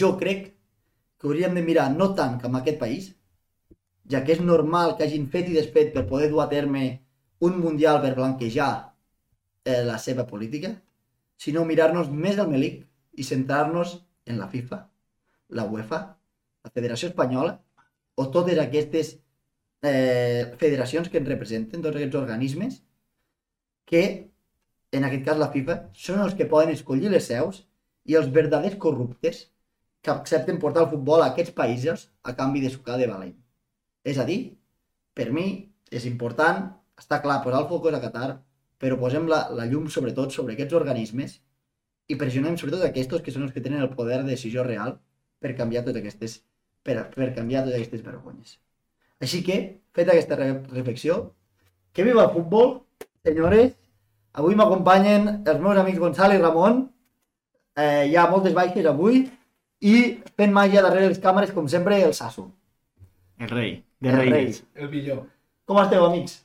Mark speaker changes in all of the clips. Speaker 1: jo crec que hauríem de mirar no tant cap a aquest país, ja que és normal que hagin fet i desfet per poder dur a terme un mundial per blanquejar eh, la seva política, sinó mirar-nos més del Melic i centrar-nos en la FIFA, la UEFA, la Federació Espanyola o totes aquestes eh, federacions que ens representen, tots aquests organismes, que en aquest cas la FIFA, són els que poden escollir les seus i els verdaders corruptes que accepten portar el futbol a aquests països a canvi de sucar de valent. És a dir, per mi és important, està clar, posar el focus a Qatar, però posem la, la llum sobretot sobre aquests organismes i pressionem sobretot aquests que són els que tenen el poder de decisió real per canviar totes aquestes, per, per canviar totes aquestes vergonyes. Així que, feta aquesta re reflexió, que viva el futbol, senyores, Avui m'acompanyen els meus amics Gonçal i Ramon. Eh, hi ha moltes baixes avui. I fent màgia darrere les càmeres, com sempre, el Sasso.
Speaker 2: El rei, de
Speaker 1: El rei.
Speaker 2: reines.
Speaker 3: El millor.
Speaker 1: Com esteu, amics?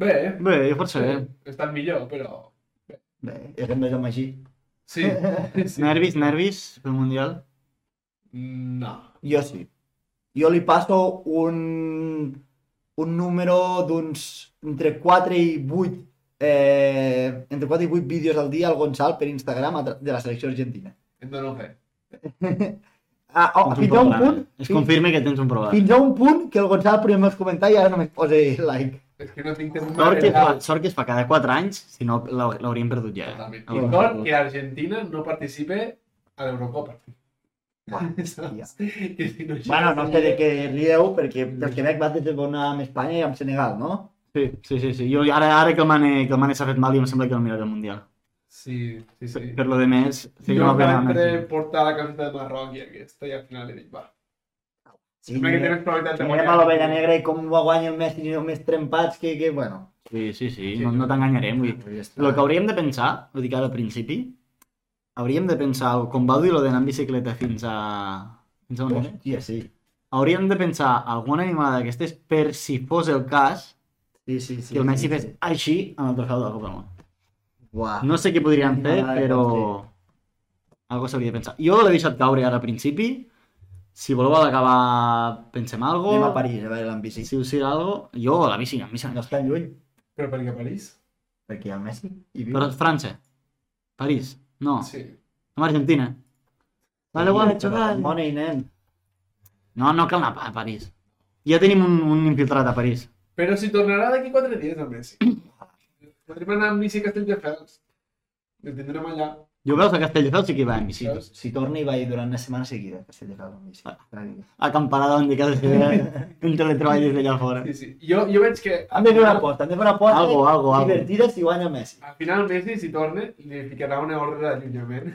Speaker 3: Bé, eh?
Speaker 2: Bé, força bé.
Speaker 3: Està el millor, però...
Speaker 1: Bé, ja que em vegem així.
Speaker 3: Sí. sí. Mm,
Speaker 2: Nervis, nervis pel Mundial.
Speaker 3: No.
Speaker 1: Jo sí. Jo li passo un, un número d'uns entre 4 i 8 eh, entre 4 i 8 vídeos al dia al Gonçal per Instagram a tra- de la selecció argentina.
Speaker 3: No, no fe.
Speaker 1: Ah, oh,
Speaker 2: Tens
Speaker 1: fins a un
Speaker 2: problema.
Speaker 1: punt,
Speaker 2: Es
Speaker 1: fins,
Speaker 2: confirma que tens un problema.
Speaker 1: fins a un punt que el Gonçal primer els comentari i ara només posa like.
Speaker 3: És que no tinc temps
Speaker 2: Sort que, fa,
Speaker 3: real.
Speaker 2: sort que es fa cada 4 anys, si no l'hau- l'hauríem perdut ja.
Speaker 3: Totalment.
Speaker 2: El-
Speaker 3: I sort que Argentina no participe a l'Eurocopa.
Speaker 1: ja.
Speaker 3: Que si no, això
Speaker 1: Bueno, no sé de
Speaker 3: seria-
Speaker 1: què rieu, perquè del Quebec va desenvolupar amb Espanya i amb Senegal, no?
Speaker 2: Sí, sí, sí, sí. Jo, ara, ara que el Mane, que el Mane s'ha fet mal, jo em sembla que el miraré al Mundial.
Speaker 3: Sí, sí,
Speaker 2: Per,
Speaker 3: sí.
Speaker 2: per lo de més, sí que
Speaker 3: jo
Speaker 2: m'ha
Speaker 3: vaig
Speaker 2: pena.
Speaker 3: entre portar la camiseta de Marroc i aquesta i al final li dic, va.
Speaker 1: Sí,
Speaker 3: Sembla que té
Speaker 1: mirem,
Speaker 3: més probabilitat de
Speaker 1: mirem a l'ovella negra i com ho guanya el Messi, i més trempats que, que bueno.
Speaker 2: Sí, sí, sí,
Speaker 3: Sí,
Speaker 2: no, no t'enganyarem. Vull dir, El que
Speaker 1: El
Speaker 2: hauríem de pensar, ho dic ara al principi, hauríem de pensar, com va dir lo d'anar en bicicleta fins a... Fins a on era?
Speaker 1: Hòstia, sí.
Speaker 2: Hauríem de pensar alguna animada d'aquestes per si fos el cas
Speaker 1: Sí, sí, sí.
Speaker 2: que el
Speaker 1: sí,
Speaker 2: Messi
Speaker 1: Ah.
Speaker 2: fes
Speaker 1: sí.
Speaker 2: així amb el trofeu de la Copa del Món.
Speaker 1: Uah.
Speaker 2: No sé què podríem
Speaker 1: Quina
Speaker 2: fer,
Speaker 1: animada que
Speaker 2: però...
Speaker 1: pot
Speaker 2: Algo s'hauria de pensar. Jo l'he deixat caure ara al principi. Si voleu acabar, pensem algo.
Speaker 1: Anem a París a veure l'en bici.
Speaker 2: Si us dirà algo, jo a la bici, a mi se
Speaker 1: No
Speaker 2: m'encanta.
Speaker 1: és tan lluny,
Speaker 3: Però perquè a París?
Speaker 1: perquè hi ha el Messi. I viu.
Speaker 2: Però França, París, no,
Speaker 3: Sí.
Speaker 2: som Argentina. Vale, vale, xaval.
Speaker 1: Mona i nen.
Speaker 2: No, no cal anar a París. Ja tenim un, un infiltrat a París.
Speaker 3: Però si tornarà d'aquí quatre dies el Messi. Podríem anar amb bici a Castelldefels. El tindrem allà.
Speaker 2: Jo veus a Castelldefels sí que hi va en bici.
Speaker 3: Saps?
Speaker 1: Si torna i va ir durant una setmana seguida, que se lleva l'en bici.
Speaker 2: Ah.
Speaker 1: Hem
Speaker 2: Acamparada on de casa seva, un teletreball des d'allà fora.
Speaker 3: Sí, sí. Jo, jo veig que...
Speaker 1: de fer una aposta, hem de fer una aposta
Speaker 2: Algo, algo, algo.
Speaker 1: divertida si guanya el Messi.
Speaker 3: Al final Messi, si torna, li ficarà una ordre d'allunyament.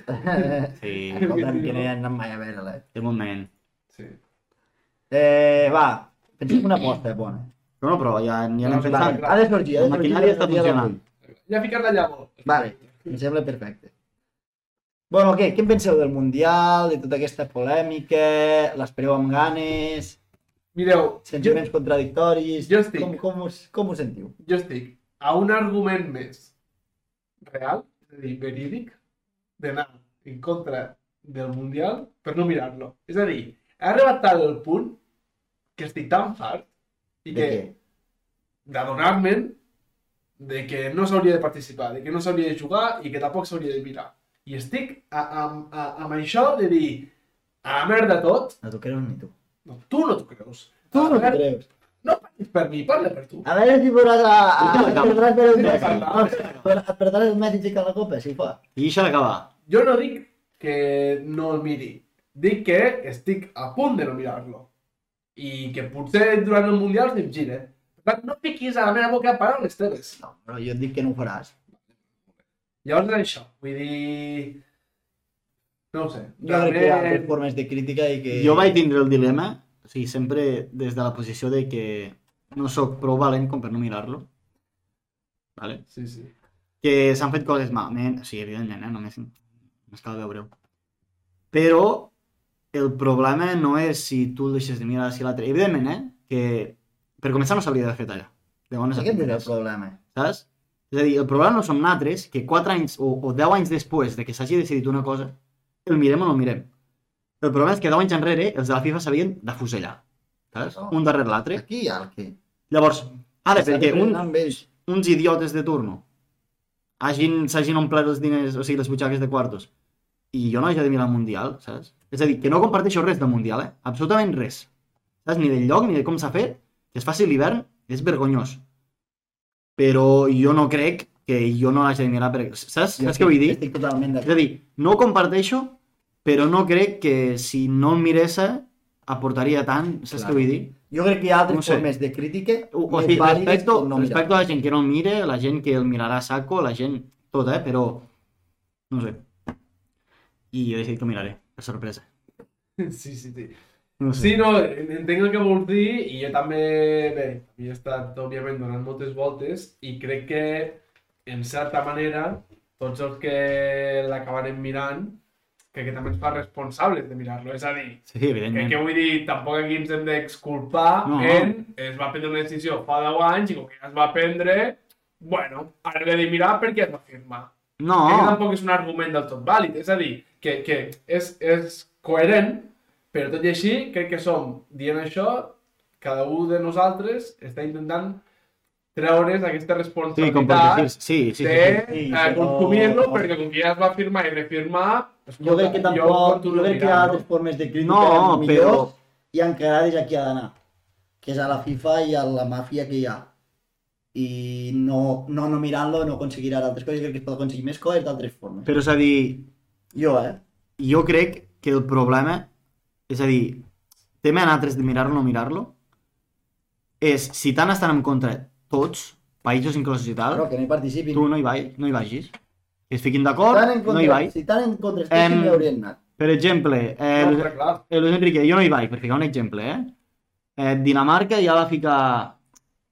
Speaker 2: Sí,
Speaker 1: Escolta'm, que no hi ha anat mai a veure-la. eh?
Speaker 2: de moment.
Speaker 3: Sí.
Speaker 1: Eh, va, pensem una aposta bona.
Speaker 2: No, no, però ja, ja
Speaker 3: No,
Speaker 2: anem pensant.
Speaker 1: Ha de sortir, ha de
Speaker 2: La
Speaker 1: sortir
Speaker 2: maquinària
Speaker 1: durant
Speaker 2: està
Speaker 1: el dia d'avui.
Speaker 2: funcionant.
Speaker 3: Ja ha ficat la llavor.
Speaker 1: Vale, em sembla perfecte. Bueno, què? Què en penseu del Mundial, de tota aquesta polèmica? L'espereu amb ganes?
Speaker 3: Mireu, jo,
Speaker 1: Sentiments contradictoris?
Speaker 3: Jo estic.
Speaker 1: Com, com, us, com us sentiu?
Speaker 3: jo estic a un argument més real, és a dir, verídic, d'anar en contra del Mundial per no mirar-lo. És a dir, ha arribat tal el punt que estic tan fart i
Speaker 1: De
Speaker 3: que
Speaker 1: què?
Speaker 3: d'adonar-me'n de que no s'hauria de participar, de que no s'hauria de jugar i que tampoc s'hauria de mirar. I estic a, a, a, amb això de dir a la merda tot,
Speaker 1: No t'ho creus ni tu.
Speaker 3: no, tu no t'ho creus.
Speaker 1: Tu no
Speaker 3: A
Speaker 1: t'ho
Speaker 3: veure,
Speaker 1: creus.
Speaker 3: no parlis per mi, parla per tu.
Speaker 1: A veure si podràs a... a,
Speaker 2: Deixa la
Speaker 1: a
Speaker 2: cama.
Speaker 1: perdràs veure el
Speaker 3: Deixa la
Speaker 1: Messi.
Speaker 3: cama.
Speaker 1: No, per- Perdràs el Messi aixecant la copa, si fa.
Speaker 2: I això d'acabar.
Speaker 3: Jo no dic que no el miri, dic que estic a punt de no mirar-lo. I que potser durant el Mundial se'm gira. Per tant, no fiquis a la meva boca paraules teves.
Speaker 1: No, però jo et dic que no ho faràs.
Speaker 3: Llavors és això, vull dir... No ho sé.
Speaker 1: Jo crec que hi ha altres
Speaker 3: realment-
Speaker 1: formes de crítica i que...
Speaker 2: Jo vaig tindre el dilema, o sigui, sempre des de la posició de que no sóc prou valent com per no mirar-lo. Vale?
Speaker 3: Sí, sí.
Speaker 2: que s'han fet coses malament, o sigui, evidentment, eh? només, només cal veure-ho. Però el problema no és si tu el deixes de mirar si l'altre. Evidentment, eh? Que per començar no s'hauria de fer allà. De bones a
Speaker 1: Aquest és el
Speaker 2: primeres,
Speaker 1: problema.
Speaker 2: saps? És a dir, el problema no som nosaltres que 4 anys o, o 10 anys després de que s'hagi decidit una cosa, el mirem o no el mirem. El problema és que 10 anys enrere els de la FIFA s'havien d'afusellar, saps?
Speaker 1: Oh.
Speaker 2: Un darrere l'altre.
Speaker 1: Aquí hi ha el que...
Speaker 2: Llavors, ara,
Speaker 1: Està
Speaker 2: perquè un,
Speaker 1: aprenent amb ells.
Speaker 2: uns idiotes de turno hagin- s'hagin omplert els diners, o sigui, les butxaques de quartos, i jo no haig de mirar el Mundial, saps? És a dir, que no comparteixo res del Mundial, eh? Absolutament res. Saps? Ni del lloc, ni de com s'ha fet, que es faci l'hivern, és vergonyós. Però jo no crec que jo no l'haig de mirar per... Saps? Saps què vull dir?
Speaker 1: Estic totalment
Speaker 2: És a
Speaker 1: d'acord.
Speaker 2: dir, no ho comparteixo, però no crec que si no el mirés eh, aportaria tant, saps
Speaker 1: Clar.
Speaker 2: què vull dir?
Speaker 1: Jo crec que hi ha altres
Speaker 2: No sé.
Speaker 1: formes de crítica
Speaker 2: O, o
Speaker 1: més
Speaker 2: sigui,
Speaker 1: vàlides
Speaker 2: respecto,
Speaker 1: per no mirar.
Speaker 2: respecto a la gent que no el mire, la gent que el mirarà a saco, la gent... Tot, eh? Però... No sé. I jo he decidit que ho miraré, per sorpresa.
Speaker 3: Sí, sí, sí.
Speaker 2: No sé.
Speaker 3: Sí, no, en- entenc el que vols dir i jo també, bé, havia estat, òbviament, donant moltes voltes i crec que, en certa manera, tots els que l'acabarem mirant, crec que també ens fa responsables de mirar-lo. És a dir,
Speaker 2: sí
Speaker 3: que,
Speaker 2: evidentment.
Speaker 3: que vull dir, tampoc aquí ens hem d'exculpar
Speaker 2: No,
Speaker 3: no,
Speaker 2: no.
Speaker 3: en... Es va prendre una decisió fa 10 anys i com que ja es va prendre, bueno, ara l'he de mirar perquè es va firmar.
Speaker 2: No,
Speaker 3: Crec que tampoc és un argument del tot vàlid. És a dir, que, que és, és coherent, però tot i així, crec que som, dient això, cada un de nosaltres està intentant treure's aquesta
Speaker 2: sí,
Speaker 3: responsabilitat
Speaker 2: compartir. Sí, sí, sí.
Speaker 3: de
Speaker 2: sí.
Speaker 1: sí, sí,
Speaker 3: eh,
Speaker 1: sí,
Speaker 3: consumir-lo,
Speaker 1: no.
Speaker 3: perquè com que ja es va firmar i refirmar...
Speaker 1: Jo crec que tampoc, jo,
Speaker 3: continuo
Speaker 1: crec que hi ha
Speaker 3: mirant-lo.
Speaker 1: altres formes de crítica
Speaker 2: No,
Speaker 1: millors
Speaker 2: però-
Speaker 1: i encarades a qui ha d'anar, que és a la FIFA i a la màfia que hi ha. I no, no, no mirant-lo no aconseguirà altres coses, jo crec que es pot aconseguir més coses d'altres formes.
Speaker 2: Però és a dir,
Speaker 1: Jo, eh?
Speaker 2: jo crec que el problema, és a dir, tema en altres de mirar-lo o no mirar-lo, és si tant estan en contra tots, països inclosos i tal,
Speaker 1: Però que no hi participin.
Speaker 2: tu no hi, vai, no hi vagis. Que es fiquin d'acord,
Speaker 1: Tan en
Speaker 2: no hi
Speaker 1: contra,
Speaker 2: vaig.
Speaker 1: si tan en contra estiguin,
Speaker 2: Em,
Speaker 1: hi haurien anat.
Speaker 2: Per exemple, eh,
Speaker 3: No,
Speaker 2: Luis-
Speaker 3: però clar,
Speaker 2: eh, Luis Enrique, jo no hi vaig, per ficar un exemple, eh? eh Dinamarca ja va ficar...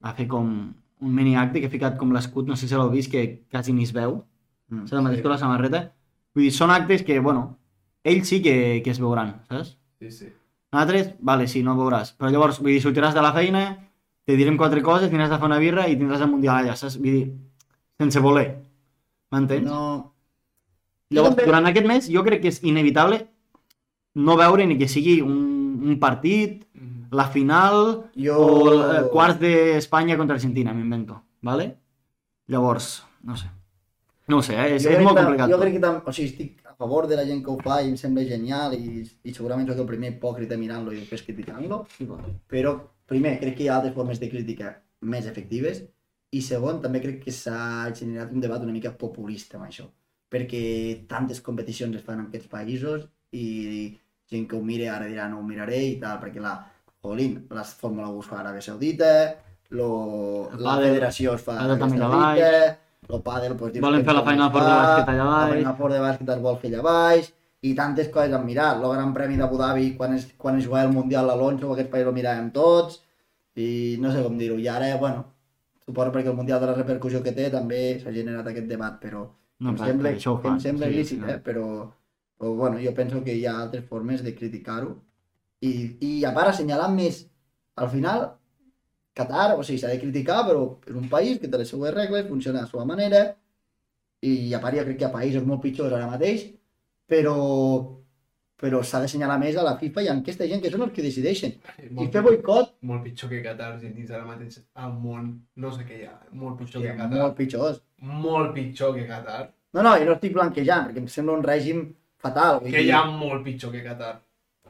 Speaker 2: Va fer com un mini acte que ha ficat com l'escut, no sé si l'heu vist, que quasi ni es veu.
Speaker 1: Mm.
Speaker 2: Saps? El mateix
Speaker 3: Sí.
Speaker 2: que la samarreta. Vull dir, són actes que, bueno, ells sí que, que es veuran, saps?
Speaker 3: sí, sí.
Speaker 2: Nosaltres, vale, sí, no ho veuràs. Però llavors, vull dir, sortiràs de la feina, te direm quatre coses, tindràs de fer una birra i tindràs el Mundial allà, saps? Vull dir, sense voler. M'entens?
Speaker 1: No...
Speaker 2: Llavors,
Speaker 1: també-
Speaker 2: durant aquest mes, jo crec que és inevitable no veure ni que sigui un, un partit,
Speaker 3: Mhm.
Speaker 2: la final
Speaker 1: Jo...
Speaker 2: o el
Speaker 1: Oh.
Speaker 2: eh, quarts d'Espanya contra Argentina, m'invento, ¿vale? Llavors, no sé. No ho sé, eh? és,
Speaker 1: Jo
Speaker 2: és
Speaker 1: crec
Speaker 2: molt
Speaker 1: que-
Speaker 2: complicat.
Speaker 1: Jo crec que tam... o sigui, estic a favor de la gent que ho fa i em sembla genial i, i segurament soc el primer hipòcrita mirant-lo i després criticant-lo, però primer, crec que hi ha altres formes de crítica més efectives i segon, també crec que s'ha generat un debat una mica populista amb això, perquè tantes competicions es fan en aquests països i gent que ho mire ara dirà no ho miraré i tal, perquè la, jolín, la Fórmula 1 es fa a Aràbia Saudita, lo,
Speaker 2: El
Speaker 1: la
Speaker 2: pàdel-
Speaker 1: federació es fa a
Speaker 2: pàdel
Speaker 1: Aràbia
Speaker 2: també allà
Speaker 1: Saudita, el pàdel... Pues, dius,
Speaker 2: Volen fer la
Speaker 1: pensa
Speaker 2: Final
Speaker 1: com es
Speaker 2: Four de
Speaker 1: fa,
Speaker 2: bàsquet allà
Speaker 1: La
Speaker 2: baix.
Speaker 1: Final Four de bàsquet es vol fer allà baix, i tantes coses a mirar. El Gran Premi d'Abu Dhabi, quan es, quan es jugava el Mundial a l'Alonso, aquest país ho miràvem tots, i no sé com dir-ho. I ara, bueno, suposo perquè el Mundial de la repercussió que té també s'ha generat aquest debat, però
Speaker 2: No,
Speaker 1: em
Speaker 2: clar,
Speaker 1: sembla,
Speaker 2: això ho
Speaker 1: em
Speaker 2: fan,
Speaker 1: sembla
Speaker 2: sí,
Speaker 1: lícit,
Speaker 2: sí,
Speaker 1: eh? però, però bueno, jo penso que hi ha altres formes de criticar-ho. I, I a part, assenyalar més, al final, Qatar, o sigui, s'ha de criticar, però és un país que té les seues regles, funciona de la seva manera, i a part jo crec que hi ha països molt pitjors ara mateix, però, però s'ha d'assenyalar més a la FIFA i a aquesta gent que són els que decideixen. I
Speaker 3: Molt
Speaker 1: fer
Speaker 3: pitjor.
Speaker 1: boicot,
Speaker 3: molt pitjor que Qatar, argentins ara mateix al món, no sé què hi ha, molt pitjor que Qatar,
Speaker 1: eh, molt pitjors.
Speaker 3: molt... pitjor que Qatar,
Speaker 1: No, no, jo no estic blanquejant, perquè em sembla un règim fatal. vull
Speaker 3: que
Speaker 1: dir-
Speaker 3: hi ha molt pitjor que Qatar.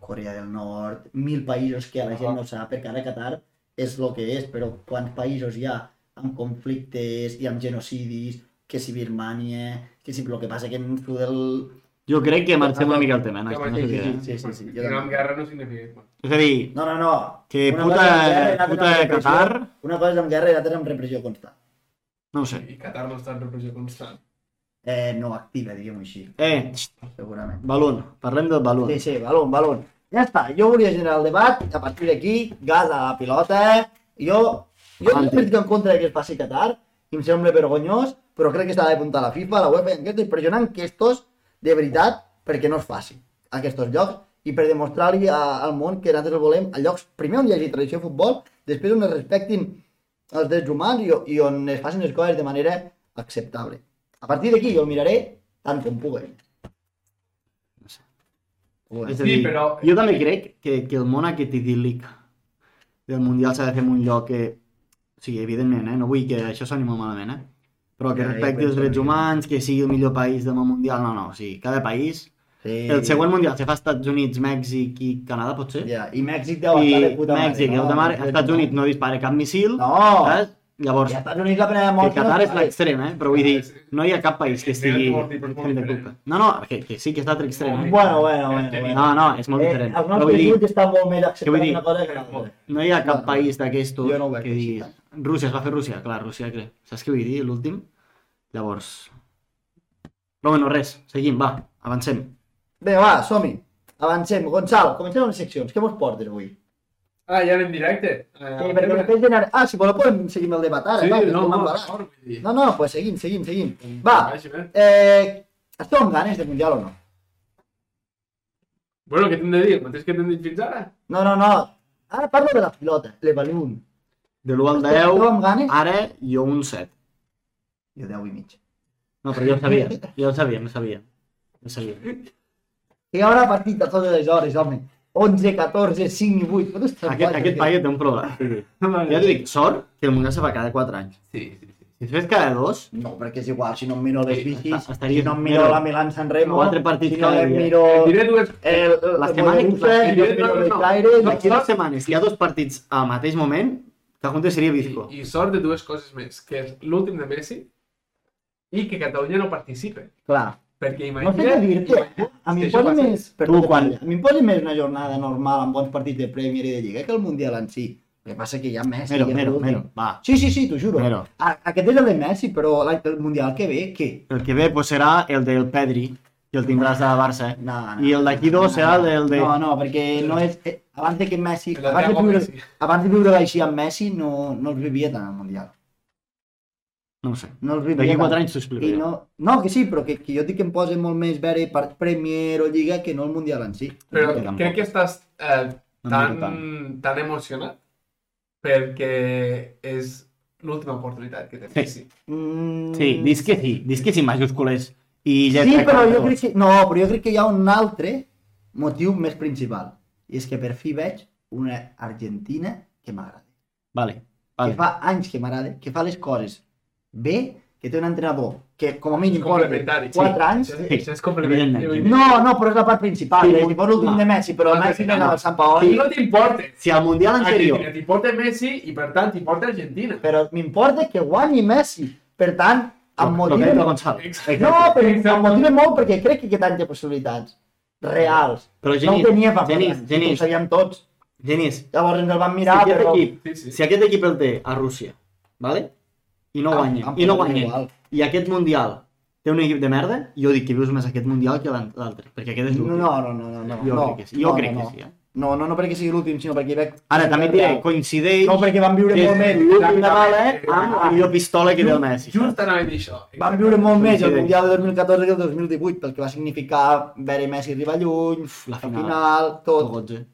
Speaker 1: Corea del Nord, mil països que la gent no sap, perquè ara Qatar és el que és, però quants països hi ha amb conflictes i amb genocidis, que si Birmània, que si el que passa que en sud del...
Speaker 2: Jo crec que marxem una mica al tema. No,
Speaker 3: Sí,
Speaker 2: no
Speaker 3: sí,
Speaker 2: sé què, eh?
Speaker 1: Sí, sí, sí, jo
Speaker 3: Però amb
Speaker 1: també.
Speaker 3: guerra no significa igual.
Speaker 2: És a dir,
Speaker 1: No, no, no.
Speaker 2: que
Speaker 1: Una
Speaker 2: puta,
Speaker 1: cosa és guerra i l'altra
Speaker 2: puta
Speaker 1: és repressió.
Speaker 2: Qatar,
Speaker 1: Una cosa és amb guerra i l'altra és amb repressió constant.
Speaker 2: no ho sé.
Speaker 3: I Qatar no està en repressió constant.
Speaker 1: Eh, no activa, diguem-ho així,
Speaker 2: Eh, xt,
Speaker 1: segurament.
Speaker 2: balón, parlem del balón.
Speaker 1: Sí, sí, balón, balón. Ja està, jo volia generar el debat, a partir d'aquí, gas a la pilota. eh? Jo, jo no
Speaker 2: Avanti.
Speaker 1: estic en contra de que es faci a Qatar, i em sembla vergonyós, però crec que s'ha d'apuntar a la FIFA, a la UEFA, i aquesta, i pressionant que estos, de veritat, perquè no es faci a aquests llocs, i per demostrar-li a- al món que nosaltres el volem a llocs, primer on hi hagi tradició de futbol, després on es respectin els drets humans i, o- i on es facin les coses de manera acceptable. A partir d'aquí jo el miraré tant com pugui. Bueno,
Speaker 2: És a
Speaker 3: Sí,
Speaker 2: dir,
Speaker 3: però-
Speaker 2: jo també crec que, que el món aquest idíl·lic del Mundial s'ha de fer en un lloc que... O sigui, evidentment, eh? no vull que això soni molt malament, eh? però que
Speaker 1: Ja, ja
Speaker 2: respecti
Speaker 1: penso
Speaker 2: els drets
Speaker 1: que-
Speaker 2: humans, que sigui el millor país del món mundial, no, no, o sigui, cada país...
Speaker 1: sí.
Speaker 2: El següent mundial se fa a Estats Units, Mèxic i Canadà, potser?
Speaker 1: Ja, I Mèxic deu
Speaker 2: I
Speaker 1: estar de puta mare.
Speaker 2: Mèxic, el de mare, als Estats Units no dispara cap missil,
Speaker 1: No!
Speaker 2: saps? Llavors,
Speaker 1: I als Estats Units la primera
Speaker 2: que
Speaker 1: mort...
Speaker 2: Qatar
Speaker 1: no
Speaker 2: és l'extrem, eh? Però vull dir, no hi ha cap país que
Speaker 3: Sí, sí,
Speaker 2: estigui...
Speaker 3: és molt diferent, molt
Speaker 2: fent de
Speaker 3: diferent.
Speaker 2: culpa. No, no, que, que sí que està altre extrem, eh?
Speaker 1: Bueno, bueno, bueno. bueno.
Speaker 2: No, no, és molt
Speaker 1: Eh,
Speaker 2: diferent.
Speaker 1: Els
Speaker 2: Però
Speaker 1: nostres
Speaker 2: vull dir,
Speaker 1: jutges estan molt més
Speaker 2: Què vull
Speaker 1: acceptant
Speaker 2: dir?
Speaker 1: una cosa que una altra.
Speaker 2: no hi ha cap
Speaker 1: Bueno,
Speaker 2: país d'aquesto
Speaker 1: jo no ho veig
Speaker 2: que
Speaker 1: així,
Speaker 2: diguis...
Speaker 1: tant.
Speaker 2: Rússia, es va fer Rússia, clar, Rússia, crec. Saps què vull dir, l'últim? Llavors... Però bueno, res, seguim, va, avancem.
Speaker 1: Bé, va, som-hi. Avancem. Gonçal, comencem amb les seccions. Què mos portes avui?
Speaker 3: Ah, ja anem directe. Eh,
Speaker 1: Eh, perquè després d'anar... Ah, si voleu podem seguir amb el debat ara.
Speaker 3: Sí,
Speaker 1: clar, que
Speaker 3: no,
Speaker 1: estem
Speaker 3: no,
Speaker 1: embalats.
Speaker 3: d'acord, vull dir.
Speaker 1: no, no, pues seguim, seguim, seguim. Va,
Speaker 3: Vaja, eh?
Speaker 1: eh, esteu amb ganes de Mundial o no?
Speaker 3: Bueno, què t'hem de dir? El mateix que t'hem dit fins ara?
Speaker 1: No, no, no. Ara parlo de la pilota, le balloon.
Speaker 2: De l'1 al
Speaker 1: Esteu
Speaker 2: 10,
Speaker 1: amb ganes?
Speaker 2: ara jo un 7.
Speaker 1: Jo 10 i mig.
Speaker 2: No, però jo ho sabia, jo ho sabia, ho sabia. Ho sabia.
Speaker 1: Que hi haurà partit a totes les hores, home. 11, 14, 5 i 8. Tot està
Speaker 2: Aquest,
Speaker 1: guai,
Speaker 2: aquest paio té un problema. Sí. Ja et dic, sort que el Mundial se fa cada 4 anys.
Speaker 3: Sí, sí, sí.
Speaker 2: Si es fes cada dos,
Speaker 1: No, perquè és igual, si no em miro les bicis,
Speaker 2: està-
Speaker 1: si
Speaker 2: estaria-
Speaker 1: no em miro
Speaker 2: mira,
Speaker 1: la Milan San Remo,
Speaker 2: quatre partits
Speaker 1: si no
Speaker 2: cada
Speaker 1: em
Speaker 2: dia.
Speaker 1: miro
Speaker 3: Et
Speaker 1: el,
Speaker 3: diré dues...
Speaker 1: el, el
Speaker 2: les setmanes-
Speaker 1: Mollerussa,
Speaker 2: les-
Speaker 1: si no em miro
Speaker 3: no,
Speaker 1: les
Speaker 3: no.
Speaker 1: Caires,
Speaker 3: No,
Speaker 2: d'aquí
Speaker 1: aquí-
Speaker 3: no.
Speaker 2: dues setmanes, si hi ha dos partits al mateix moment, la junta seria Bisco.
Speaker 3: I, I sort de dues coses més, que és l'últim de Messi i que Catalunya no participe.
Speaker 1: Clar,
Speaker 3: Perquè
Speaker 1: no sé què
Speaker 3: imagina't...
Speaker 1: dir-te. A mi
Speaker 3: que
Speaker 1: em
Speaker 3: això
Speaker 1: posa
Speaker 3: passa.
Speaker 1: més...
Speaker 2: Tu,
Speaker 1: Perdó,
Speaker 2: quan-
Speaker 1: A mi em posa més una jornada normal amb bons partits de Premier i de Lliga que el Mundial en si. El que passa que hi ha Messi.
Speaker 2: Mero,
Speaker 1: hi ha
Speaker 2: mero,
Speaker 1: l'últim.
Speaker 2: mero, va.
Speaker 1: Sí, sí, sí, t'ho juro.
Speaker 2: Mero.
Speaker 1: A- Aquest és el de Messi, però l'any- el Mundial que ve, què?
Speaker 2: El que ve pues, serà el del Pedri, que el tindràs a Barça. eh?
Speaker 1: No, no,
Speaker 2: I el d'aquí dos serà el de...
Speaker 1: No, no, perquè no és... eh, Abans de que Messi...
Speaker 3: El
Speaker 1: Abans de,
Speaker 3: Thiago
Speaker 1: viure,
Speaker 3: Messi.
Speaker 1: abans de viure així amb Messi no, no els vivia tant al Mundial.
Speaker 2: No ho sé.
Speaker 1: No els vivia
Speaker 2: D'aquí
Speaker 1: tant.
Speaker 2: 4 anys t'ho
Speaker 1: I
Speaker 2: explicaré.
Speaker 1: no, no, que sí, però que, que jo dic que em posa molt més veure part Premier o Lliga que no el Mundial en si.
Speaker 3: Però
Speaker 2: Jo tampoc.
Speaker 3: crec que estàs
Speaker 2: No
Speaker 3: eh,
Speaker 2: em miro
Speaker 3: tan,
Speaker 2: tant.
Speaker 3: tan emocionat perquè és l'última oportunitat que té Messi.
Speaker 1: Mm,
Speaker 2: Sí, dis que sí, dis que sí, majúscules.
Speaker 1: Sí,
Speaker 2: I lletra
Speaker 1: però jo
Speaker 2: grans, tots.
Speaker 1: crec que... No, però jo crec que hi ha un altre motiu més principal. I és que per fi veig una Argentina que m'agrada.
Speaker 2: Vale,
Speaker 1: Vale.
Speaker 2: vale.
Speaker 1: Que fa anys que m'agrada, que fa les coses bé, que té un entrenador que com a mínim porta
Speaker 3: Complementari.
Speaker 1: 4 anys...
Speaker 3: Això,
Speaker 2: Sí,
Speaker 3: això és complementari.
Speaker 2: evidentment.
Speaker 1: No, no, però és la part principal.
Speaker 2: Sí,
Speaker 1: Sí,
Speaker 2: molt-
Speaker 1: Llavors l'últim
Speaker 2: clar.
Speaker 1: de Messi, però el
Speaker 3: Clar,
Speaker 1: Messi
Speaker 3: Ah, sí,
Speaker 1: no era
Speaker 2: home.
Speaker 1: del Sant Paoli.
Speaker 3: I no t'importa.
Speaker 2: Si al Mundial anterior...
Speaker 3: Argentina t'importa Messi i per tant t'importa Argentina.
Speaker 1: però m'importa que guanyi Messi. Per tant, em
Speaker 2: Lo- lo que
Speaker 1: motiva...
Speaker 2: és la Gonzalo.
Speaker 3: Exacte.
Speaker 1: No, però em motiva molt perquè crec que aquest any hi ha possibilitats reals.
Speaker 2: Però
Speaker 1: no
Speaker 2: Genís,
Speaker 1: ho tenia fa
Speaker 2: Genís,
Speaker 1: quatre anys,
Speaker 2: Genís.
Speaker 1: ho sabíem tots.
Speaker 2: Genís,
Speaker 1: Llavors ens el vam
Speaker 2: si
Speaker 1: mirar,
Speaker 2: aquest
Speaker 1: però...
Speaker 2: equip,
Speaker 3: Sí, sí.
Speaker 2: si aquest equip el té a Rússia, vale? i no
Speaker 1: Em-
Speaker 2: guanya,
Speaker 1: em
Speaker 2: i no
Speaker 1: fotrà
Speaker 2: guanya,
Speaker 1: igual.
Speaker 2: i aquest Mundial té un equip de merda, jo dic que vius més aquest Mundial que l'an- l'altre, perquè aquest és
Speaker 1: No,
Speaker 2: l'últim.
Speaker 1: no, no, no, no.
Speaker 2: Jo
Speaker 1: no,
Speaker 2: crec que sí, jo
Speaker 1: no,
Speaker 2: crec
Speaker 1: no,
Speaker 2: que
Speaker 1: no.
Speaker 2: sí, eh?
Speaker 1: No, no, no perquè sigui l'últim, sinó perquè hi veig...
Speaker 2: Ara, també et diré, coincideix
Speaker 1: No, perquè van viure
Speaker 2: que
Speaker 1: molt
Speaker 2: és
Speaker 1: més.
Speaker 2: l'últim de bala
Speaker 3: eh?
Speaker 2: amb la millor pistola que té el Messi.
Speaker 3: Just anava a dir això.
Speaker 1: Van viure molt més el
Speaker 2: Coincideix.
Speaker 1: Mundial de 2014 que el 2018, pel que va significar veure Messi arribar lluny,
Speaker 2: la
Speaker 1: la
Speaker 2: final. eh?
Speaker 1: final, tot.
Speaker 2: Gotze.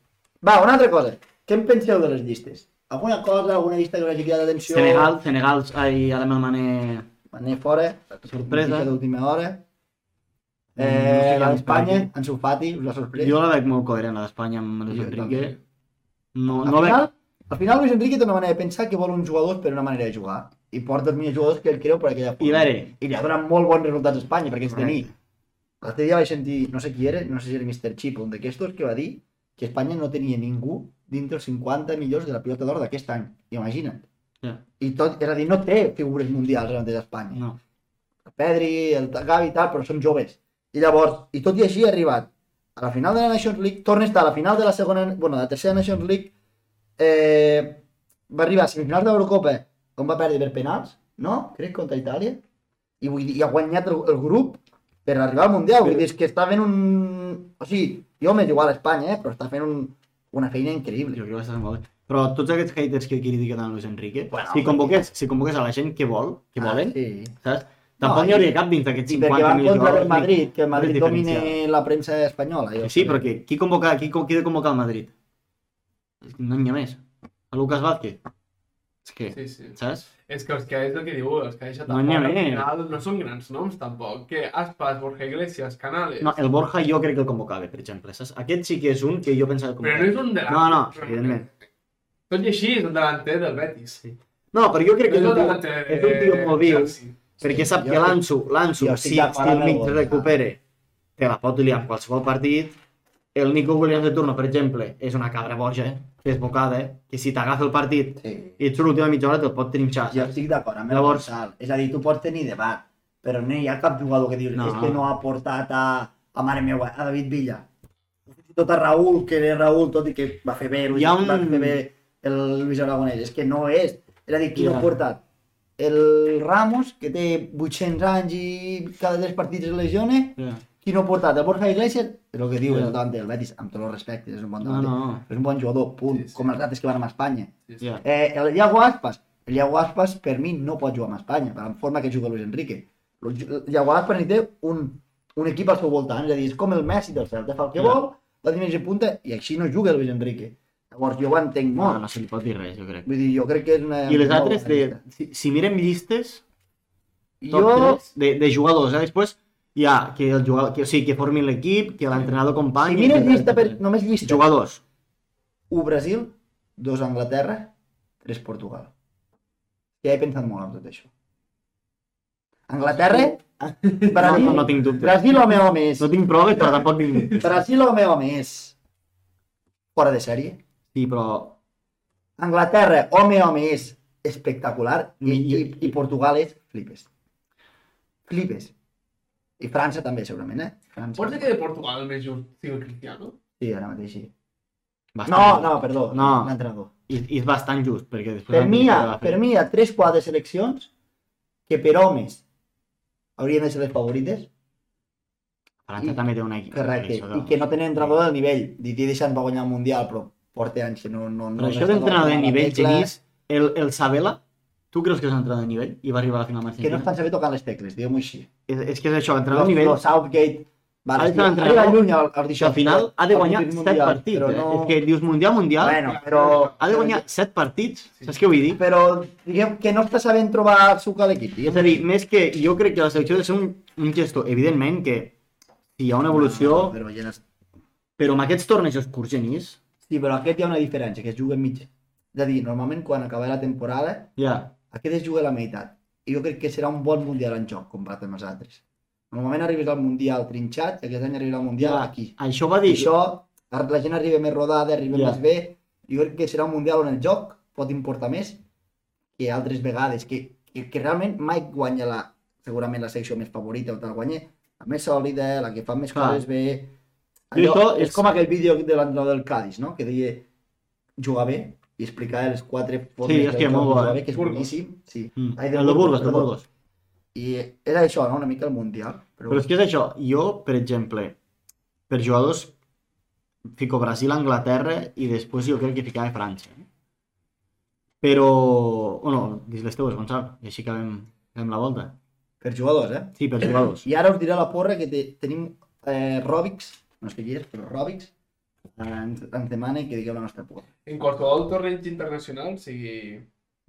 Speaker 1: Va, una altra cosa. Què en penseu de les llistes? Alguna cosa, alguna llista que us hagi cridat l'atenció?
Speaker 2: Senegal, Senegal, ai, ara me'l mané...
Speaker 1: Anem fora.
Speaker 2: Sorpresa.
Speaker 1: Llista d'última hora.
Speaker 2: Mm,
Speaker 1: Eh,
Speaker 2: no sé què
Speaker 1: la
Speaker 2: em
Speaker 1: d'Espanya,
Speaker 2: faci.
Speaker 1: en Sufati, us l'ha sorprès.
Speaker 2: Jo la veig molt coherent, la d'Espanya, amb Luis
Speaker 1: Jo
Speaker 2: Enrique.
Speaker 1: també.
Speaker 2: No,
Speaker 1: Al
Speaker 2: no veig...
Speaker 1: final, al final Luis Enrique té una manera de pensar que vol uns jugadors per una manera de jugar i porta els millors jugadors que ell creu per aquella
Speaker 2: I a veure,
Speaker 1: I li ha donat molt bons resultats a Espanya, perquè ens
Speaker 2: Correcte.
Speaker 1: tenir. L'altre dia vaig sentir, no sé qui era, no sé si era Mr. Chip o un d'aquestos, que va dir que Espanya no tenia ningú dintre els 50 millors de la pilota d'or d'aquest any. Imagina't.
Speaker 2: Ja.
Speaker 1: I tot, és a dir, no té figures mundials ara mateix a Espanya.
Speaker 2: no.
Speaker 1: El Pedri, el Gavi i tal, però són joves. I llavors, i tot i així ha arribat a la final de la Nations League, torna a estar a la final de la segona, bueno, de la tercera Nations League, eh, va arribar a semifinals de l'Eurocopa, on va perdre per penals, no? Crec, contra Itàlia. I, vull dir, i ha guanyat el, el grup per arribar al Mundial. Vull dir, és que està fent un... O sigui, jo m'és igual a Espanya, eh? però està fent un, una feina increïble.
Speaker 2: Jo crec que va estar molt bé. Però tots aquests haters que critiquen a Luis Enrique,
Speaker 1: Bueno,
Speaker 2: si, convoqués, si convoqués a la gent que vol, que volen,
Speaker 1: Ah, sí.
Speaker 2: saps? Tampoc
Speaker 1: No,
Speaker 2: n'hi
Speaker 1: i-
Speaker 2: hauria cap dins d'aquests
Speaker 1: Sí, perquè
Speaker 2: 50
Speaker 1: van
Speaker 2: mil
Speaker 1: contra
Speaker 2: jugadors.
Speaker 1: el Madrid, que el
Speaker 2: no és
Speaker 1: Madrid domine
Speaker 2: diferencial.
Speaker 1: la premsa espanyola. Jo
Speaker 2: Sí,
Speaker 1: crec.
Speaker 2: però que, qui, convoca, qui, qui ha de convocar el Madrid? És que No n'hi ha més. A Lucas Vázquez. És que,
Speaker 3: Sí, sí.
Speaker 2: saps?
Speaker 3: És que els que és el que diu, els que deixa
Speaker 2: No n'hi ha
Speaker 3: al
Speaker 2: més.
Speaker 3: final no són grans noms tampoc. Que Aspas, Borja Iglesias, Canales...
Speaker 2: No, el Borja jo crec que el convocava, per exemple. Saps? Aquest sí que és un que jo pensava que
Speaker 3: Però no
Speaker 2: convocava.
Speaker 3: és un delanter.
Speaker 2: No, no, evidentment.
Speaker 3: Tot i així és un delanter del Betis.
Speaker 2: Sí. No, però jo crec que
Speaker 3: És
Speaker 2: és
Speaker 3: un
Speaker 2: un tio,
Speaker 3: delanter
Speaker 2: és un tio
Speaker 3: de
Speaker 2: mòbil,
Speaker 3: Chelsea.
Speaker 2: perquè sap
Speaker 1: Jo
Speaker 2: que
Speaker 1: crec-
Speaker 2: l'Anso, l'Anso,
Speaker 1: Jo estic
Speaker 2: si,
Speaker 1: d'acord
Speaker 2: si el
Speaker 1: amb el
Speaker 2: mig
Speaker 1: Borja.
Speaker 2: recupere, te la pot liar en qualsevol partit. El Nico Williams de turno, per exemple, és una cabra boja, eh? desbocada, eh? que si t'agafa el partit
Speaker 1: Sí.
Speaker 2: i et surt l'última mitja hora te'l pot trinxar.
Speaker 1: Jo
Speaker 2: saps?
Speaker 1: estic d'acord amb el
Speaker 2: Llavors-
Speaker 1: Gonçal. És a dir, tu pots tenir debat, però no hi ha cap jugador que dius
Speaker 2: No.
Speaker 1: és que no ha portat a, a mare meva, a David Villa. Tot a Raül, que era Raül, tot i que va fer bé,
Speaker 2: Hi
Speaker 1: Luis,
Speaker 2: ha un-
Speaker 1: va fer bé el Luis Aragonès. És que no és. És a dir, qui
Speaker 2: Ja.
Speaker 1: no ha portat? El Ramos, que té 800 anys i cada tres partits es lesiona,
Speaker 2: Ja.
Speaker 1: qui no ha portat? El Borja Iglesias, és el que diu,
Speaker 2: Ja.
Speaker 1: és el davant del Betis, amb tots els respectes, és un bon
Speaker 2: No,
Speaker 1: davant.
Speaker 2: no,
Speaker 1: És un bon jugador, punt,
Speaker 3: Sí, sí.
Speaker 1: com els altres que van a Espanya.
Speaker 3: Sí, sí.
Speaker 2: ja.
Speaker 1: Eh, el Iago Aspas. El Iago Aspas, per mi, no pot jugar amb Espanya, per la forma que juga Luis Enrique. El Ju- el Iago Aspas ni té un, un equip al seu voltant, és a dir, és com el Messi del Celta, fa el que
Speaker 2: Ja.
Speaker 1: vol, la dimensió punta, i així no juga Luis Enrique. Llavors, jo ho entenc
Speaker 2: No,
Speaker 1: molt.
Speaker 2: no se li pot dir res, jo crec.
Speaker 1: Vull dir, jo crec que és una...
Speaker 2: I les
Speaker 1: una bona
Speaker 2: altres, de,
Speaker 1: llista.
Speaker 2: si, si mirem llistes, top
Speaker 1: Jo...
Speaker 2: 3 de, de jugadors, eh? després hi ha que, el jugador, que, o sigui, que formin l'equip, que l'entrenador
Speaker 1: Si
Speaker 2: company...
Speaker 1: mires
Speaker 2: etcètera,
Speaker 1: llista, per,
Speaker 2: etcètera.
Speaker 1: només llista,
Speaker 2: Jugadors.
Speaker 1: 1 Brasil, 2 Anglaterra, 3 Portugal. Ja he pensat molt en tot això. Anglaterra, Brasil,
Speaker 2: No, no tinc dubte.
Speaker 1: Brasil home home és.
Speaker 2: No tinc proves, però tampoc tinc dubtes.
Speaker 1: Brasil, home, home, és fora de sèrie.
Speaker 2: Sí, però...
Speaker 1: Anglaterra, home, home, és espectacular. I, i, i Portugal és flipes. Flipes. I França també, segurament, eh? França.
Speaker 3: Pot ser que de Portugal el més just sigui el Cristiano?
Speaker 1: Sí, ara mateix sí. No,
Speaker 2: Bastant.
Speaker 1: no, perdó,
Speaker 2: No.
Speaker 1: l'entrenador.
Speaker 2: I, I és bastant just, perquè després...
Speaker 1: Per mi, hi
Speaker 2: va
Speaker 1: ha,
Speaker 2: fer-
Speaker 1: per mi hi ha 3-4 seleccions que per homes haurien de ser les favorites,
Speaker 2: França
Speaker 1: i-
Speaker 2: també té una equip.
Speaker 1: correcte, i que no tenen entrenador del nivell. Didi Deixant va guanyar el Mundial, però porta anys que no... no, no
Speaker 2: Però això
Speaker 1: està
Speaker 2: d'entrenador de
Speaker 1: tocant la
Speaker 2: nivell,
Speaker 1: tecla,
Speaker 2: Genís, el, el Sabela, tu creus que és un entrenador de nivell? I va arribar a la final amb
Speaker 1: Que no
Speaker 2: Argentina?
Speaker 1: estan saber tocar les tecles, diguem-ho així.
Speaker 2: És, és que és això, entrenador
Speaker 1: Los,
Speaker 2: de nivell...
Speaker 1: los Southgate...
Speaker 2: Ha
Speaker 1: Vale,
Speaker 2: estat
Speaker 1: sí,
Speaker 2: entrenador
Speaker 1: arriba lluny al, al
Speaker 2: que
Speaker 1: d'això.
Speaker 2: al final ha de
Speaker 1: al
Speaker 2: guanyar
Speaker 1: Mundial,
Speaker 2: 7 partits.
Speaker 1: Però
Speaker 2: eh?
Speaker 1: no...
Speaker 2: És que dius Mundial, Mundial,
Speaker 1: Bueno, però...
Speaker 2: ha de guanyar 7 partits,
Speaker 3: Sí.
Speaker 2: saps què vull dir?
Speaker 1: Però diguem que no està sabent trobar el suc a l'equip.
Speaker 2: És a dir, més que jo crec que la selecció ha de ser un, un gestor, evidentment que si hi ha una evolució,
Speaker 1: No, però ja no...
Speaker 2: però amb aquests tornejos curts, Genís,
Speaker 1: Sí, però aquest hi ha una diferència, que es juga en mitja. És a dir, normalment quan acaba la temporada,
Speaker 2: ja,
Speaker 1: aquest es juga a la meitat. I jo crec que serà un bon Mundial en joc, comparat amb els altres. Normalment arribes al Mundial trinxat, i aquest any arribarà al Mundial
Speaker 2: Ja.
Speaker 1: aquí.
Speaker 2: això va
Speaker 1: I
Speaker 2: dir...
Speaker 1: això, ara la gent arriba més rodada, arriba
Speaker 2: Ja.
Speaker 1: més bé. Jo crec que serà un mundial on el joc pot importar més que altres vegades, que, que, que realment mai guanya la, segurament la secció més favorita o tal, guanya la més sòlida, la que fa més
Speaker 2: Clar.
Speaker 1: coses bé.
Speaker 2: I
Speaker 1: Allò,
Speaker 2: això
Speaker 1: és...
Speaker 2: és-
Speaker 1: com aquell vídeo de l'entrenador del Cádiz, no? que deia jugar bé i explicar les quatre formes
Speaker 2: hòstia,
Speaker 1: del joc
Speaker 2: molt
Speaker 1: de jugar
Speaker 2: bo, eh?
Speaker 1: bé, que és
Speaker 3: Burgos.
Speaker 1: boníssim. Sí.
Speaker 2: Mm,
Speaker 1: Ai, del
Speaker 2: el de
Speaker 1: Burgos,
Speaker 2: Burgos, el de
Speaker 1: perdó.
Speaker 2: Burgos.
Speaker 1: I era això, no? una mica el mundial. Però,
Speaker 2: Però és que és això, jo, per exemple, per jugadors, fico Brasil, Anglaterra i després jo crec que ficava França. eh? Però, o no, dis les teues, Gonçalo, i així acabem, acabem la volta.
Speaker 1: per jugadors, eh?
Speaker 2: Sí, per jugadors.
Speaker 1: I ara us diré la porra que te, tenim eh, Ròbics, no sé qui és, però Ròbics, eh, ens, ens demana que digueu la nostra porra.
Speaker 3: En qualsevol torneig internacional, sigui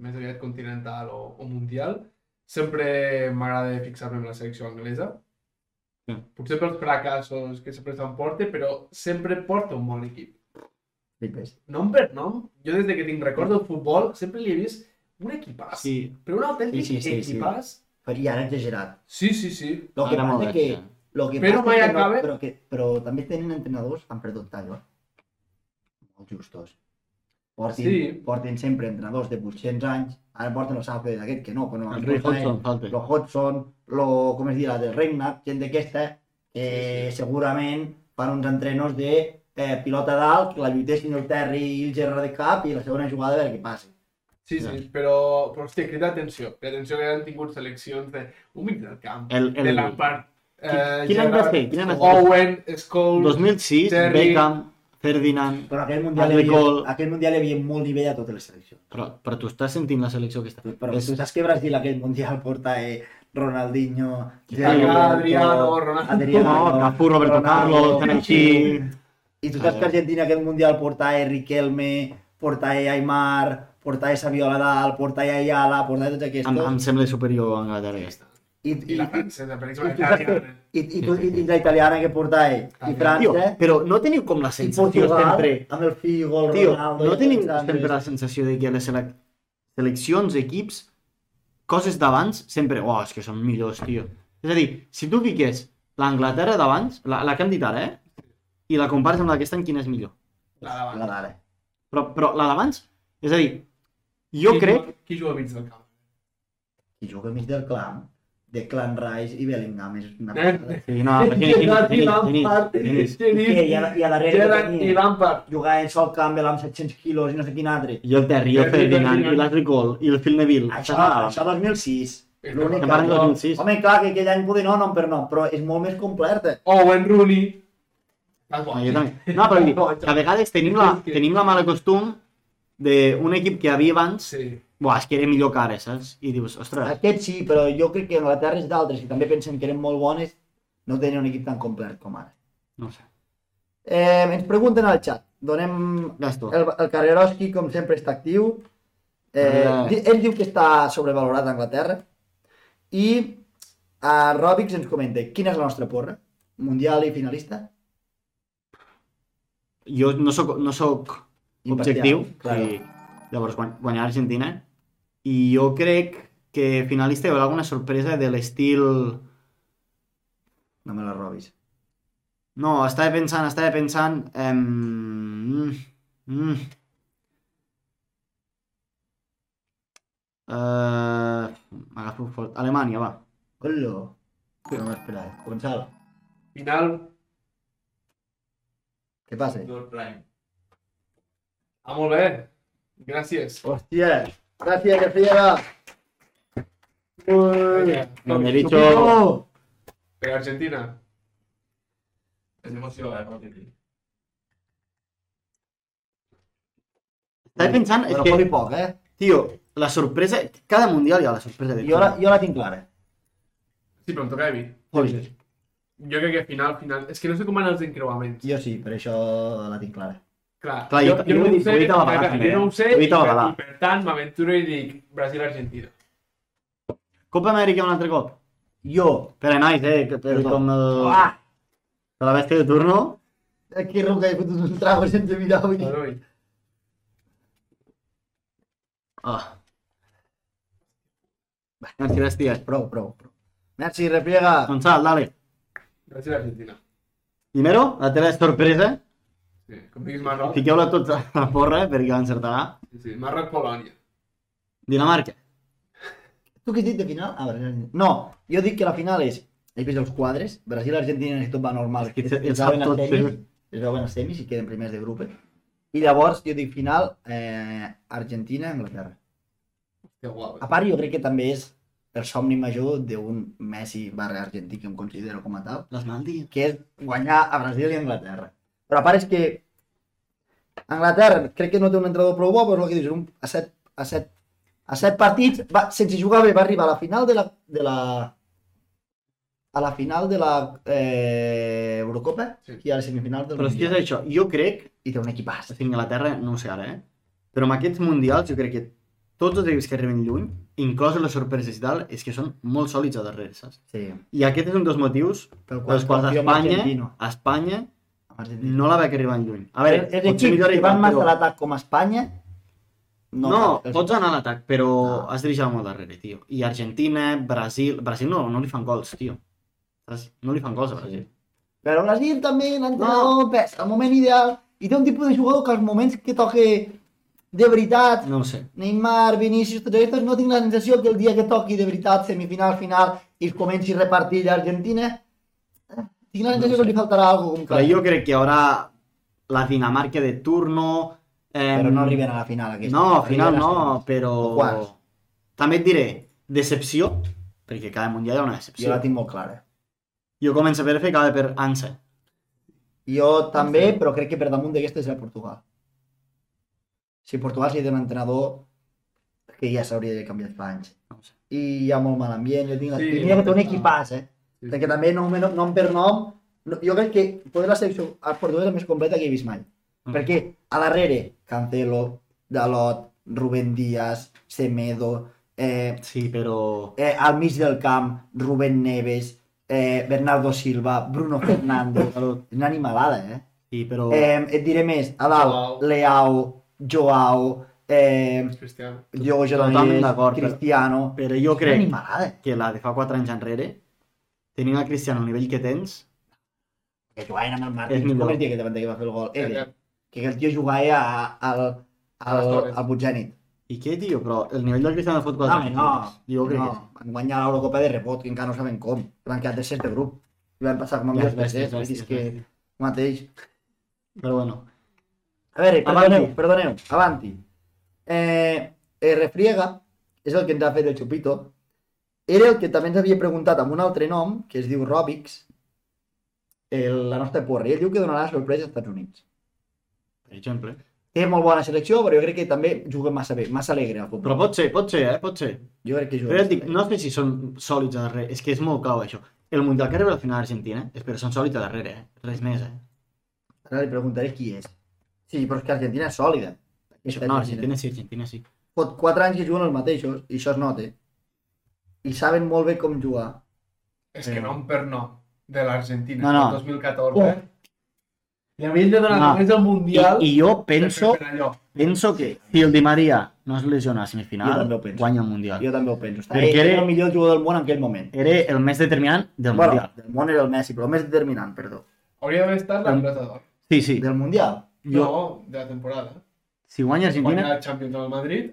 Speaker 3: més aviat continental o, o mundial, sempre m'agrada fixar-me en la selecció anglesa.
Speaker 2: Sí.
Speaker 3: Potser pels fracassos que sempre s'emporta, però sempre porta un bon equip.
Speaker 1: Flipes.
Speaker 3: Nom per nom, jo des de que tinc record del futbol sempre li he vist un equipàs.
Speaker 2: Sí,
Speaker 3: Però un autèntic
Speaker 2: Sí, sí, sí, sí.
Speaker 3: equipàs.
Speaker 1: Però I ara exagerat.
Speaker 3: Sí, sí, sí.
Speaker 1: Lo que
Speaker 2: Ara
Speaker 1: passa
Speaker 2: molt
Speaker 1: que,
Speaker 2: bé, sí.
Speaker 1: lo que
Speaker 3: Però
Speaker 1: passa
Speaker 3: mai
Speaker 1: que no,
Speaker 3: acaba.
Speaker 1: però, que, però també tenen entrenadors, han perdut tallo, eh? molt justos. Portin, sí.
Speaker 3: Sí.
Speaker 1: porten sempre entrenadors de 800 anys, ara porten el Southgate d'aquest que no, però no,
Speaker 2: el Ray Hodgson falta.
Speaker 1: lo Hodgson, lo, com es diu, la del Regnat, gent d'aquesta, que segurament fan uns entrenos de eh, pilota dalt, que la lluitessin el Terry i el Gerrard de cap i la segona jugada a veure què passa.
Speaker 3: Sí, sí, però, però hòstia, crida atenció. Crida atenció que han tingut seleccions de un mig del camp,
Speaker 2: El,
Speaker 3: de
Speaker 2: el
Speaker 3: Lampard, eh,
Speaker 2: quin any va
Speaker 3: Gerrard,
Speaker 2: ser? Quin any va ser?
Speaker 3: Owen, Scholes...
Speaker 2: 2006,
Speaker 3: Terry.
Speaker 2: Beckham, Ferdinand...
Speaker 1: Però aquell mundial, hi
Speaker 2: Ashley
Speaker 1: havia,
Speaker 2: Cole.
Speaker 1: aquell mundial hi havia molt nivell a tota totes les seleccions.
Speaker 2: Però, però tu estàs sentint la selecció que està...
Speaker 1: Però
Speaker 2: és,
Speaker 1: tu saps Pues, que Brasil aquell mundial porta eh, Ronaldinho,
Speaker 3: Kaká, Adriano, Ronaldo...
Speaker 1: Adriano,
Speaker 2: no, Cafú, Roberto
Speaker 1: Ronaldo,
Speaker 2: Carlos, Ah. Canachí...
Speaker 1: eh, I tu saps que Argentina aquest mundial portava Riquelme, portava eh, Aymar, eh, portar aquesta violadal, portar allà, portar tots aquests...
Speaker 2: Em, em sembla superior a Anglaterra
Speaker 3: Ja
Speaker 2: aquesta.
Speaker 1: eh,
Speaker 3: està.
Speaker 1: I,
Speaker 3: I
Speaker 1: i,
Speaker 3: la
Speaker 1: i,
Speaker 3: francesa, per exemple, italiana.
Speaker 1: i, i, tu- i, i la italiana que porta ell, i
Speaker 3: També.
Speaker 1: França,
Speaker 2: Tio, però no teniu com la
Speaker 1: i
Speaker 2: sensació
Speaker 1: Portugal,
Speaker 2: sempre...
Speaker 1: amb el Figo, el
Speaker 2: Tio,
Speaker 1: Ronaldo...
Speaker 2: no
Speaker 1: i
Speaker 2: tenim
Speaker 1: Alexandre.
Speaker 2: sempre la sensació de que les selec seleccions, equips, coses d'abans, sempre, oh, és que són millors, tio. És a dir, si tu fiques l'Anglaterra d'abans, la, la que hem dit ara, eh? I la compares amb la d'aquest any, quina és millor?
Speaker 3: La davant.
Speaker 1: La d'ara.
Speaker 2: Però, però la d'abans, és a dir, jo
Speaker 3: Qui
Speaker 2: crec...
Speaker 3: juga- Qui juga al mig del camp?
Speaker 1: Qui juga mig del clan, de Clan Rice i Bellingham, és una...
Speaker 3: Eh?
Speaker 1: passada.
Speaker 2: Sí, no, però tenis, tenis, tenis, tenis, tenis.
Speaker 1: I què, i a, i a darrere que
Speaker 3: Gerrard i
Speaker 1: tenia,
Speaker 3: Lampard.
Speaker 1: jugar en sol Campbell amb 700 quilos i no sé quin altre.
Speaker 2: I el Terry, i el
Speaker 3: Terry,
Speaker 2: Ferdinand,
Speaker 3: Ferdinand.
Speaker 2: i l'Ashley Cole, i el Phil Neville.
Speaker 1: Això,
Speaker 2: Estava-
Speaker 1: això 2006.
Speaker 3: Estem
Speaker 1: L'únic
Speaker 2: Estem
Speaker 1: que...
Speaker 2: parlant del 2006.
Speaker 1: Home, clar, que aquell any poder no, no, però no, però és molt més completa.
Speaker 3: Owen Rooney. Tal
Speaker 2: No,
Speaker 3: qual.
Speaker 2: Ah, jo també. No, però vull dir, a vegades tenim la, tenim la mala costum d'un equip que havia abans,
Speaker 3: Sí.
Speaker 2: buah, és que era millor que ara, saps? I dius, ostres,
Speaker 1: Aquest sí, però jo crec que Anglaterra és d'altres, que també pensen que eren molt bones, no tenien un equip tan complet com ara.
Speaker 2: no ho sé,
Speaker 1: Eh, ens pregunten al xat. Donem...
Speaker 2: gasto.
Speaker 1: El, el Carreroski, com sempre, està actiu. Eh,
Speaker 2: Ah.
Speaker 1: di- ell diu que està sobrevalorat a Anglaterra. I a Robix ens comenta quina és la nostra porra, mundial i finalista.
Speaker 2: Jo no soc, no soc
Speaker 1: Imparcial,
Speaker 2: objectiu,
Speaker 1: claro.
Speaker 2: i llavors guany- guanyar Argentina, i jo crec que finalista hi haurà alguna sorpresa de l'estil...
Speaker 1: No me la robis.
Speaker 2: No, estava pensant, estava pensant... Um... Mm. Uh, M'agafo fort. Alemanya, va.
Speaker 1: Hola. No m'ho esperava. Gonzalo,
Speaker 3: Final,
Speaker 1: què passa?
Speaker 3: dos prime. Ah, molt bé. Gràcies.
Speaker 1: Hòstia, gràcies, que friega. Ui.
Speaker 3: Vinga,
Speaker 2: No, Pues, me he
Speaker 3: doncs,
Speaker 2: dicho...
Speaker 3: Per Argentina.
Speaker 4: Es emoció, eh, pot dir.
Speaker 2: Estava pensant, és
Speaker 1: Però
Speaker 2: que,
Speaker 1: que... poc, eh?
Speaker 2: tio, la sorpresa... Cada mundial hi ha la sorpresa de
Speaker 1: Jo la, jo la tinc clara.
Speaker 3: Sí, però em toca a mi.
Speaker 2: Holy.
Speaker 3: Jo crec que final, final... És que no sé com van els encreuaments.
Speaker 1: Jo sí, per això la tinc clara.
Speaker 3: Clar,
Speaker 2: Clar, jo- jo ho he dit-
Speaker 3: sé,
Speaker 2: ho he dit a la
Speaker 3: clar,
Speaker 2: Bagà, també,
Speaker 3: jo no
Speaker 2: eh?
Speaker 3: ho sé,
Speaker 2: Ho he
Speaker 3: i
Speaker 2: dit a la
Speaker 3: per,
Speaker 2: Bagà.
Speaker 3: i per tant m'aventuro i dic Brasil-Argentina.
Speaker 2: Copa Amèrica un altre cop.
Speaker 1: Jo,
Speaker 2: Però nois, eh, que per,
Speaker 1: Perdó.
Speaker 2: com el...
Speaker 1: ah,
Speaker 2: De la bèstia de turno.
Speaker 1: aquí Ruc ha fotut un trago sense mirar avui.
Speaker 3: Però no, i-
Speaker 2: Ah. Va, Merci, bèstia.
Speaker 1: Prou, prou, prou. Merci, repliega.
Speaker 2: Gonçal, dale.
Speaker 3: Brasil-Argentina.
Speaker 2: Primero, la teva sorpresa.
Speaker 3: Sí, com diguis Marroc.
Speaker 2: Fiqueu-la tots a la porra, eh, perquè l'encertarà.
Speaker 3: Sí, sí, Marroc-Polònia.
Speaker 2: Dinamarca.
Speaker 1: Tu què has dit de final? Ah, Brasil, Argentina. no, jo dic que la final és... He vist els quadres, Brasil, Argentina i tot va normal.
Speaker 2: que se-
Speaker 1: es,
Speaker 2: sap
Speaker 1: veuen
Speaker 2: tot,
Speaker 1: els semis,
Speaker 2: sí.
Speaker 1: es veuen els semis i queden primers de grup. eh? I llavors jo dic final eh, Argentina-Anglaterra.
Speaker 3: Que guau. eh.
Speaker 2: Ah.
Speaker 1: A part, jo crec que també és el somni major d'un Messi barra argentí, que em considero com a tal,
Speaker 2: Les Maldi.
Speaker 1: que és guanyar a Brasil i Anglaterra. Però a part és que Anglaterra crec que no té un entrenador prou bo, però és el que dius, un, a, set, a, set, a set partits, va, sense jugar bé, va arribar a la final de la... De la a la final de la eh, Eurocopa
Speaker 3: Sí.
Speaker 1: i a les semifinals del
Speaker 2: Però és que és
Speaker 1: Mundial.
Speaker 2: això. Jo crec
Speaker 1: I té un equipàs.
Speaker 2: O sigui, Anglaterra, no ho sé ara, eh? Però amb aquests mundials jo crec que tots els equips que arriben lluny, incloses les sorpreses i tal, és que són molt sòlids a darrere, saps?
Speaker 1: Sí.
Speaker 2: I aquest és un dels motius
Speaker 1: Pel
Speaker 2: pels quals
Speaker 1: confio en
Speaker 2: Espanya,
Speaker 1: Argentino.
Speaker 2: Espanya
Speaker 1: Amb Argentina.
Speaker 2: no la veig arribar lluny. A veure,
Speaker 1: és
Speaker 2: potser
Speaker 1: equip
Speaker 2: millor
Speaker 1: que van
Speaker 2: arribar,
Speaker 1: més a
Speaker 2: però...
Speaker 1: l'atac com a Espanya.
Speaker 2: No, Ah.
Speaker 1: els-
Speaker 2: pots anar a l'atac, però
Speaker 1: No.
Speaker 2: has de deixar molt darrere, tio. I Argentina, Brasil... Brasil no, no li fan gols, tio. Saps? No li fan gols a Brasil.
Speaker 1: Però Brasil també, l'entrenador, pes, el moment ideal, i té un tipus de jugador que als moments que toque de veritat,
Speaker 2: No ho sé.
Speaker 1: Neymar, Vinícius, tots aquests, no tinc la sensació que el dia que toqui de veritat semifinal, final, i es comenci a repartir l'Argentina, eh, tinc la sensació
Speaker 2: No
Speaker 1: que
Speaker 2: sé.
Speaker 1: li faltarà alguna cosa.
Speaker 2: Però jo crec que hi haurà la Dinamarca de turno... Eh,
Speaker 1: però no arriben a la final aquesta.
Speaker 2: No, al final
Speaker 1: Arriben a
Speaker 2: no,
Speaker 1: semis.
Speaker 2: però...
Speaker 1: O quarts.
Speaker 2: També et diré, decepció, perquè cada mundial hi ha una
Speaker 1: Jo
Speaker 2: decepció.
Speaker 1: la tinc molt clara.
Speaker 2: Jo començo per fer cada per Ansa.
Speaker 1: Jo també, però crec que per damunt d'aquesta serà Portugal. Si Portugal s'hi té un entrenador que ja s'hauria de canviar fa anys.
Speaker 2: No ho sé.
Speaker 1: I hi ha molt mal ambient, jo tinc la...
Speaker 3: Sí,
Speaker 1: Sí, mira que té un
Speaker 3: ah.
Speaker 1: equipàs, eh?
Speaker 3: Sí,
Speaker 1: Perquè també nom, nom per nom, no, jo crec que poder la selecció portuguesa és la més completa que he vist mai.
Speaker 2: Mm.
Speaker 1: Perquè a darrere, Cancelo, Dalot, Rubén Díaz, Semedo, eh,
Speaker 2: Sí, però...
Speaker 1: eh, al mig del camp, Rubén Neves, eh, Bernardo Silva, Bruno Fernández,
Speaker 2: Però,
Speaker 1: una animalada, eh?
Speaker 2: sí, però...
Speaker 1: Eh, et diré més, Adal,
Speaker 3: Joao.
Speaker 1: Leao, Joao, eh,
Speaker 3: Cristiano.
Speaker 1: Diogo
Speaker 2: Totalment
Speaker 1: Jordanies,
Speaker 2: d'acord, però-
Speaker 1: Cristiano...
Speaker 2: Però jo
Speaker 1: Una
Speaker 2: crec
Speaker 1: animalada, eh?
Speaker 2: que la de fa 4 anys enrere, tenint el Cristiano al nivell que tens,
Speaker 1: que jugaven amb el
Speaker 2: És
Speaker 1: Martins,
Speaker 2: millor.
Speaker 1: com es deia que davant que va fer el gol?
Speaker 3: Eh,
Speaker 1: Eder,
Speaker 3: eh,
Speaker 1: que el tio jugava a, al, al,
Speaker 3: les torres.
Speaker 1: al Butzènit.
Speaker 2: i què, tio? Però el nivell del Cristiano de fot 4
Speaker 1: Home, no,
Speaker 2: Jo crec
Speaker 1: no, van guanyar l'Eurocopa de rebot, que encara no saben com. Van quedar tercers de grup. I van passar com a
Speaker 2: que...
Speaker 1: millors tercers, vull dir és que el mateix.
Speaker 2: Però bueno,
Speaker 1: A veure,
Speaker 2: Avanti.
Speaker 1: perdoneu, perdoneu, avanti. Eh, eh, Refriega, és el que ens ha fet el Chupito, era el que també ens havia preguntat amb un altre nom, que es diu Robix, el, la nostra porra, i ell diu que donarà sorpresa als Estats Units.
Speaker 2: per exemple.
Speaker 1: Té molt bona selecció, però jo crec que també juga massa bé, massa alegre al futbol.
Speaker 2: Però pot ser, pot ser, eh? Pot ser.
Speaker 1: Jo crec que juga
Speaker 2: Però ja et
Speaker 1: massa
Speaker 2: dic,
Speaker 1: bé.
Speaker 2: no sé si són sòlids a darrere, és que és molt clau això. El Mundial que arriba a la final a Argentina, és però són sòlids a darrere, eh? Res més, eh?
Speaker 1: Ara li preguntaré qui és. Sí, però és que Argentina és sòlida. Aquesta
Speaker 2: No, Argentina sí, Argentina sí.
Speaker 1: Fot 4 anys que juguen els mateixos, i això es nota. I saben molt bé com jugar.
Speaker 3: És que nom per nom de l'Argentina,
Speaker 2: No, no.
Speaker 3: el 2014. I Oh. a mi ell de donar
Speaker 2: No.
Speaker 3: només el
Speaker 2: I,
Speaker 3: Mundial
Speaker 2: I jo
Speaker 3: per-
Speaker 2: penso,
Speaker 3: per allò.
Speaker 2: penso que si el Di Maria no es lesiona a
Speaker 1: Jo
Speaker 2: semifinal,
Speaker 1: també ho penso.
Speaker 2: guanya el Mundial.
Speaker 1: Jo també ho penso. Està,
Speaker 2: Perquè
Speaker 1: era...
Speaker 2: era-
Speaker 1: era el millor jugador del món en aquell moment.
Speaker 2: Era el més determinant del
Speaker 1: bueno,
Speaker 2: Mundial.
Speaker 1: del món era el Messi, però el més determinant, perdó.
Speaker 3: Hauria d'haver estat la
Speaker 2: Em-
Speaker 3: pilota d'or.
Speaker 2: Sí, sí.
Speaker 1: Del Mundial?
Speaker 2: Jo,
Speaker 3: No, de la temporada.
Speaker 2: si guanya
Speaker 3: Guanyar
Speaker 2: Argentina...
Speaker 3: el Champions del Madrid,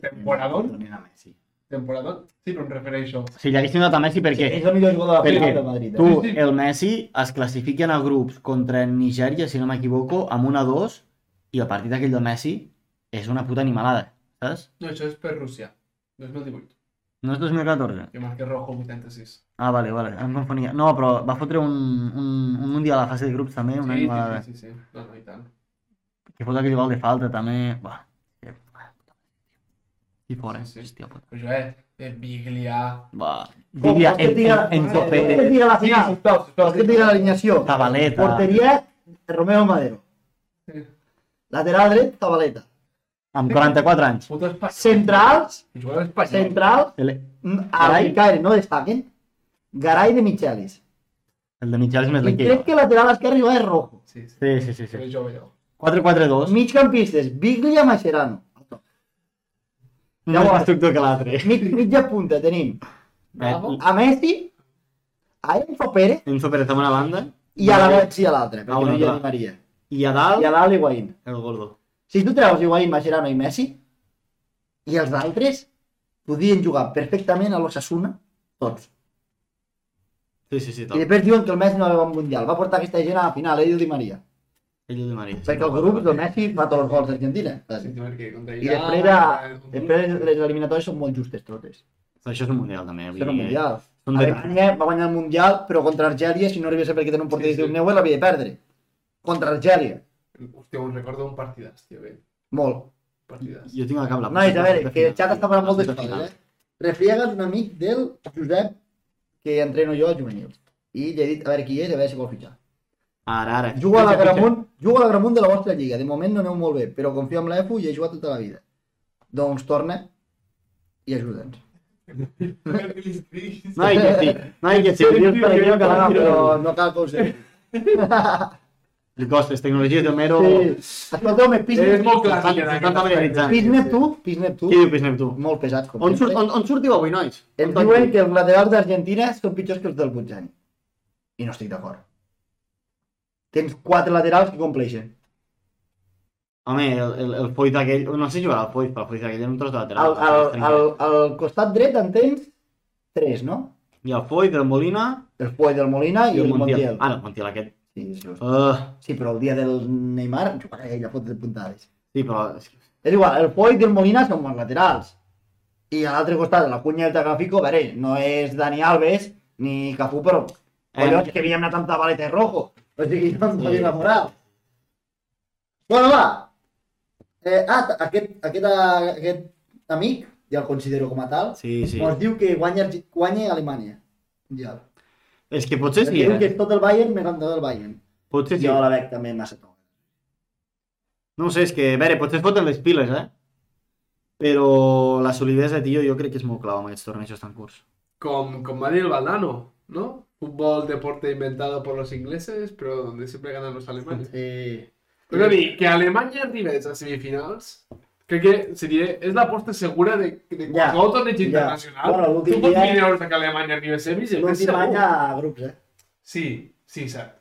Speaker 3: Temporadón.
Speaker 1: No, no, Messi.
Speaker 3: temporada... Sí, però em refereixo.
Speaker 2: Si li haguessin donat a Messi, perquè
Speaker 1: És el millor jugador de la
Speaker 2: Perquè
Speaker 1: final del Madrid.
Speaker 2: tu,
Speaker 1: Eh?
Speaker 3: Sí, sí.
Speaker 2: el Messi, es classifiquen a grups contra Nigèria, si no m'equivoco, amb una 2 i el partit aquell del Messi és una puta animalada, saps?
Speaker 3: No, això és per Rússia. 2018.
Speaker 2: No és 2014?
Speaker 3: Jo marqué rojo 86.
Speaker 2: Ah, vale, vale, em confonia. No, però va fotre un, un, un mundial a la fase de grups també, una eh.
Speaker 3: sí,
Speaker 2: animalada.
Speaker 3: sí, sí, sí, sí. No, no, i tant.
Speaker 2: Que fot aquell gol de falta també... Buah. que- I fora,
Speaker 3: Sí, sí.
Speaker 2: hòstia puta.
Speaker 3: Però això, eh, eh, Biglia...
Speaker 2: Buah. Diria,
Speaker 1: vols que et
Speaker 2: en,
Speaker 1: diga-
Speaker 2: en, en
Speaker 1: Vols que et
Speaker 2: Sofere,
Speaker 1: digui la
Speaker 3: Sí,
Speaker 1: final?
Speaker 3: sisplau, sisplau.
Speaker 1: Vols que et digui l'alineació?
Speaker 2: Zabaleta.
Speaker 1: Porteria, Romeo Madero.
Speaker 3: Sí.
Speaker 1: Lateral dret, Zabaleta.
Speaker 2: amb 44 anys.
Speaker 3: Puto espanyol.
Speaker 1: Centrals,
Speaker 3: Jugar a Espanya.
Speaker 1: centrals,
Speaker 2: El, Garay?
Speaker 1: Garay, Caire mm, no destaquen. Garay de Michelis.
Speaker 2: el de mitjà és més
Speaker 1: I crec
Speaker 2: l'equip.
Speaker 1: que lateral esquerre va de rojo.
Speaker 3: Sí, sí.
Speaker 2: Sí, sí, sí.
Speaker 3: Però
Speaker 2: sí.
Speaker 3: jove, jo.
Speaker 2: 4-4-2.
Speaker 1: Migcampistes, Biglia Mascherano.
Speaker 2: Ja ho has que l'altre.
Speaker 1: Mig, mitja punta tenim
Speaker 3: Bravo.
Speaker 1: a Messi, a Enzo Pérez
Speaker 2: Enzo Pérez amb una banda
Speaker 1: i a la Messi a l'altra,
Speaker 2: Ah,
Speaker 1: perquè no
Speaker 2: bueno,
Speaker 1: hi ha
Speaker 2: clar.
Speaker 1: Di Maria.
Speaker 2: i a dalt
Speaker 1: I a dalt Higuaín.
Speaker 2: el Gordo.
Speaker 1: Si tu treus Higuaín, Mascherano i Messi, i els d'altres podien jugar perfectament a l'Ossassuna, tots.
Speaker 2: Sí, sí, sí,
Speaker 1: I
Speaker 2: tal.
Speaker 1: després diuen que el Messi no va al Mundial. Va portar aquesta gent a la final, ell i el Di Maria.
Speaker 2: Ell de Maria.
Speaker 1: Perquè el grup del Messi fa tots els gols d'Argentina.
Speaker 3: Sí, tu perquè contra
Speaker 1: I
Speaker 3: Iran,
Speaker 1: després, era,
Speaker 3: contra-
Speaker 1: després les eliminatòries són molt justes totes.
Speaker 2: Però Això és un mundial també. vull
Speaker 1: Això no
Speaker 2: dir,
Speaker 1: mundial.
Speaker 2: eh. Són de...
Speaker 1: Alemanya va guanyar el Mundial, però contra Argèlia, si no arribés a perquè tenen un porter
Speaker 3: Sí,
Speaker 1: sí,
Speaker 3: sí.
Speaker 1: sí. Neuer, l'havia de perdre. Contra Argèlia.
Speaker 3: Hòstia, un recordo un partidàs, tio, bé.
Speaker 1: Molt.
Speaker 3: Partidàs.
Speaker 2: Jo tinc al cap Ah, doncs la...
Speaker 1: Nois, a veure, que el xat està parlant molt
Speaker 2: La
Speaker 1: de
Speaker 2: final.
Speaker 1: coses, eh? Refriega és un amic del Josep, que entreno jo a juvenils. I li he dit a veure qui és, a veure si vol fitxar.
Speaker 2: Ara, ara.
Speaker 1: Jugo a la
Speaker 2: Fitxa, fitxa.
Speaker 1: Gramunt, jugo a la Gramunt de la vostra lliga. De moment no aneu molt bé, però confio en l'EFU i he jugat tota la vida. Doncs torna i ajuda'ns.
Speaker 2: Noi, que sí. Noi, que sí. Dius per aquí que
Speaker 1: No,
Speaker 2: l'ha
Speaker 1: no, però
Speaker 2: però...
Speaker 1: no cal que us
Speaker 2: Li costa, és tecnologia d'Homero...
Speaker 1: Sí. Escolteu-me, Pis
Speaker 3: És
Speaker 1: Neptú.
Speaker 3: molt
Speaker 2: S'estan
Speaker 3: clàssic.
Speaker 2: s'estan familiaritzant.
Speaker 1: Pis Neptú, Pis Neptú,
Speaker 2: Què diu Pis Neptú?
Speaker 1: molt pesat. Com
Speaker 2: On,
Speaker 1: sempre.
Speaker 2: surt, on, on sortiu avui, nois?
Speaker 1: Em
Speaker 2: On
Speaker 1: diuen
Speaker 2: toqui?
Speaker 1: que els laterals d'Argentina són pitjors que els del Butzani. I no estic d'acord. Tens quatre laterals que compleixen.
Speaker 2: Home, el, el, el Foyt aquell... No sé jugar al Foyt, però el Foyt aquell era un tros de
Speaker 1: Al,
Speaker 2: lateral.
Speaker 1: al, al, al costat dret en tens tres, no?
Speaker 2: I el Foyt, el Molina
Speaker 1: El Puey del Molina i,
Speaker 2: i el
Speaker 1: el
Speaker 2: Montiel. Ah.
Speaker 1: Montiel.
Speaker 2: Ara, el Montiel aquest.
Speaker 1: Sí, és just.
Speaker 2: Uh,
Speaker 1: sí, però el dia del Neymar, jo crec que ella fot de puntades.
Speaker 2: sí, però... és que-
Speaker 1: És igual, el Puey del Molina són bons laterals. I a l'altre costat, la cunya del Tagrafico, a veure, no és Dani Alves ni Cafú, però...
Speaker 2: Eh,
Speaker 1: Collons, que havíem anat amb tabaleta de rojo. O sigui, no em donin la moral. Bueno, va. Eh, ah, t- aquest, aquest, eh, aquest amic, ja el considero com a tal,
Speaker 2: Sí, sí.
Speaker 1: ens diu que guanya, Arge- guanya Alemanya. Ja.
Speaker 2: És que potser sí,
Speaker 1: diu Em que
Speaker 2: eh?
Speaker 1: és tot el Bayern més endavant del Bayern.
Speaker 2: Potser sí.
Speaker 1: Jo la veig també massa tova.
Speaker 2: No ho sé, és que, a veure, potser es foten les piles, eh? Però la solidesa, tio, jo crec que és molt clau amb aquests tornejos tan curts.
Speaker 3: Con, con Mario el Baldano, ¿no? Fútbol, deporte inventado por los ingleses, pero donde siempre ganan los alemanes.
Speaker 1: Sí.
Speaker 3: Però dir, que Alemanya arribés a semifinals, crec que seria, és l'aposta segura de, de
Speaker 1: Ja,
Speaker 3: qualsevol torneig
Speaker 1: ja.
Speaker 3: internacional.
Speaker 1: Bueno, l'últim
Speaker 3: tu pots
Speaker 1: dia-
Speaker 3: dir euros que Alemanya arribi a semis i
Speaker 1: L'últim
Speaker 3: segur.
Speaker 1: any a grups, eh?
Speaker 3: Sí, sí, cert.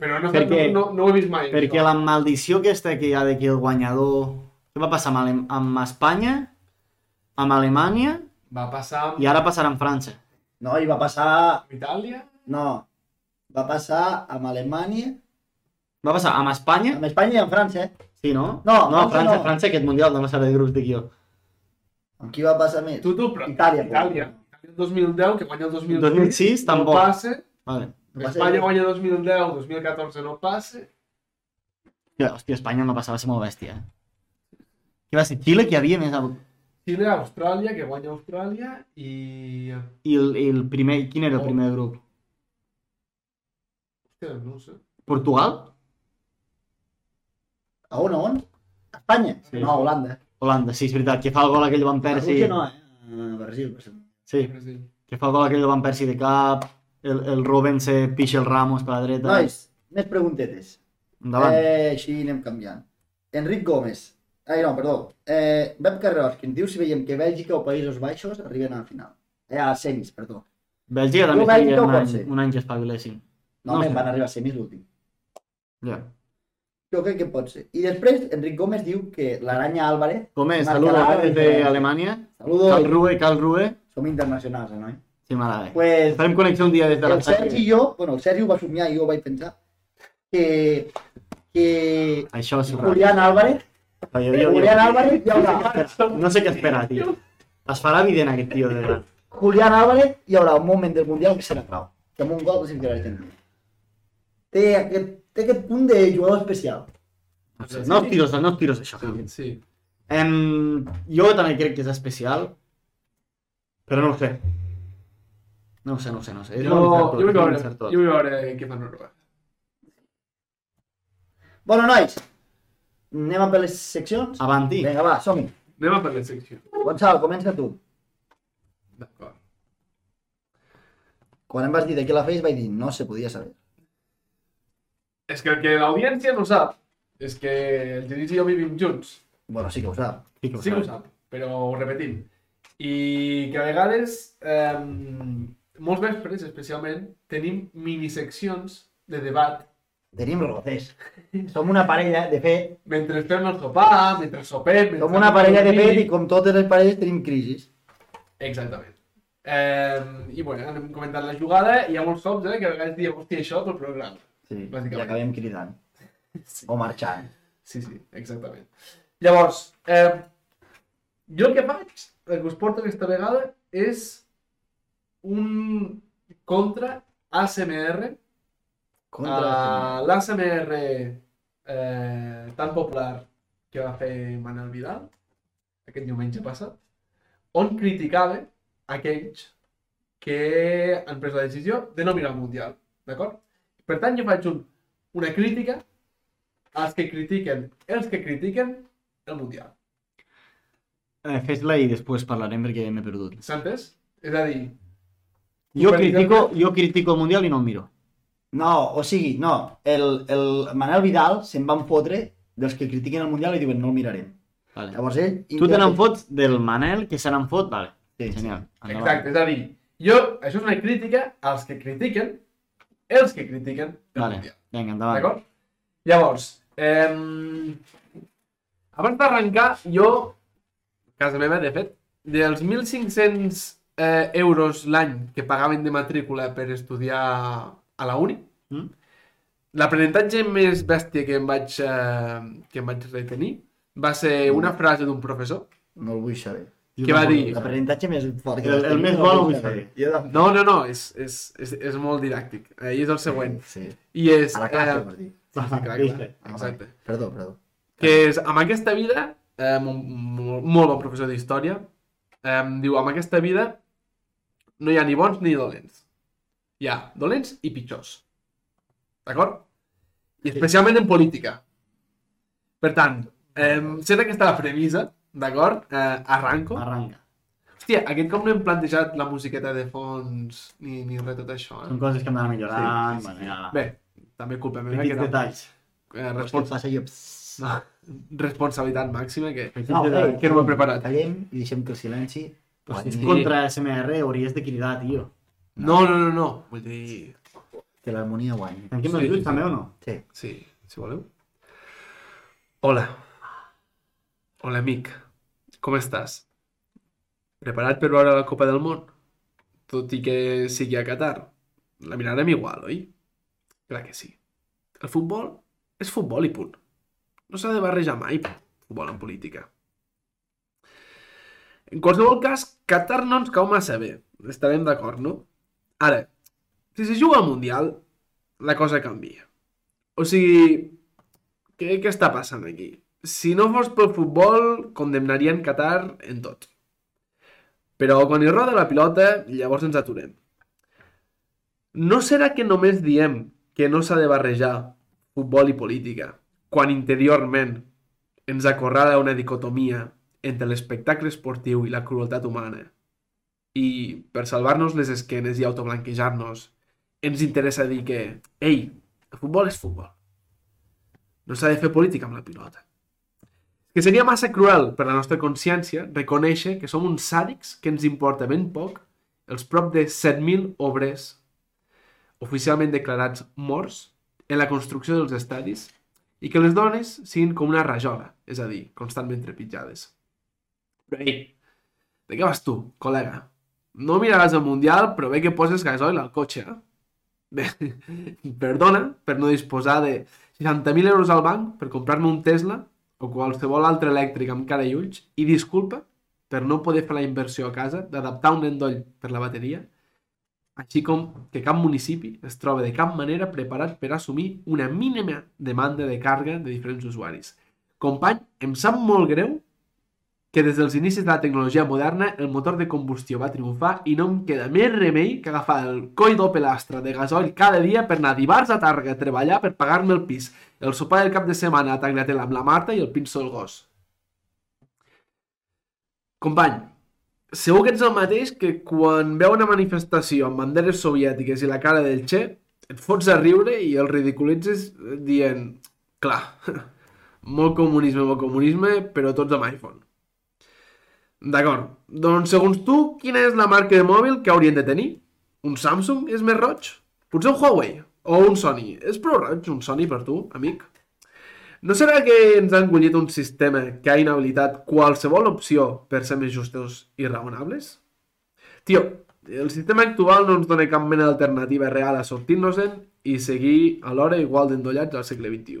Speaker 3: Però no,
Speaker 2: Perquè-
Speaker 3: no, no, no ho he vist mai.
Speaker 2: Perquè
Speaker 3: això.
Speaker 2: la maldició aquesta que hi ha de que el guanyador... Què va passar amb, Ale... amb Espanya, amb Alemanya
Speaker 3: Va passar amb
Speaker 2: i ara passarà amb França.
Speaker 1: No, i va passar...
Speaker 3: Itàlia,
Speaker 1: No. Va passar amb Alemanya,
Speaker 2: Va passar amb Espanya?
Speaker 1: amb Espanya i amb França, eh?
Speaker 2: Sí, no?
Speaker 1: No,
Speaker 2: no
Speaker 1: França
Speaker 2: França,
Speaker 1: no.
Speaker 2: França aquest mundial no va ser de grups, dic jo.
Speaker 1: Amb qui va passar més?
Speaker 3: tu, tu, però...
Speaker 1: Itàlia, però.
Speaker 3: Itàlia. Itàlia 2010, que guanya el 2006.
Speaker 2: 2006 tampoc.
Speaker 3: No passa.
Speaker 2: Vale.
Speaker 1: No va ser-
Speaker 3: Espanya guanya 2010, 2014 no passa.
Speaker 2: Ja, Hòstia, Espanya no passava, va ser molt bèstia, eh? Què va ser? Xile, que hi havia més... al-
Speaker 3: Xile, Austràlia, que guanya Austràlia i...
Speaker 2: I el, i el primer... Quin era el primer grup?
Speaker 3: Hòstia, no ho sé.
Speaker 2: Portugal?
Speaker 1: A on, a on? A Espanya?
Speaker 3: Sí.
Speaker 1: No, a Holanda.
Speaker 2: Holanda, sí, és veritat, que fa el gol aquell van
Speaker 1: A
Speaker 2: Persi.
Speaker 1: Rússia no, eh? A Brasil. per exemple.
Speaker 2: Sí,
Speaker 3: Brasil.
Speaker 2: que fa el gol aquell de Van Persi de cap, el, el Robben se pixa el Ramos per la dreta.
Speaker 1: Nois, més preguntetes.
Speaker 2: Endavant. Eh...
Speaker 1: Eh, així anem canviant. Enric Gómez. Ai, no, perdó. Eh, Pep Carreras, que ens diu si veiem que Bèlgica o Països Baixos arriben a la final. Eh, a les semis, perdó.
Speaker 2: Bèlgica
Speaker 1: Jo
Speaker 2: també
Speaker 1: Bèlgica
Speaker 2: tenia
Speaker 1: ho
Speaker 2: un
Speaker 1: pot
Speaker 2: any,
Speaker 1: ser.
Speaker 2: un any que espavilessin.
Speaker 1: No,
Speaker 2: No
Speaker 1: no
Speaker 2: sé.
Speaker 1: van arribar a semis l'últim.
Speaker 2: Ja.
Speaker 1: Jo crec que pot ser. I després, Enric Gómez diu que l'Aranya Álvarez...
Speaker 2: Com és?
Speaker 1: Marcarà
Speaker 2: Saludos eh, des
Speaker 1: diferència.
Speaker 2: d'Alemanya. Cal
Speaker 1: Saludos,
Speaker 2: Rue, Cal Rue.
Speaker 1: som internacionals, eh, noi?
Speaker 2: Sí, m'agrada.
Speaker 1: Pues,
Speaker 2: Farem connexió un dia des de la
Speaker 1: el Sergi i jo, bueno, el Sergi ho va somiar i jo ho vaig pensar, que, que
Speaker 2: Això és raro.
Speaker 1: Julián Álvarez,
Speaker 2: Jo, jo, jo,
Speaker 1: Julián Álvarez hi haurà,
Speaker 2: No sé què esperar, tio. Es farà evident aquest tio de gran.
Speaker 1: Julián Álvarez hi haurà un moment del Mundial que serà clau, que amb un gol classificarà Argentina. Té aquest, té aquest punt de jugador especial.
Speaker 2: No, sé, no els tiros, no els tiros, això.
Speaker 3: Sí.
Speaker 2: Em, jo també crec que és especial, però no ho sé. No ho sé, no ho sé, no ho sé. És
Speaker 3: Jo,
Speaker 2: un encert tot, és un
Speaker 3: jo, vull veure,
Speaker 2: encert tot.
Speaker 3: jo vull veure què fa Noruega.
Speaker 1: Bueno, nois, anem a per les seccions?
Speaker 2: Avanti.
Speaker 1: Vinga, va, som-hi.
Speaker 3: Anem a per la secció.
Speaker 1: Gonçal, comença tu.
Speaker 3: D'acord.
Speaker 1: Quan em vas dir de què la feies vaig dir, no se podia saber.
Speaker 3: És que el que l'audiència no sap és que el Genís i jo vivim junts.
Speaker 1: Bueno, sí que ho sap.
Speaker 2: Sí que ho
Speaker 3: Sí que ho
Speaker 2: saps.
Speaker 3: sap, però ho repetim. I que a vegades, eh, molts vespres especialment, tenim miniseccions de debat
Speaker 1: Tenim roces. Som una parella, de fet,
Speaker 3: mentre fem el sopar, mentre sopem... Mentre
Speaker 1: Som una parella de
Speaker 3: dormim.
Speaker 1: fet i com totes les parelles tenim crisis.
Speaker 3: Exactament. Eh, I bueno, anem comentant la jugada i hi ha molts cops eh, que a vegades diem, hòstia, això pel programa.
Speaker 1: Sí,
Speaker 3: Bàsicament.
Speaker 1: I acabem cridant.
Speaker 3: Sí.
Speaker 1: O marxant.
Speaker 3: Sí, sí, exactament. Llavors, eh, jo el que faig, el que us porto aquesta vegada, és un contra ASMR
Speaker 1: Contra
Speaker 3: a l'ASMR eh, tan popular que va fer Manel Vidal aquest diumenge passat, on criticava aquells que han pres la decisió de no mirar el Mundial, d'acord? Per tant, jo faig un, una crítica als que critiquen, els que critiquen el Mundial.
Speaker 2: Eh, Fes-la i després parlarem perquè m'he perdut.
Speaker 3: S'ha entès? És a dir,
Speaker 2: Jo
Speaker 3: Superliga.
Speaker 2: critico, jo critico el Mundial i no el miro.
Speaker 1: No, o sigui, no. El, el Manel Vidal se'n van fotre dels que critiquen el Mundial i diuen no el mirarem.
Speaker 2: Vale.
Speaker 1: Llavors ell...
Speaker 2: Tu te n'en fots del Manel, que se n'en fot, vale.
Speaker 1: Sí, sí.
Speaker 2: Genial. Endavant.
Speaker 3: exacte, és a dir, jo, això és una crítica als que critiquen, els que critiquen el
Speaker 2: Vale.
Speaker 3: Mundial.
Speaker 2: Vinga, endavant.
Speaker 3: D'acord? Llavors, eh, abans d'arrencar, jo, casa meva, de fet, dels 1.500 eh, euros l'any que pagaven de matrícula per estudiar a la uni,
Speaker 2: Mm.
Speaker 3: l'aprenentatge més bèstia que em vaig, eh, que em vaig retenir va
Speaker 2: Mm.
Speaker 3: ser una frase d'un professor.
Speaker 1: No el vull saber.
Speaker 3: Què va dir?
Speaker 1: L'aprenentatge més fort que
Speaker 2: El- el més bo no vull saber.
Speaker 1: Jo de...
Speaker 3: No, no, no, és, és, és, és molt didàctic. Eh, I és el següent.
Speaker 1: Sí.
Speaker 3: I és...
Speaker 1: A la classe,
Speaker 3: Eh,
Speaker 1: vols dir.
Speaker 3: sí, sí, clar, clar,
Speaker 2: Vale.
Speaker 3: exacte.
Speaker 1: Perdó, perdó.
Speaker 3: que és amb aquesta vida, eh, molt, molt, molt bon professor d'història, eh, diu, amb aquesta vida no hi ha ni bons ni dolents. Hi ha dolents i pitjors. D'acord? I especialment en política. Per tant, eh, sent aquesta la premissa, D'acord? Eh, arranco.
Speaker 2: Arranca.
Speaker 3: Hòstia, aquest cop no hem plantejat la musiqueta de fons ni, ni res de tot això, eh?
Speaker 2: Són coses que hem d'anar millorant.
Speaker 3: Sí, sí, sí.
Speaker 2: bueno,
Speaker 3: Bé, també culpa
Speaker 2: ja.
Speaker 3: meva.
Speaker 2: Ah. Petits
Speaker 3: Que no,
Speaker 2: detalls.
Speaker 3: eh,
Speaker 1: Pues que
Speaker 3: respons...
Speaker 1: passa jo...
Speaker 3: no, responsabilitat màxima que...
Speaker 2: Petits
Speaker 1: No, eh,
Speaker 2: detalls.
Speaker 1: ei,
Speaker 3: que no m'he preparat.
Speaker 1: Callem i deixem que el pues, silenci...
Speaker 2: Hosti,
Speaker 1: guanyi.
Speaker 2: ets Pues contra SMR, hauries de cridar, tio.
Speaker 3: No, no, no, no. Vull dir...
Speaker 1: Que l'harmonia guanyi.
Speaker 2: Tanquem
Speaker 3: Sí,
Speaker 2: els
Speaker 3: sí,
Speaker 2: ulls, també, o no?
Speaker 1: Sí.
Speaker 3: Sí, si voleu. Hola. Hola, amic. Com estàs? Preparat per veure la Copa del Món? Tot i que sigui a Qatar. La mirarem igual, oi? Clar que sí. El futbol és futbol i punt. No s'ha de barrejar mai futbol en política. En qualsevol cas, Qatar no ens cau massa bé. Estarem d'acord, no? Ara, si se juga al Mundial, la cosa canvia. O sigui, què, què està passant aquí? Si no fos pel futbol, condemnarien Qatar en tot. Però quan hi roda la pilota, llavors ens aturem. No serà que només diem que no s'ha de barrejar futbol i política, quan interiorment ens acorrala una dicotomia entre l'espectacle esportiu i la crueltat humana. I per salvar-nos les esquenes i autoblanquejar-nos, ens interessa dir que, ei, el futbol és futbol. No s'ha de fer política amb la pilota. Que seria massa cruel per la nostra consciència reconèixer que som uns sàdics que ens importa ben poc els prop de 7.000 obrers oficialment declarats morts en la construcció dels estadis i que les dones siguin com una rajola, és a dir, constantment trepitjades. Però ei, de què vas tu, col·lega? No miraràs el Mundial, però bé que poses gasoil al cotxe, eh? Bé, perdona per no disposar de 60.000 euros al banc per comprar-me un Tesla o qualsevol altre elèctric amb cara i ulls i disculpa per no poder fer la inversió a casa d'adaptar un endoll per la bateria, així com que cap municipi es troba de cap manera preparat per assumir una mínima demanda de càrrega de diferents usuaris. Company, em sap molt greu que des dels inicis de la tecnologia moderna el motor de combustió va triomfar i no em queda més remei que agafar el coll d'Opel Astra de gasoil cada dia per anar dimarts a Targa a treballar per pagar-me el pis, el sopar del cap de setmana a Tagliatella amb la Marta i el pinso del gos. Company, segur que ets el mateix que quan veu una manifestació amb banderes soviètiques i la cara del Che, et fots a riure i el ridiculitzes dient «Clar, molt comunisme, molt comunisme, però tots amb iPhone». D'acord. Doncs, segons tu, quina és la marca de mòbil que haurien de tenir? Un Samsung és més roig? Potser un Huawei o un Sony. És prou roig un Sony per tu, amic? No serà que ens han engullit un sistema que ha inhabilitat qualsevol opció per ser més justos i raonables? Tio, el sistema actual no ens dona cap mena d'alternativa real a sortir-nos-en i seguir alhora igual d'endollats al segle XXI.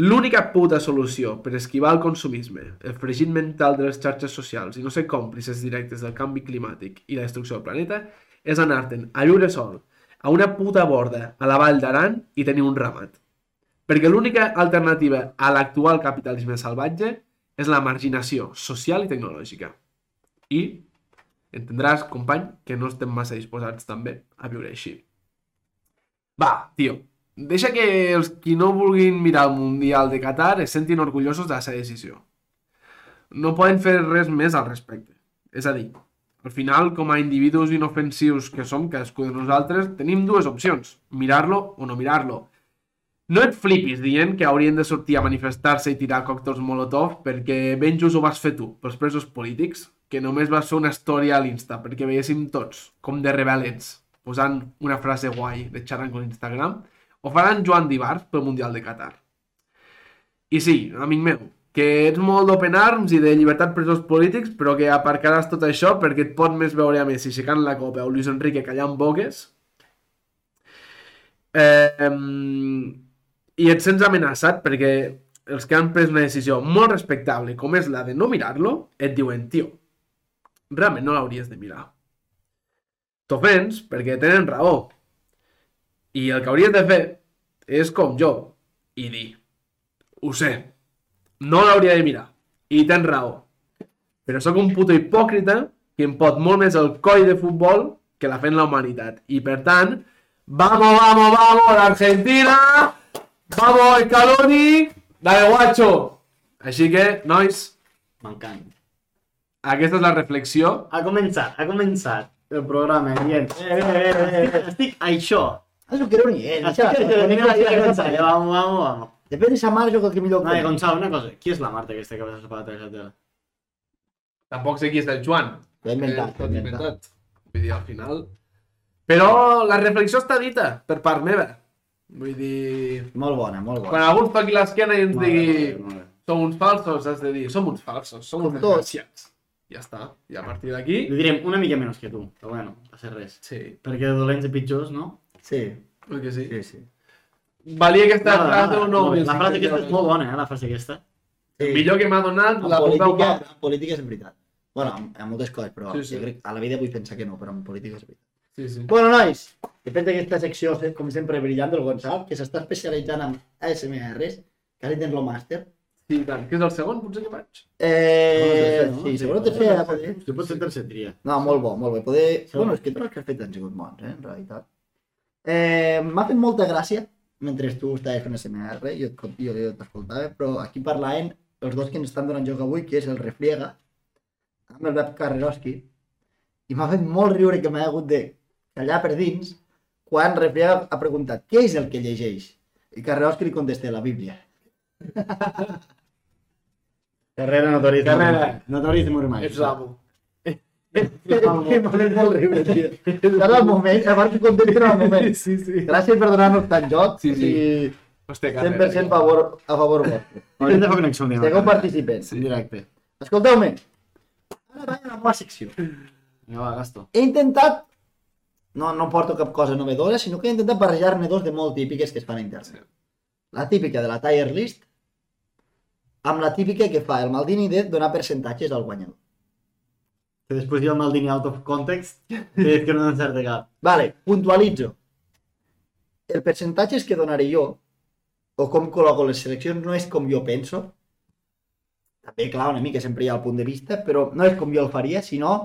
Speaker 3: L'única puta solució per esquivar el consumisme, el fregit mental de les xarxes socials i no ser còmplices directes del canvi climàtic i la destrucció del planeta és anar-te'n a lliure sol, a una puta borda, a la vall d'Aran i tenir un ramat. Perquè l'única alternativa a l'actual capitalisme salvatge és la marginació social i tecnològica. I entendràs, company, que no estem massa disposats també a viure així. Va, tio, deixa que els qui no vulguin mirar el Mundial de Qatar es sentin orgullosos de la seva decisió. No poden fer res més al respecte. És a dir, al final, com a individus inofensius que som cadascú de nosaltres, tenim dues opcions, mirar-lo o no mirar-lo. No et flipis dient que haurien de sortir a manifestar-se i tirar còctels Molotov perquè ben just ho vas fer tu, pels presos polítics, que només vas fer una història a l'Insta perquè veiéssim tots com de rebel ets, posant una frase guai de xarango a Instagram, ho faran Joan Dibars pel Mundial de Qatar. I sí, amic meu, que ets molt d'open arms i de llibertat presos polítics, però que aparcaràs tot això perquè et pot més veure a Messi aixecant la copa o Luis Enrique callant boques. Eh, em, I et sents amenaçat perquè els que han pres una decisió molt respectable com és la de no mirar-lo, et diuen, tio, realment no l'hauries de mirar. T'ofens perquè tenen raó, i el que hauries de fer és com jo i dir, ho sé, no l'hauria de mirar i tens raó, però sóc un puto hipòcrita que em pot molt més el coll de futbol que la fent la humanitat i per tant, vamos, vamos, vamos, l'Argentina, vamos, el Caloni, dale guacho. Així que, nois,
Speaker 2: M'encanta.
Speaker 3: Aquesta és la reflexió.
Speaker 2: Ha començat, ha començat el programa, dient, eh, eh, eh, eh, estic, estic a això.
Speaker 1: Es lo quiero ni él.
Speaker 2: Estic a això. Vamos, vamos, vamos.
Speaker 1: Depèn de sa mare, jo crec que millor...
Speaker 2: Vale, Gonzalo, una cosa. Qui és la Marta aquesta que vas a pagar la tele?
Speaker 3: Tampoc sé qui és el Joan.
Speaker 1: L'he inventat,
Speaker 3: Eh,
Speaker 1: l'he
Speaker 3: tot
Speaker 1: inventat.
Speaker 3: inventat. Vull dir, al final... Però la reflexió està dita, per part meva. Vull dir...
Speaker 1: Molt bona, molt bona.
Speaker 3: Quan algú ens toqui l'esquena i ens
Speaker 2: Molt bé,
Speaker 3: digui
Speaker 2: molt bé, molt bé.
Speaker 3: som uns falsos, has de dir som uns falsos, som uns
Speaker 1: Com tots.
Speaker 3: desgraciats. Ja està. I a partir d'aquí...
Speaker 2: Li direm una mica menys que tu, però bueno, va ser res.
Speaker 3: Sí,
Speaker 2: Perquè de dolents i pitjors, no?
Speaker 1: Sí,
Speaker 3: oi que sí.
Speaker 1: sí, sí.
Speaker 3: Valia aquesta
Speaker 2: Nada,
Speaker 3: frase o no?
Speaker 2: molt bé. La frase aquesta és molt bona, eh, la frase aquesta.
Speaker 1: sí.
Speaker 3: Millor que m'ha donat
Speaker 1: en
Speaker 3: la puta
Speaker 1: política,
Speaker 3: humana.
Speaker 1: en política és veritat. Bueno, en, en moltes coses, però
Speaker 3: Sí,
Speaker 1: sí,
Speaker 3: sí.
Speaker 1: sí. jo crec a la vida vull pensar que no, però en política és veritat.
Speaker 3: Sí, sí.
Speaker 1: Bueno, nois, depèn d'aquesta secció, eh, com sempre, brillant del Gonçal, que s'està especialitzant en ASMRs, que ara tens el màster.
Speaker 3: Sí, i tant. Que és el segon, potser que vaig.
Speaker 1: Eh,
Speaker 2: No, tercer, no?
Speaker 1: sí,
Speaker 2: Sí,
Speaker 1: segons
Speaker 2: sí.
Speaker 1: te feia, poder.
Speaker 2: Tu pots ser tercer tria.
Speaker 1: No, molt bo, molt bé. Poder...
Speaker 2: Sí.
Speaker 1: Bueno, és que tots els que has fet han sigut bons, eh, en realitat. Eh, M'ha fet molta gràcia mentre tu estaves fent SMR, jo, et- jo, jo t'escoltava, però aquí parlaven els dos que ens estan donant joc avui, que és el Refriega, amb el Pep Carreroski, i m'ha fet molt riure que m'ha hagut de callar per dins quan Refriega ha preguntat què és el que llegeix? I Carreroski li contesta la Bíblia.
Speaker 2: Carrera notorisme.
Speaker 3: Carrera.
Speaker 2: Notorisme urbà.
Speaker 3: Ets l'amo.
Speaker 1: M'ha fet molt riure, tio. Era el moment, a part que contenta el moment.
Speaker 3: Sí, sí.
Speaker 1: Gràcies per donar-nos tant joc.
Speaker 3: Sí, sí.
Speaker 1: I...
Speaker 3: Hòstia,
Speaker 1: 100% a favor, a favor vostre.
Speaker 2: Hauríem de fer connexió un dia.
Speaker 1: Segon participant.
Speaker 2: En directe.
Speaker 1: Escolteu-me. Ara vaig a la meva secció.
Speaker 2: Vinga, va, gasto.
Speaker 1: He intentat... No, no porto cap cosa novedosa, sinó que he intentat barrejar-ne dos de molt típiques que es fan a internet. La típica de la tier list amb la típica que fa el Maldini de donar percentatges al guanyador.
Speaker 2: Que després jo amb el diner out of context, que és que no t'encerta cap.
Speaker 1: Vale, puntualitzo. El percentatge que donaré jo, o com col·loco les seleccions, no és com jo penso. També, clar, una mica sempre hi ha el punt de vista, però no és com jo el faria, sinó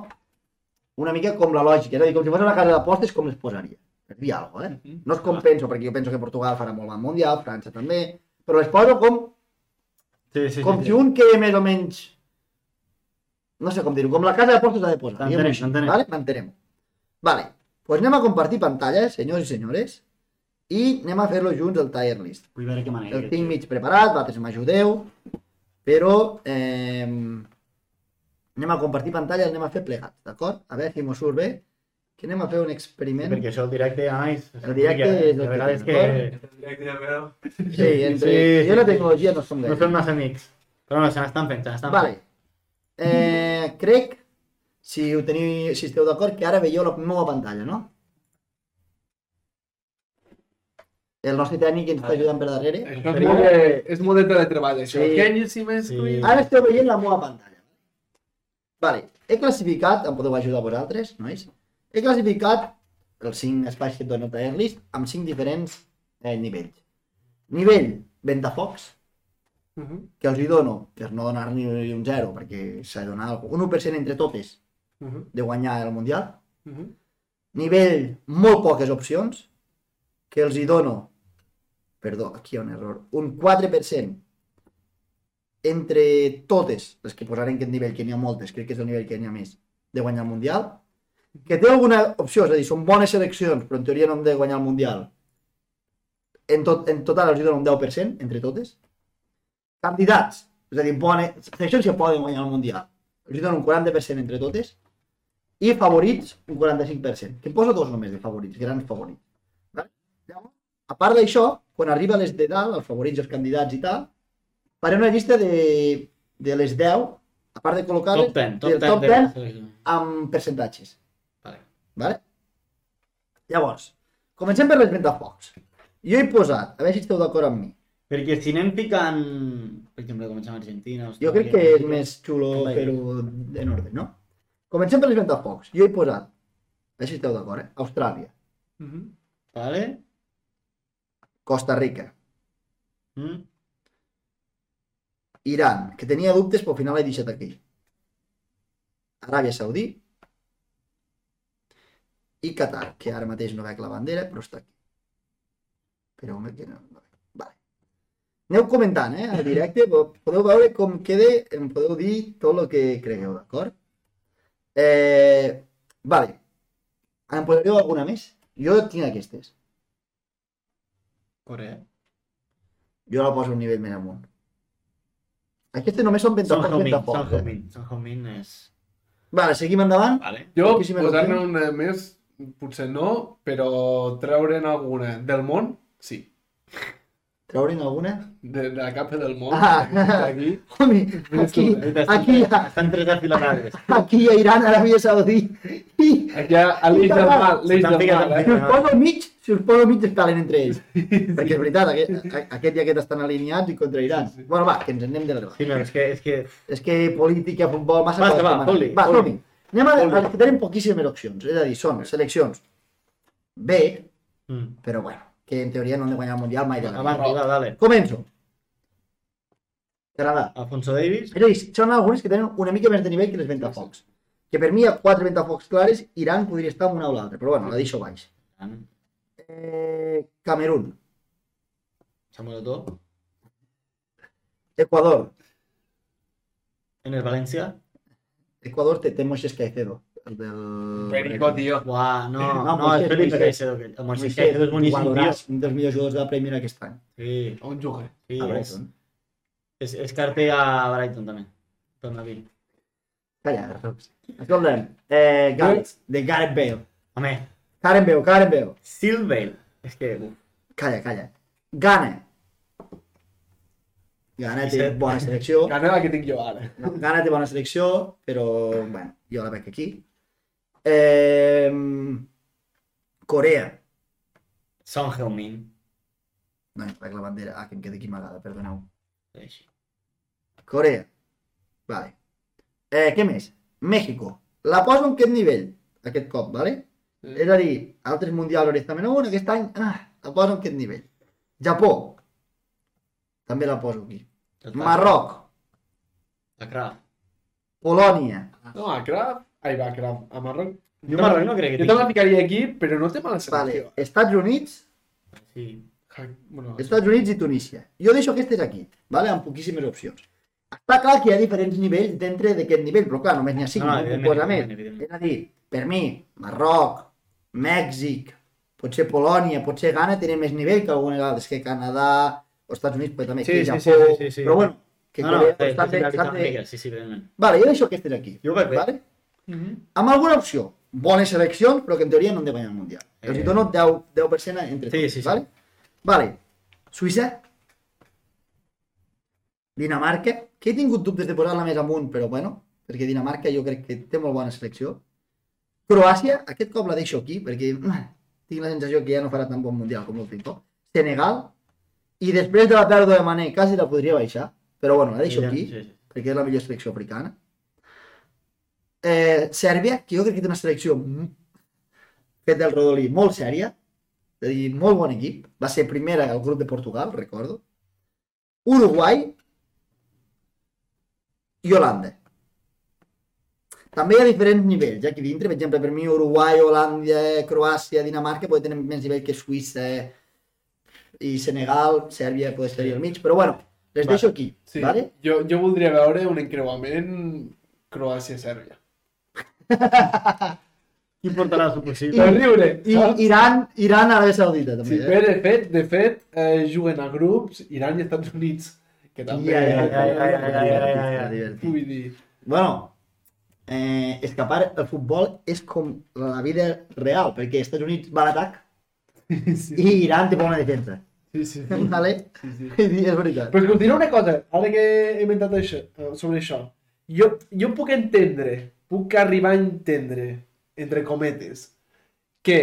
Speaker 1: una mica com la lògica. És a dir, com si fos una casa d'apostes, com les posaria. Per dir alguna cosa, eh? No és com penso, perquè jo penso que Portugal farà molt bon Mundial, França també, però les poso com,
Speaker 2: Sí, sí, sí.
Speaker 1: com
Speaker 2: sí.
Speaker 1: si un quede més o menys... No sé com dir-ho, com la casa d'apostes ha de posar.
Speaker 2: T'entenem,
Speaker 1: diguem-ho així,
Speaker 2: t'entenem.
Speaker 1: Vale? M'entenem. Vale, pues anem a compartir pantalla, senyors i senyores, i anem a fer-lo junts el tier list.
Speaker 2: Vull veure què manera.
Speaker 1: El tinc mig preparat, vosaltres m'ajudeu, però eh, anem a compartir pantalla, anem a fer plegats, d'acord? A veure si mos surt bé, que anem a fer un
Speaker 2: Sí,
Speaker 1: experiment.
Speaker 2: perquè això el directe, ai,
Speaker 1: El directe és el
Speaker 2: de
Speaker 1: que
Speaker 2: vegades que
Speaker 1: tenim, Sí, entre...
Speaker 2: Sí, sí,
Speaker 1: jo i la
Speaker 2: sí.
Speaker 1: tecnologia no som gaire.
Speaker 2: no som massa amics. Però no, se n'estan fent, se n'estan fent.
Speaker 1: Vale. Eh, crec, si, ho teniu, si esteu d'acord, que ara veieu la meva pantalla, no? El nostre tècnic ens està ajudant per darrere.
Speaker 3: Això és molt, de, és molt de teletreball, això.
Speaker 1: Sí.
Speaker 3: Can you see my screen?
Speaker 2: Sí.
Speaker 1: Ara esteu veient la meva pantalla. Vale. He classificat, em podeu ajudar vosaltres, nois? He classificat els 5 espais que et dona el list amb 5 diferents eh, nivells. Nivell, ventafocs,
Speaker 3: Mhm,
Speaker 1: que els hi dono, per no donar ni un 0, perquè s'ha de donar alguna cosa. Un 1% entre totes
Speaker 3: mhm,
Speaker 1: de guanyar el Mundial.
Speaker 3: mhm.
Speaker 1: nivell molt poques opcions, que els hi dono, perdó, aquí hi ha un error, un 4% entre totes les que posaré en aquest nivell, que n'hi ha moltes, crec que és el nivell que n'hi ha més, de guanyar el Mundial, que té alguna opció, és a dir, són bones seleccions, però en teoria no hem de guanyar el Mundial. En, tot, en total els hi dono un 10% entre totes. Candidats, és a dir, bones, seleccions que poden guanyar el Mundial, els hi dono un 40% entre totes i favorits un 45%. Que em poso dos només de favorits, grans favorits. Vale? Llavors, a part d'això, quan arriba a les de dalt, els favorits, els candidats i tal, faré una llista de, de les 10, a part de col·locar-les,
Speaker 2: Top 10,
Speaker 1: del
Speaker 2: top 10.
Speaker 1: top
Speaker 2: de-
Speaker 1: 10 amb percentatges.
Speaker 2: Vale.
Speaker 1: Vale? Llavors, comencem per les ventafocs. Jo he posat, a veure si esteu d'acord amb mi,
Speaker 2: Perquè si anem picant, per exemple, començar amb Argentina...
Speaker 1: jo crec que és més xulo
Speaker 2: Vale.
Speaker 1: fer-ho en ordre, no? Comencem per les ventafocs. Jo he posat, a veure si esteu d'acord, eh? Austràlia,
Speaker 3: Mhm.
Speaker 2: Vale?
Speaker 1: Costa Rica,
Speaker 2: Mm?
Speaker 1: Iran, que tenia dubtes però al final he deixat aquí. Aràbia Saudí i Qatar, que ara mateix no veig la bandera, però està aquí. Però home, que no, no veig. Vale. Aneu comentant, eh, al directe, po- podeu veure com queda, em podeu dir tot el que cregueu, d'acord? Eh, vale. Em posareu alguna més? Jo tinc aquestes.
Speaker 2: Correcte.
Speaker 1: Jo la poso un nivell més amunt. Aquestes només són
Speaker 2: Son
Speaker 1: ventafocs,
Speaker 2: Heung-min, Son
Speaker 1: ventafocs. Eh?
Speaker 2: Heung-min. Son Heung-min és...
Speaker 1: Vale, seguim endavant.
Speaker 2: Vale.
Speaker 3: Jo,
Speaker 1: Aquí sí me lo
Speaker 3: posar-ne
Speaker 1: crec.
Speaker 3: pues, una més, potser no, però treure'n alguna del món, sí.
Speaker 1: Treure'n alguna?
Speaker 3: De, de la capa del món,
Speaker 1: Ah.
Speaker 3: d'aquí.
Speaker 1: Home, aquí, aquí, hi ha-
Speaker 2: Estan tres afiladades.
Speaker 1: aquí hi ha Iran, Aràbia Saudí i
Speaker 3: Aquí hi ha l'eix del mal, l'eix del mal,
Speaker 1: si
Speaker 3: eh?
Speaker 1: us poso mig, si us poso mig es calen entre ells. Perquè és veritat, aquest, a- aquest i aquest estan alineats i contra Iran.
Speaker 3: Sí, sí.
Speaker 1: Bueno, va, que ens anem del debat.
Speaker 2: Sí, no, és que... És que...
Speaker 1: És que política, futbol, massa
Speaker 2: Basta,
Speaker 1: coses
Speaker 2: va,
Speaker 1: que m'agraden.
Speaker 2: fot-li,
Speaker 1: Va,
Speaker 2: fot-li.
Speaker 1: som-hi. Anem a,
Speaker 2: Fot-li.
Speaker 1: a que tenim poquíssimes opcions, és a dir, són seleccions B,
Speaker 2: Mm.
Speaker 1: però bueno, que en teoria no han de guanyar el Mundial mai de la vida.
Speaker 2: Avanti, va, dale.
Speaker 1: Començo. Canadà.
Speaker 2: Alfonso Davis.
Speaker 1: És a dir, són algunes que tenen una mica més de nivell que les ventafocs. Que per mi hi ha quatre ventafocs clares, Iran podria estar en una o l'altra, però bueno, la deixo baix. Eh, Camerún,
Speaker 2: Samuel Otó.
Speaker 1: Ecuador.
Speaker 2: Enes València.
Speaker 1: Ecuador té, té Moixes Caicedo. El del...
Speaker 3: Perico, tio.
Speaker 2: Buah, no,
Speaker 1: No,
Speaker 2: no,
Speaker 1: Moisés,
Speaker 2: és Felipe
Speaker 1: Moisés.
Speaker 2: Caicedo. aquell. El Moisés Caicedo és boníssim,
Speaker 1: Jugadoràs,
Speaker 2: tio.
Speaker 1: Un dels millors jugadors de la Premier aquest any.
Speaker 2: Sí,
Speaker 3: On juga?
Speaker 2: sí,
Speaker 1: A
Speaker 2: és,
Speaker 1: Brighton.
Speaker 2: és, és carter a Brighton Pues també. Torna a dir.
Speaker 1: Calla, Rox. Escolta'm, eh, Gareth, de Gareth Bale.
Speaker 2: Home,
Speaker 1: Karen Bale, Karen Bale.
Speaker 2: Silvale. És que... uf,
Speaker 1: Calla, calla. Gana. Gana té
Speaker 2: Vicent.
Speaker 1: bona selecció.
Speaker 3: Gana la que eh. tinc jo ara.
Speaker 1: No, Ghana té bona selecció, però bueno, jo la veig aquí. Eh, Corea.
Speaker 2: Son Heung-min.
Speaker 1: No, veig la bandera. Ah, que em queda aquí amagada, perdoneu.
Speaker 2: Així.
Speaker 1: Corea. Vale. Eh, què més? México. La poso en aquest nivell, aquest cop, vale? És a dir, altres mundials hauré estat menys un, aquest any ah, la poso en aquest nivell. Japó. També la poso aquí.
Speaker 2: Ja està.
Speaker 1: Marroc.
Speaker 2: La Kraft.
Speaker 1: Polònia.
Speaker 3: No, a Kraft. Ai, va, Kraft. A Marroc.
Speaker 2: Jo Marroc no crec que
Speaker 3: Jo te la ficaria aquí, però no té mala
Speaker 1: Vale.
Speaker 3: selecció.
Speaker 1: Estats Units.
Speaker 2: Sí.
Speaker 3: Ja- Bueno,
Speaker 1: Estats Units i Tunísia. Jo deixo aquestes aquí, vale? amb poquíssimes opcions. Està clar que hi ha diferents nivells dintre d'aquest nivell, però clar, només n'hi ha cinc, no, no posa més.
Speaker 2: evidentment, evidentment.
Speaker 1: És a dir, per mi, Marroc, Mèxic, potser Polònia, potser Ghana tenen més nivell que alguna vegada, és que Canadà, o Estats Units, però també
Speaker 2: Sí,
Speaker 1: que
Speaker 2: sí,
Speaker 1: Japó,
Speaker 2: sí, sí, sí, sí.
Speaker 1: però bueno, que
Speaker 2: No, eh,
Speaker 1: no,
Speaker 2: no,
Speaker 1: Corea,
Speaker 2: sí,
Speaker 1: estan
Speaker 2: sí,
Speaker 1: bé,
Speaker 2: sí,
Speaker 1: estan
Speaker 2: sí,
Speaker 1: bé.
Speaker 2: sí, sí, evidentment.
Speaker 1: Vale, jo deixo aquestes aquí.
Speaker 2: Jo ho veig bé.
Speaker 1: Vale?
Speaker 3: Mhm.
Speaker 1: Amb alguna opció, bones seleccions, però que en teoria no han de guanyar el Mundial.
Speaker 2: Eh.
Speaker 1: Els hi dono 10, 10% entre
Speaker 2: Sí,
Speaker 1: tots,
Speaker 2: sí, sí.
Speaker 1: vale? Vale. Suïssa. Dinamarca, que he tingut dubtes de posar-la més amunt, però bueno, perquè Dinamarca jo crec que té molt bona selecció. Croàcia, aquest cop la deixo aquí, perquè mm, tinc la sensació que ja no farà tan bon Mundial com l'últim cop. Senegal, i després de la pèrdua de Mané, quasi la podria baixar, però bueno, la deixo aquí
Speaker 2: Sí, sí.
Speaker 1: perquè és la millor selecció africana. Eh, Sèrbia, que jo crec que té una selecció m- feta del rodolí molt sèria, és a dir, molt bon equip. Va ser primera al grup de Portugal, recordo. Uruguai i Holanda. També hi ha diferents nivells, eh, aquí dintre, per exemple, per mi Uruguai, Holàndia, Croàcia, Dinamarca poden tenir més nivell que Suïssa eh, i Senegal, Sèrbia pot ser al mig, però bueno, les
Speaker 2: Va.
Speaker 1: deixo aquí,
Speaker 3: Sí.
Speaker 1: vale?
Speaker 3: Jo, jo voldria veure un encreuament Croàcia-Sèrbia.
Speaker 2: Qui portarà el seu possible?
Speaker 3: Per riure,
Speaker 1: I
Speaker 3: saps?
Speaker 1: Iran, Iran a Aràbia Saudita, també.
Speaker 3: Sí,
Speaker 1: eh?
Speaker 3: bé, de fet, de fet, eh, juguen a grups Iran i Estats Units, que també...
Speaker 1: Ja, ja, ja, ja, ja,
Speaker 2: ai,
Speaker 1: ja,
Speaker 2: ai,
Speaker 1: ja,
Speaker 2: ai,
Speaker 1: ja,
Speaker 2: ai.
Speaker 1: divertit.
Speaker 3: Vull dir,
Speaker 1: Bueno, eh, escapar el futbol és com la vida real, perquè Estats Units va a l'atac
Speaker 3: sí,
Speaker 1: i Iran té bona defensa.
Speaker 3: sí, sí,
Speaker 1: Vale?
Speaker 3: sí, sí.
Speaker 1: Vull dir, És veritat.
Speaker 3: Però és que us diré una cosa, ara que he inventat això, eh, sobre això, jo, jo puc entendre, puc arribar a entendre, entre cometes, que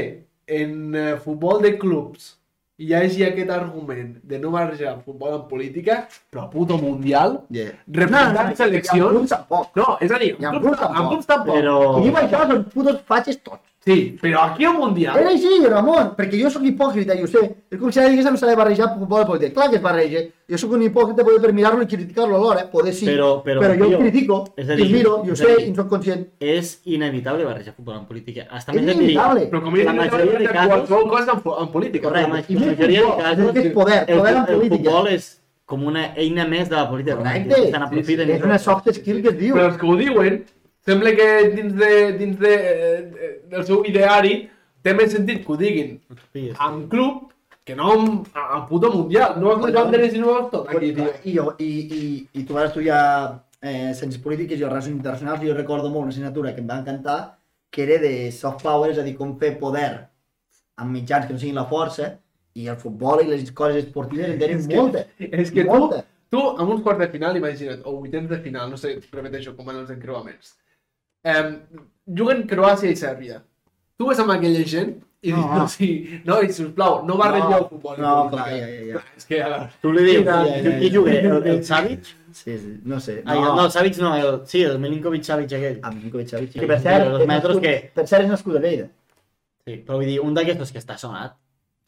Speaker 3: en eh, futbol de clubs hi hagi aquest argument de no marxar futbol en política, però a puto mundial,
Speaker 1: Yeah.
Speaker 3: representant
Speaker 1: Hi ha
Speaker 3: seleccions...
Speaker 1: clubs tampoc.
Speaker 3: No, és a dir,
Speaker 1: Hi ha
Speaker 3: en
Speaker 1: clubs
Speaker 3: clubs, en
Speaker 1: tampoc,
Speaker 3: clubs tampoc.
Speaker 2: Però...
Speaker 1: I diu això, són putos fatxes tots.
Speaker 3: Sí, però aquí al Mundial...
Speaker 1: Era així, Ramon, perquè jo sóc eh, hipòcrita, i ho sé. És com si ara diguéssim s'ha de em barrejar futbol i política. Clar que es barreja. Jo sóc un hipòcrita poder per mirar-lo i criticar-lo alhora, eh, poder sí.
Speaker 2: Però, però,
Speaker 1: però jo
Speaker 2: tio,
Speaker 1: ho critico,
Speaker 2: és a
Speaker 1: i
Speaker 2: dir,
Speaker 1: miro, i ho
Speaker 2: és a
Speaker 1: sé,
Speaker 2: dir,
Speaker 1: i en soc conscient.
Speaker 2: és inevitable barrejar futbol amb política. Hasta
Speaker 1: És
Speaker 2: més que
Speaker 1: inevitable.
Speaker 3: Però com he
Speaker 2: La
Speaker 3: dit,
Speaker 2: majoria de casos-
Speaker 3: qualsevol cosa en, po- en política.
Speaker 1: Correcte.
Speaker 2: la
Speaker 1: I més
Speaker 2: majoria de
Speaker 1: futbol,
Speaker 2: casos...
Speaker 1: és poder,
Speaker 2: el,
Speaker 1: poder en
Speaker 2: el
Speaker 1: política.
Speaker 2: futbol és com una eina més de la política.
Speaker 1: Correcte.
Speaker 2: Se n'aprofiten.
Speaker 1: És una soft skill que es diu.
Speaker 3: Però els que ho diuen, ¿eh? sembla que dins, de, dins de, eh, del seu ideari té més sentit que ho diguin
Speaker 2: Sí, sí.
Speaker 3: amb club que no amb, a- al puto mundial. No has menjat de i no has tot aquí, tio.
Speaker 1: I, jo, i, i, i tu vas estudiar eh, ciències polítiques i relacions internacionals i jo recordo molt una assignatura que em va encantar que era de soft power, és a dir, com fer poder amb mitjans que no siguin la força i el futbol i les coses esportives en tenen
Speaker 3: És que-
Speaker 1: molta,
Speaker 3: És que tu,
Speaker 1: molta.
Speaker 3: tu, amb un quart de final, imagina't, o vuitens de final, no sé, repeteixo com van els encreuaments. Um, juguen Croàcia i Sèrbia. Tu vas amb aquella gent i
Speaker 2: No.
Speaker 3: no. dius, sí, no, i sisplau, no barregeu el futbol. i
Speaker 1: No,
Speaker 3: política."
Speaker 1: clar, ja, ja, ja.
Speaker 3: És que, a veure,
Speaker 2: Tu li dius,
Speaker 1: Ja, ja, ja,
Speaker 2: qui, qui
Speaker 1: ja.
Speaker 2: juga? El, el Savic?
Speaker 1: Sí, sí, no Ah. sé.
Speaker 2: Ai, el, no, el Savic no, el, sí, el Milinkovic Savic aquell.
Speaker 1: Amb Milinkovic Savic.
Speaker 2: Que per cert, els metros que-
Speaker 1: Per cert, és nascut a Lleida.
Speaker 2: Sí, però vull dir, un d'aquestos que està sonat,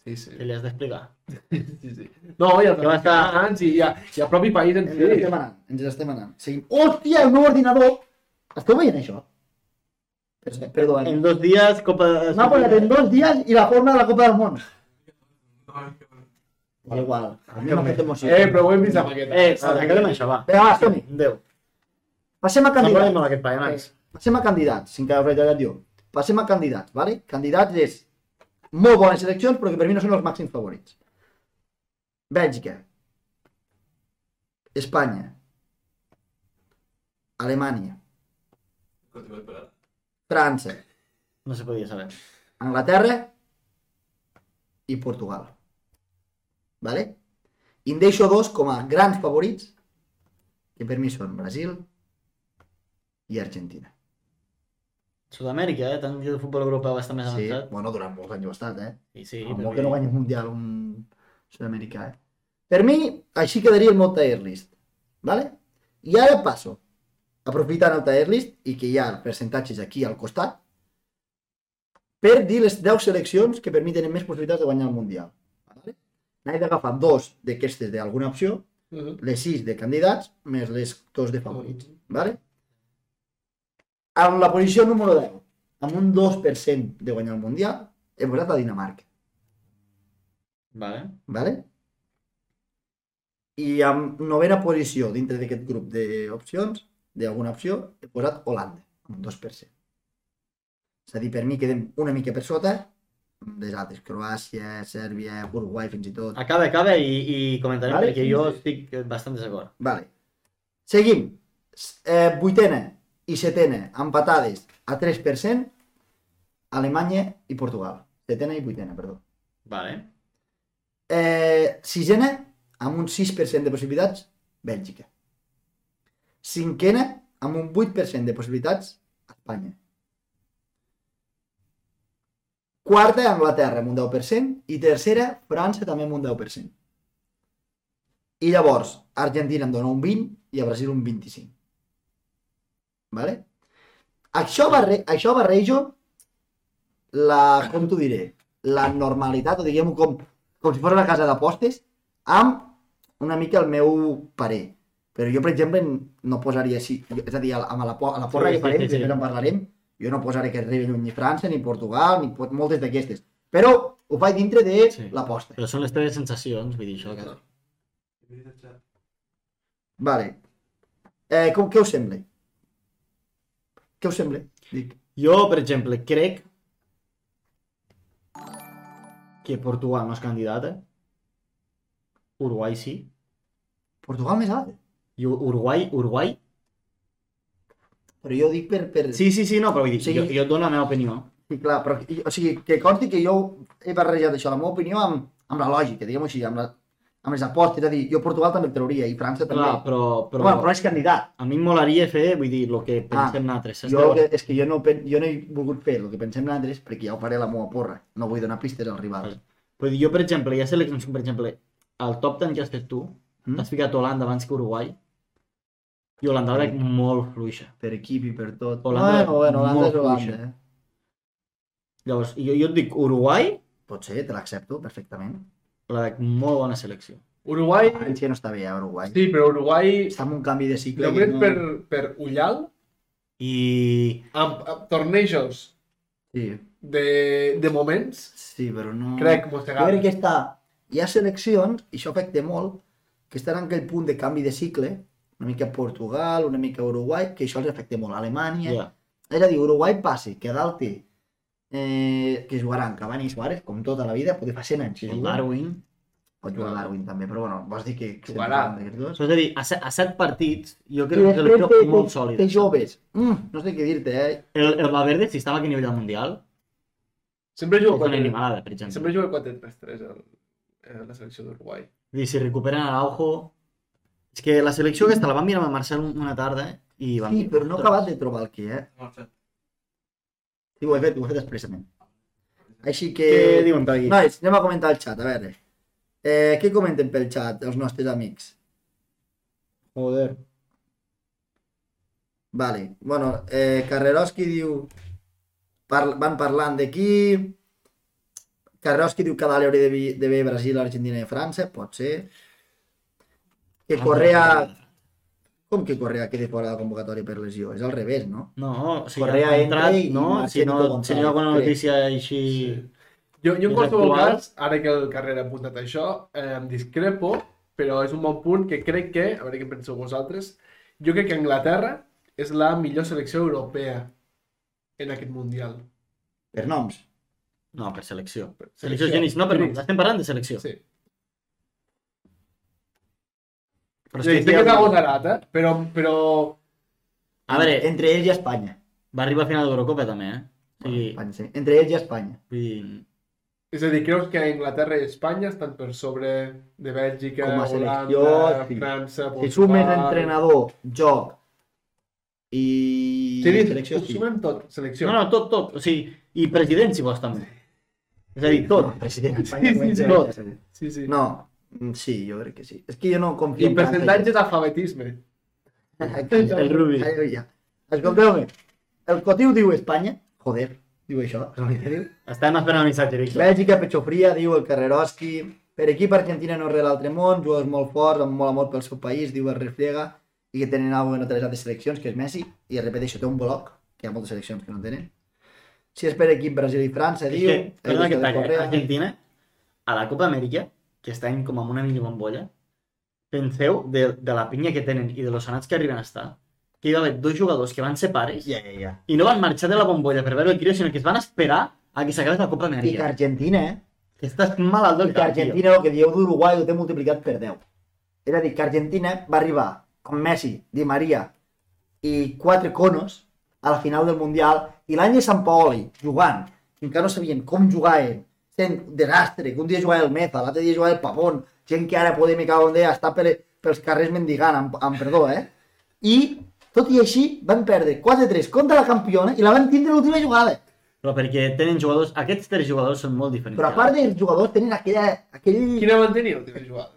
Speaker 3: Sí, sí.
Speaker 2: que li has d'explicar.
Speaker 3: sí, sí. No, i els
Speaker 2: Que va estar-
Speaker 3: americans i, i, i el propi país en
Speaker 1: Ens
Speaker 3: si.
Speaker 1: n'estem anant, ens n'estem anant. Seguim. Hòstia, el meu ordinador! Esteu veient això? Per- Perdó, eh?
Speaker 2: En dos dies, Copa...
Speaker 1: M'ha posat en dos dies i la forma de la Copa del Món. És igual, a mi m'ha fet emoció.
Speaker 3: Eh, però ho hem vist amb aquesta.
Speaker 2: Eh, acabem això, va.
Speaker 1: Vinga, va, som-hi.
Speaker 2: Adéu.
Speaker 1: Passem a
Speaker 2: Parlem
Speaker 1: candidats.
Speaker 2: amb aquest paio, eh, Max.
Speaker 1: Passem a candidats, sin que hauré tallat jo. Passem a candidats, vale? Candidats és molt bones seleccions, però que per mi no són els màxims favorits. Bèlgica. Espanya. Alemanya. França.
Speaker 2: No se podia saber.
Speaker 1: Anglaterra i Portugal. Vale? I en deixo dos com a grans favorits, que per mi són Brasil i Argentina.
Speaker 2: Sud-amèrica, eh? Tant que el futbol europeu va estar més
Speaker 1: Sí,
Speaker 2: avançat.
Speaker 1: bueno, durant molts anys ho ha estat, eh?
Speaker 2: Sí, sí.
Speaker 1: Amb
Speaker 2: però
Speaker 1: molt que no
Speaker 2: vull
Speaker 1: guanyi
Speaker 2: dir,
Speaker 1: un mundial un sud-americà, eh? Per mi, així quedaria el meu tier list, vale? I ara passo, aprofitant el tier list i que hi ha percentatges aquí al costat, per dir les 10 seleccions que per mi tenen més possibilitats de guanyar el Mundial. Vale? N'he d'agafar dos d'aquestes d'alguna opció,
Speaker 3: Mhm.
Speaker 1: les 6 de candidats, més les dos de favorits. Vale? En la posició número 10, amb un 2% de guanyar el Mundial, he posat a Dinamarca.
Speaker 2: Vale.
Speaker 1: ¿vale? I amb novena posició dintre d'aquest grup d'opcions, d'alguna opció, he posat Holanda, amb un 2%. És a dir, per mi quedem una mica per sota les altres, Croàcia, Sèrbia, Uruguai fins i tot.
Speaker 2: Acaba, acaba i, i comentarem,
Speaker 1: Vale,
Speaker 2: perquè
Speaker 1: sí,
Speaker 2: jo
Speaker 1: sí.
Speaker 2: estic bastant desacord.
Speaker 1: Vale. Seguim. S- Eh, vuitena i setena, empatades a 3%, Alemanya i Portugal. Setena i vuitena, perdó.
Speaker 2: Vale.
Speaker 1: Eh, sisena, amb un 6% de possibilitats, Bèlgica. Cinquena, amb un 8% de possibilitats, Espanya. Quarta, Anglaterra, amb un 10%. I tercera, França, també amb un 10%. I llavors, Argentina em dona un 20% i a Brasil un 25%. Vale? Això, barre, això barrejo la, com t'ho diré, la normalitat, o diguem-ho com, com si fos una casa d'apostes, amb una mica el meu parer. Però jo, per exemple, no posaria així, és a dir, amb la, por- a la porra
Speaker 2: Sí,
Speaker 1: que
Speaker 2: sí,
Speaker 1: farem,
Speaker 2: sí, sí.
Speaker 1: després en parlarem, jo no posaré que arribi lluny ni França, ni Portugal, ni pot- moltes d'aquestes. Però ho faig dintre de
Speaker 2: Sí.
Speaker 1: l'aposta.
Speaker 2: Però són les teves sensacions, vull dir això. Que...
Speaker 1: Vale. Eh, com, què us sembla? Què us sembla? Dic.
Speaker 2: Jo, per exemple, crec que Portugal no és candidata. Uruguai sí.
Speaker 1: Portugal més alt?
Speaker 2: I Ur- Uruguai, Uruguai...
Speaker 1: Però jo ho dic per... per...
Speaker 2: Sí, sí, sí, no, però vull dir,
Speaker 1: Sí.
Speaker 2: jo, jo et dono la meva opinió.
Speaker 1: Sí, clar, però, i- o sigui, que consti que jo he barrejat això, la meva opinió, amb, amb la lògica, diguem-ho així, amb, la, amb les apostes, és a dir, jo Portugal també el trauria, i França també.
Speaker 2: Clar, però,
Speaker 1: però...
Speaker 2: però,
Speaker 1: Bueno, però és candidat.
Speaker 2: a mi em molaria fer, vull dir, el que pensem nosaltres. saps?
Speaker 1: Jo, el que, és que jo no, pen- jo no he volgut fer el que pensem nosaltres perquè ja ho faré a la meva porra. No vull donar pistes al rival.
Speaker 2: Vull dir, jo, per exemple, hi ha seleccions com, per exemple, el top 10 que has fet tu,
Speaker 1: Mm.
Speaker 2: t'has ficat Holanda abans que Uruguai, i Holanda la veig
Speaker 1: Mm.
Speaker 2: molt fluixa.
Speaker 1: Per equip i per tot.
Speaker 2: Holanda,
Speaker 1: bueno, bueno, Holanda
Speaker 2: molt
Speaker 1: és Holanda.
Speaker 2: fluixa.
Speaker 1: Eh?
Speaker 2: Llavors, jo, jo et dic, Uruguai
Speaker 1: Pot ser, te l'accepto perfectament.
Speaker 2: la veig molt bona selecció.
Speaker 3: Uruguai,
Speaker 1: València no està bé a Uruguai.
Speaker 3: sí, però Uruguai,
Speaker 1: Està en un canvi de cicle.
Speaker 3: de
Speaker 1: i
Speaker 3: moment
Speaker 1: no-
Speaker 3: per, per Ullal,
Speaker 2: I...
Speaker 3: amb, amb tornejos
Speaker 1: Sí,
Speaker 3: de, de moments,
Speaker 1: sí, però no...
Speaker 2: Mm.
Speaker 1: Jo
Speaker 3: crec,
Speaker 1: crec
Speaker 3: mossegat.
Speaker 1: que està... Hi ha seleccions, i això afecta molt, que estan en aquell punt de canvi de cicle, una mica Portugal, una mica Uruguai, que això els afecta molt a Alemanya.
Speaker 2: Ja.
Speaker 1: És a dir, Uruguai passi, que dalt té, eh, que jugaran Cavani i Suárez, com tota la vida, potser fa 100 anys. que
Speaker 2: El
Speaker 1: juguen.
Speaker 2: Darwin.
Speaker 1: Pot jugar Darwin també, però bueno, vols dir que...
Speaker 3: Jugarà.
Speaker 1: Crec
Speaker 2: Això és a dir, a, se- a set partits, jo
Speaker 1: que
Speaker 2: crec que
Speaker 1: després
Speaker 2: l'equip
Speaker 1: té,
Speaker 2: molt
Speaker 1: molt
Speaker 2: sòlid.
Speaker 1: té joves. Mm, no sé què dir-te, eh?
Speaker 2: El, el Valverde, si estava a nivell del Mundial,
Speaker 3: Sempre
Speaker 2: és
Speaker 3: juga
Speaker 2: una
Speaker 3: 4
Speaker 2: animalada, per exemple.
Speaker 3: Sempre juga 4 3 3 a la selecció d'Uruguai.
Speaker 2: I si recuperen Araujo... És que la selecció aquesta la van mirar amb el Marcel una tarda i van
Speaker 1: Sí,
Speaker 2: dir,
Speaker 1: però no he
Speaker 2: "Ostres".
Speaker 1: acabat de trobar el qui, eh?
Speaker 4: No, espera.
Speaker 1: Sí, ho he fet, ho he fet expressament. Així que...
Speaker 2: Què diuen per aquí?
Speaker 1: Nois, anem a comentar el xat, a veure. Eh, què comenten pel xat els nostres amics?
Speaker 2: Joder.
Speaker 1: Vale, bueno, eh, Carreroski diu... Par... Van parlant d'aquí... Carreroski diu que Dali hauria de vi- de bé Brasil, Argentina i França, pot ser. Que
Speaker 2: Ah,
Speaker 1: Correa... Com que Correa quedi fora de la convocatòria per lesió? És al revés, no?
Speaker 2: No, o sigui,
Speaker 1: Correa
Speaker 2: ha entrat,
Speaker 1: entra i
Speaker 2: no? Si no,
Speaker 1: Marcelo González,
Speaker 2: si no hi ha alguna
Speaker 1: crec.
Speaker 2: notícia així...
Speaker 3: Jo, jo en
Speaker 2: És
Speaker 3: qualsevol
Speaker 2: actual.
Speaker 3: cas, ara que el carrer ha apuntat això, eh, em discrepo, però és un bon punt que crec que, a veure què en penseu vosaltres, jo crec que Anglaterra és la millor selecció europea en aquest Mundial.
Speaker 1: Per noms.
Speaker 2: No, per selecció. Selecció, genis, no, però
Speaker 3: Genís.
Speaker 2: estem parlant de selecció.
Speaker 3: Sí.
Speaker 2: Però
Speaker 3: És a dir, sé que és agosarat, eh? Però, però...
Speaker 2: A veure,
Speaker 1: Entre ells i Espanya.
Speaker 2: va arribar a final d'Eurocopa també, eh? O sigui,
Speaker 1: Pense. Entre ells i Espanya.
Speaker 2: vull dir,
Speaker 3: És a dir, creus que Anglaterra i Espanya estan per sobre de Bèlgica,
Speaker 1: Com a selecció,
Speaker 3: Holanda,
Speaker 1: sí.
Speaker 3: França,
Speaker 1: Si sumes
Speaker 3: Portugal.
Speaker 1: entrenador, joc i
Speaker 3: Sí, sí,
Speaker 1: selecció,
Speaker 3: ho
Speaker 1: sí.
Speaker 3: sumem tot, selecció.
Speaker 2: No, no, tot, tot. O sigui, i president, si vols, també. És a dir, tot.
Speaker 1: No, president.
Speaker 3: Sí, sí, sí.
Speaker 1: Tot.
Speaker 3: Sí, sí.
Speaker 1: No, mm, sí, jo crec que sí. És que jo no confio
Speaker 3: I
Speaker 1: en tanta
Speaker 3: percentatge d'alfabetisme.
Speaker 1: gent.
Speaker 2: El Rubi.
Speaker 1: Ai, ja. Escolteu-me, el Cotiu diu Espanya, joder, diu això, és el que diu.
Speaker 2: Estem esperant el missatge, Víctor.
Speaker 1: Bèlgica, Pechofria, diu el Carreroski. Per equip, Argentina no és res de l'altre món, jugadors molt forts, amb molt amor pel seu país, diu el Refriega, i que tenen alguna cosa que no tenen les altres seleccions, que és Messi, i repeteixo, té un bloc, que hi ha moltes seleccions que no tenen. Si és per equip, Brasil i França,
Speaker 2: És
Speaker 1: diu...
Speaker 2: que,
Speaker 1: el
Speaker 2: perdona que
Speaker 1: Gustavo
Speaker 2: talla, eh?
Speaker 1: Correa.
Speaker 2: Argentina, a la Copa Amèrica, que està com amb una mini bombolla, penseu de, de la pinya que tenen i de los anats que arriben a estar, que hi va haver dos jugadors que van ser pares
Speaker 1: Ja, ja, ja.
Speaker 2: i no van marxar de la bombolla per veure el crió, sinó que es van esperar a que s'acabés la Copa
Speaker 1: I que
Speaker 2: Amèrica.
Speaker 1: Argentina, eh?
Speaker 2: Que estàs malalt del
Speaker 1: I que
Speaker 2: cap, tio.
Speaker 1: Argentina, el que dieu d'Uruguai, ho té multiplicat per 10. És a dir, que Argentina va arribar amb Messi, Di Maria i quatre conos a la final del Mundial i l'any de Sant Paoli, jugant, que encara no sabien com jugaven, sent desastre, que un dia jugava el Meza, l'altre dia jugava el Pavón, gent que ara podem i cago en Déu, està per, pels carrers mendigant, amb, amb perdó, eh? I, tot i així, van perdre 4-3 contra la campiona i la van tindre l'última jugada.
Speaker 2: Però perquè tenen jugadors... Aquests tres jugadors són molt diferents.
Speaker 1: Però a part dels jugadors, tenen aquella, aquell...
Speaker 3: Quina van tenir l'última jugada?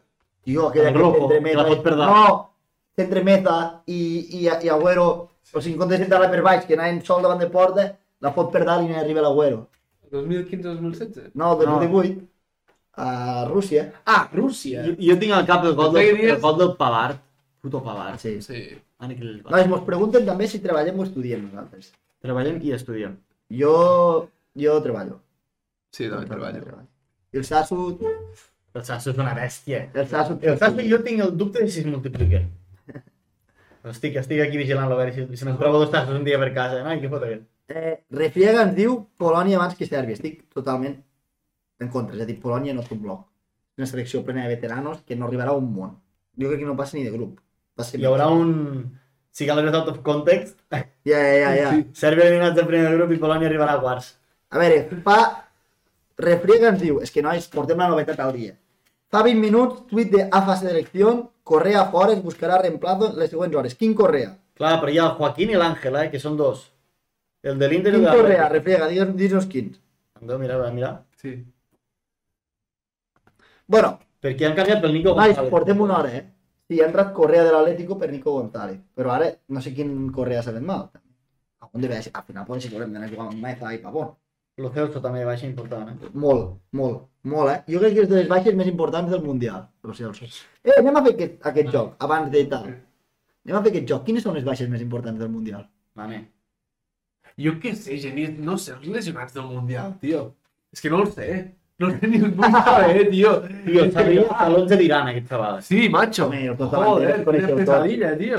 Speaker 1: Tio, aquella
Speaker 2: El
Speaker 1: que
Speaker 2: rojo,
Speaker 1: entre Meza
Speaker 2: que la pot
Speaker 1: i-
Speaker 2: perdre.
Speaker 1: No, entre Meza i, i, i Agüero, o sigui, en comptes d'entrar per baix, que anaven sol davant de porta, la pot perdre i no arriba l'Agüero.
Speaker 3: 2015-2016?
Speaker 1: No, el 2018, a Rússia.
Speaker 3: Ah, Rússia!
Speaker 2: Jo, jo tinc al cap el gol, del,
Speaker 3: Tenies-
Speaker 2: el gol del Pavard. Puto Pavard.
Speaker 1: Sí.
Speaker 3: Sí.
Speaker 2: Aniquil el Pavard.
Speaker 1: Nois, mos pregunten també si treballem o estudiem nosaltres.
Speaker 2: Treballem i estudiem.
Speaker 1: Jo, jo treballo.
Speaker 3: Sí, també treballo.
Speaker 1: I el Sasu...
Speaker 2: El Sasso és una bèstia.
Speaker 1: El Sasu...
Speaker 2: El Sasso jo tinc el dubte de si es multiplica. Estic, estic aquí vigilant la veure si, si me'n trobo dos tassos un dia per casa. Ai, què fot aquest?
Speaker 1: Eh, Refriega ens diu Polònia abans que Sèrbia. Estic totalment en contra. És a dir, Polònia no és un bloc. És Una selecció plena de veteranos que no arribarà a un món. Jo crec que no passa ni de grup. Passa
Speaker 2: Hi haurà un... Si cal out of context,
Speaker 1: Ja, ja, ja. ja.
Speaker 2: Sèrbia eliminats del primer grup i Polònia arribarà a quarts.
Speaker 1: A veure, fa... Refriega ens diu... És que nois, portem la novetat al dia. Fa 20 minuts, tuit de AFA Selección, Correa Forest buscarà reemplazo en les següents hores. Quin Correa?
Speaker 2: Clar, però hi ha el Joaquín i l'Àngel, eh, que són dos. El de l'Inter i
Speaker 1: Quin
Speaker 2: el de
Speaker 1: Correa?
Speaker 2: l'Atlètic.
Speaker 1: Refriega, digues- digues-nos quins.
Speaker 2: Andeu, mira, mira, mira.
Speaker 3: Sí.
Speaker 1: Bueno,
Speaker 2: Perquè han canviat pel Nico
Speaker 1: Nois, portem una hora, eh? Sí, ha entrat Correa de l'Atlético per Nico González, però ara no sé quin Correa s'ha fet mal. Algun de vegades, al final poden ser que haurem d'anar a jugar amb Meza i Pavón.
Speaker 2: Lo Celso també baixa important, eh?
Speaker 1: Molt, molt, molt, eh? Jo crec que és de les baixes més importants del Mundial, los Celsos. Eh, anem a fer aquest, aquest joc, abans de tal. Anem a fer aquest joc. Quines són les baixes més importants del Mundial?
Speaker 2: Mané.
Speaker 3: Jo què sé, Genís, no sé, els lesionats del Mundial, tio. És que no els sé. No sé ni un sabe, eh, tío.
Speaker 2: Tio, sabia hasta l'11 d'Iran, aquest xaval.
Speaker 3: Sí, macho.
Speaker 1: Home, el dos davanters els
Speaker 3: Joder,
Speaker 2: este
Speaker 1: coneixeu
Speaker 3: quina
Speaker 1: tots.
Speaker 3: pesadilla, tío.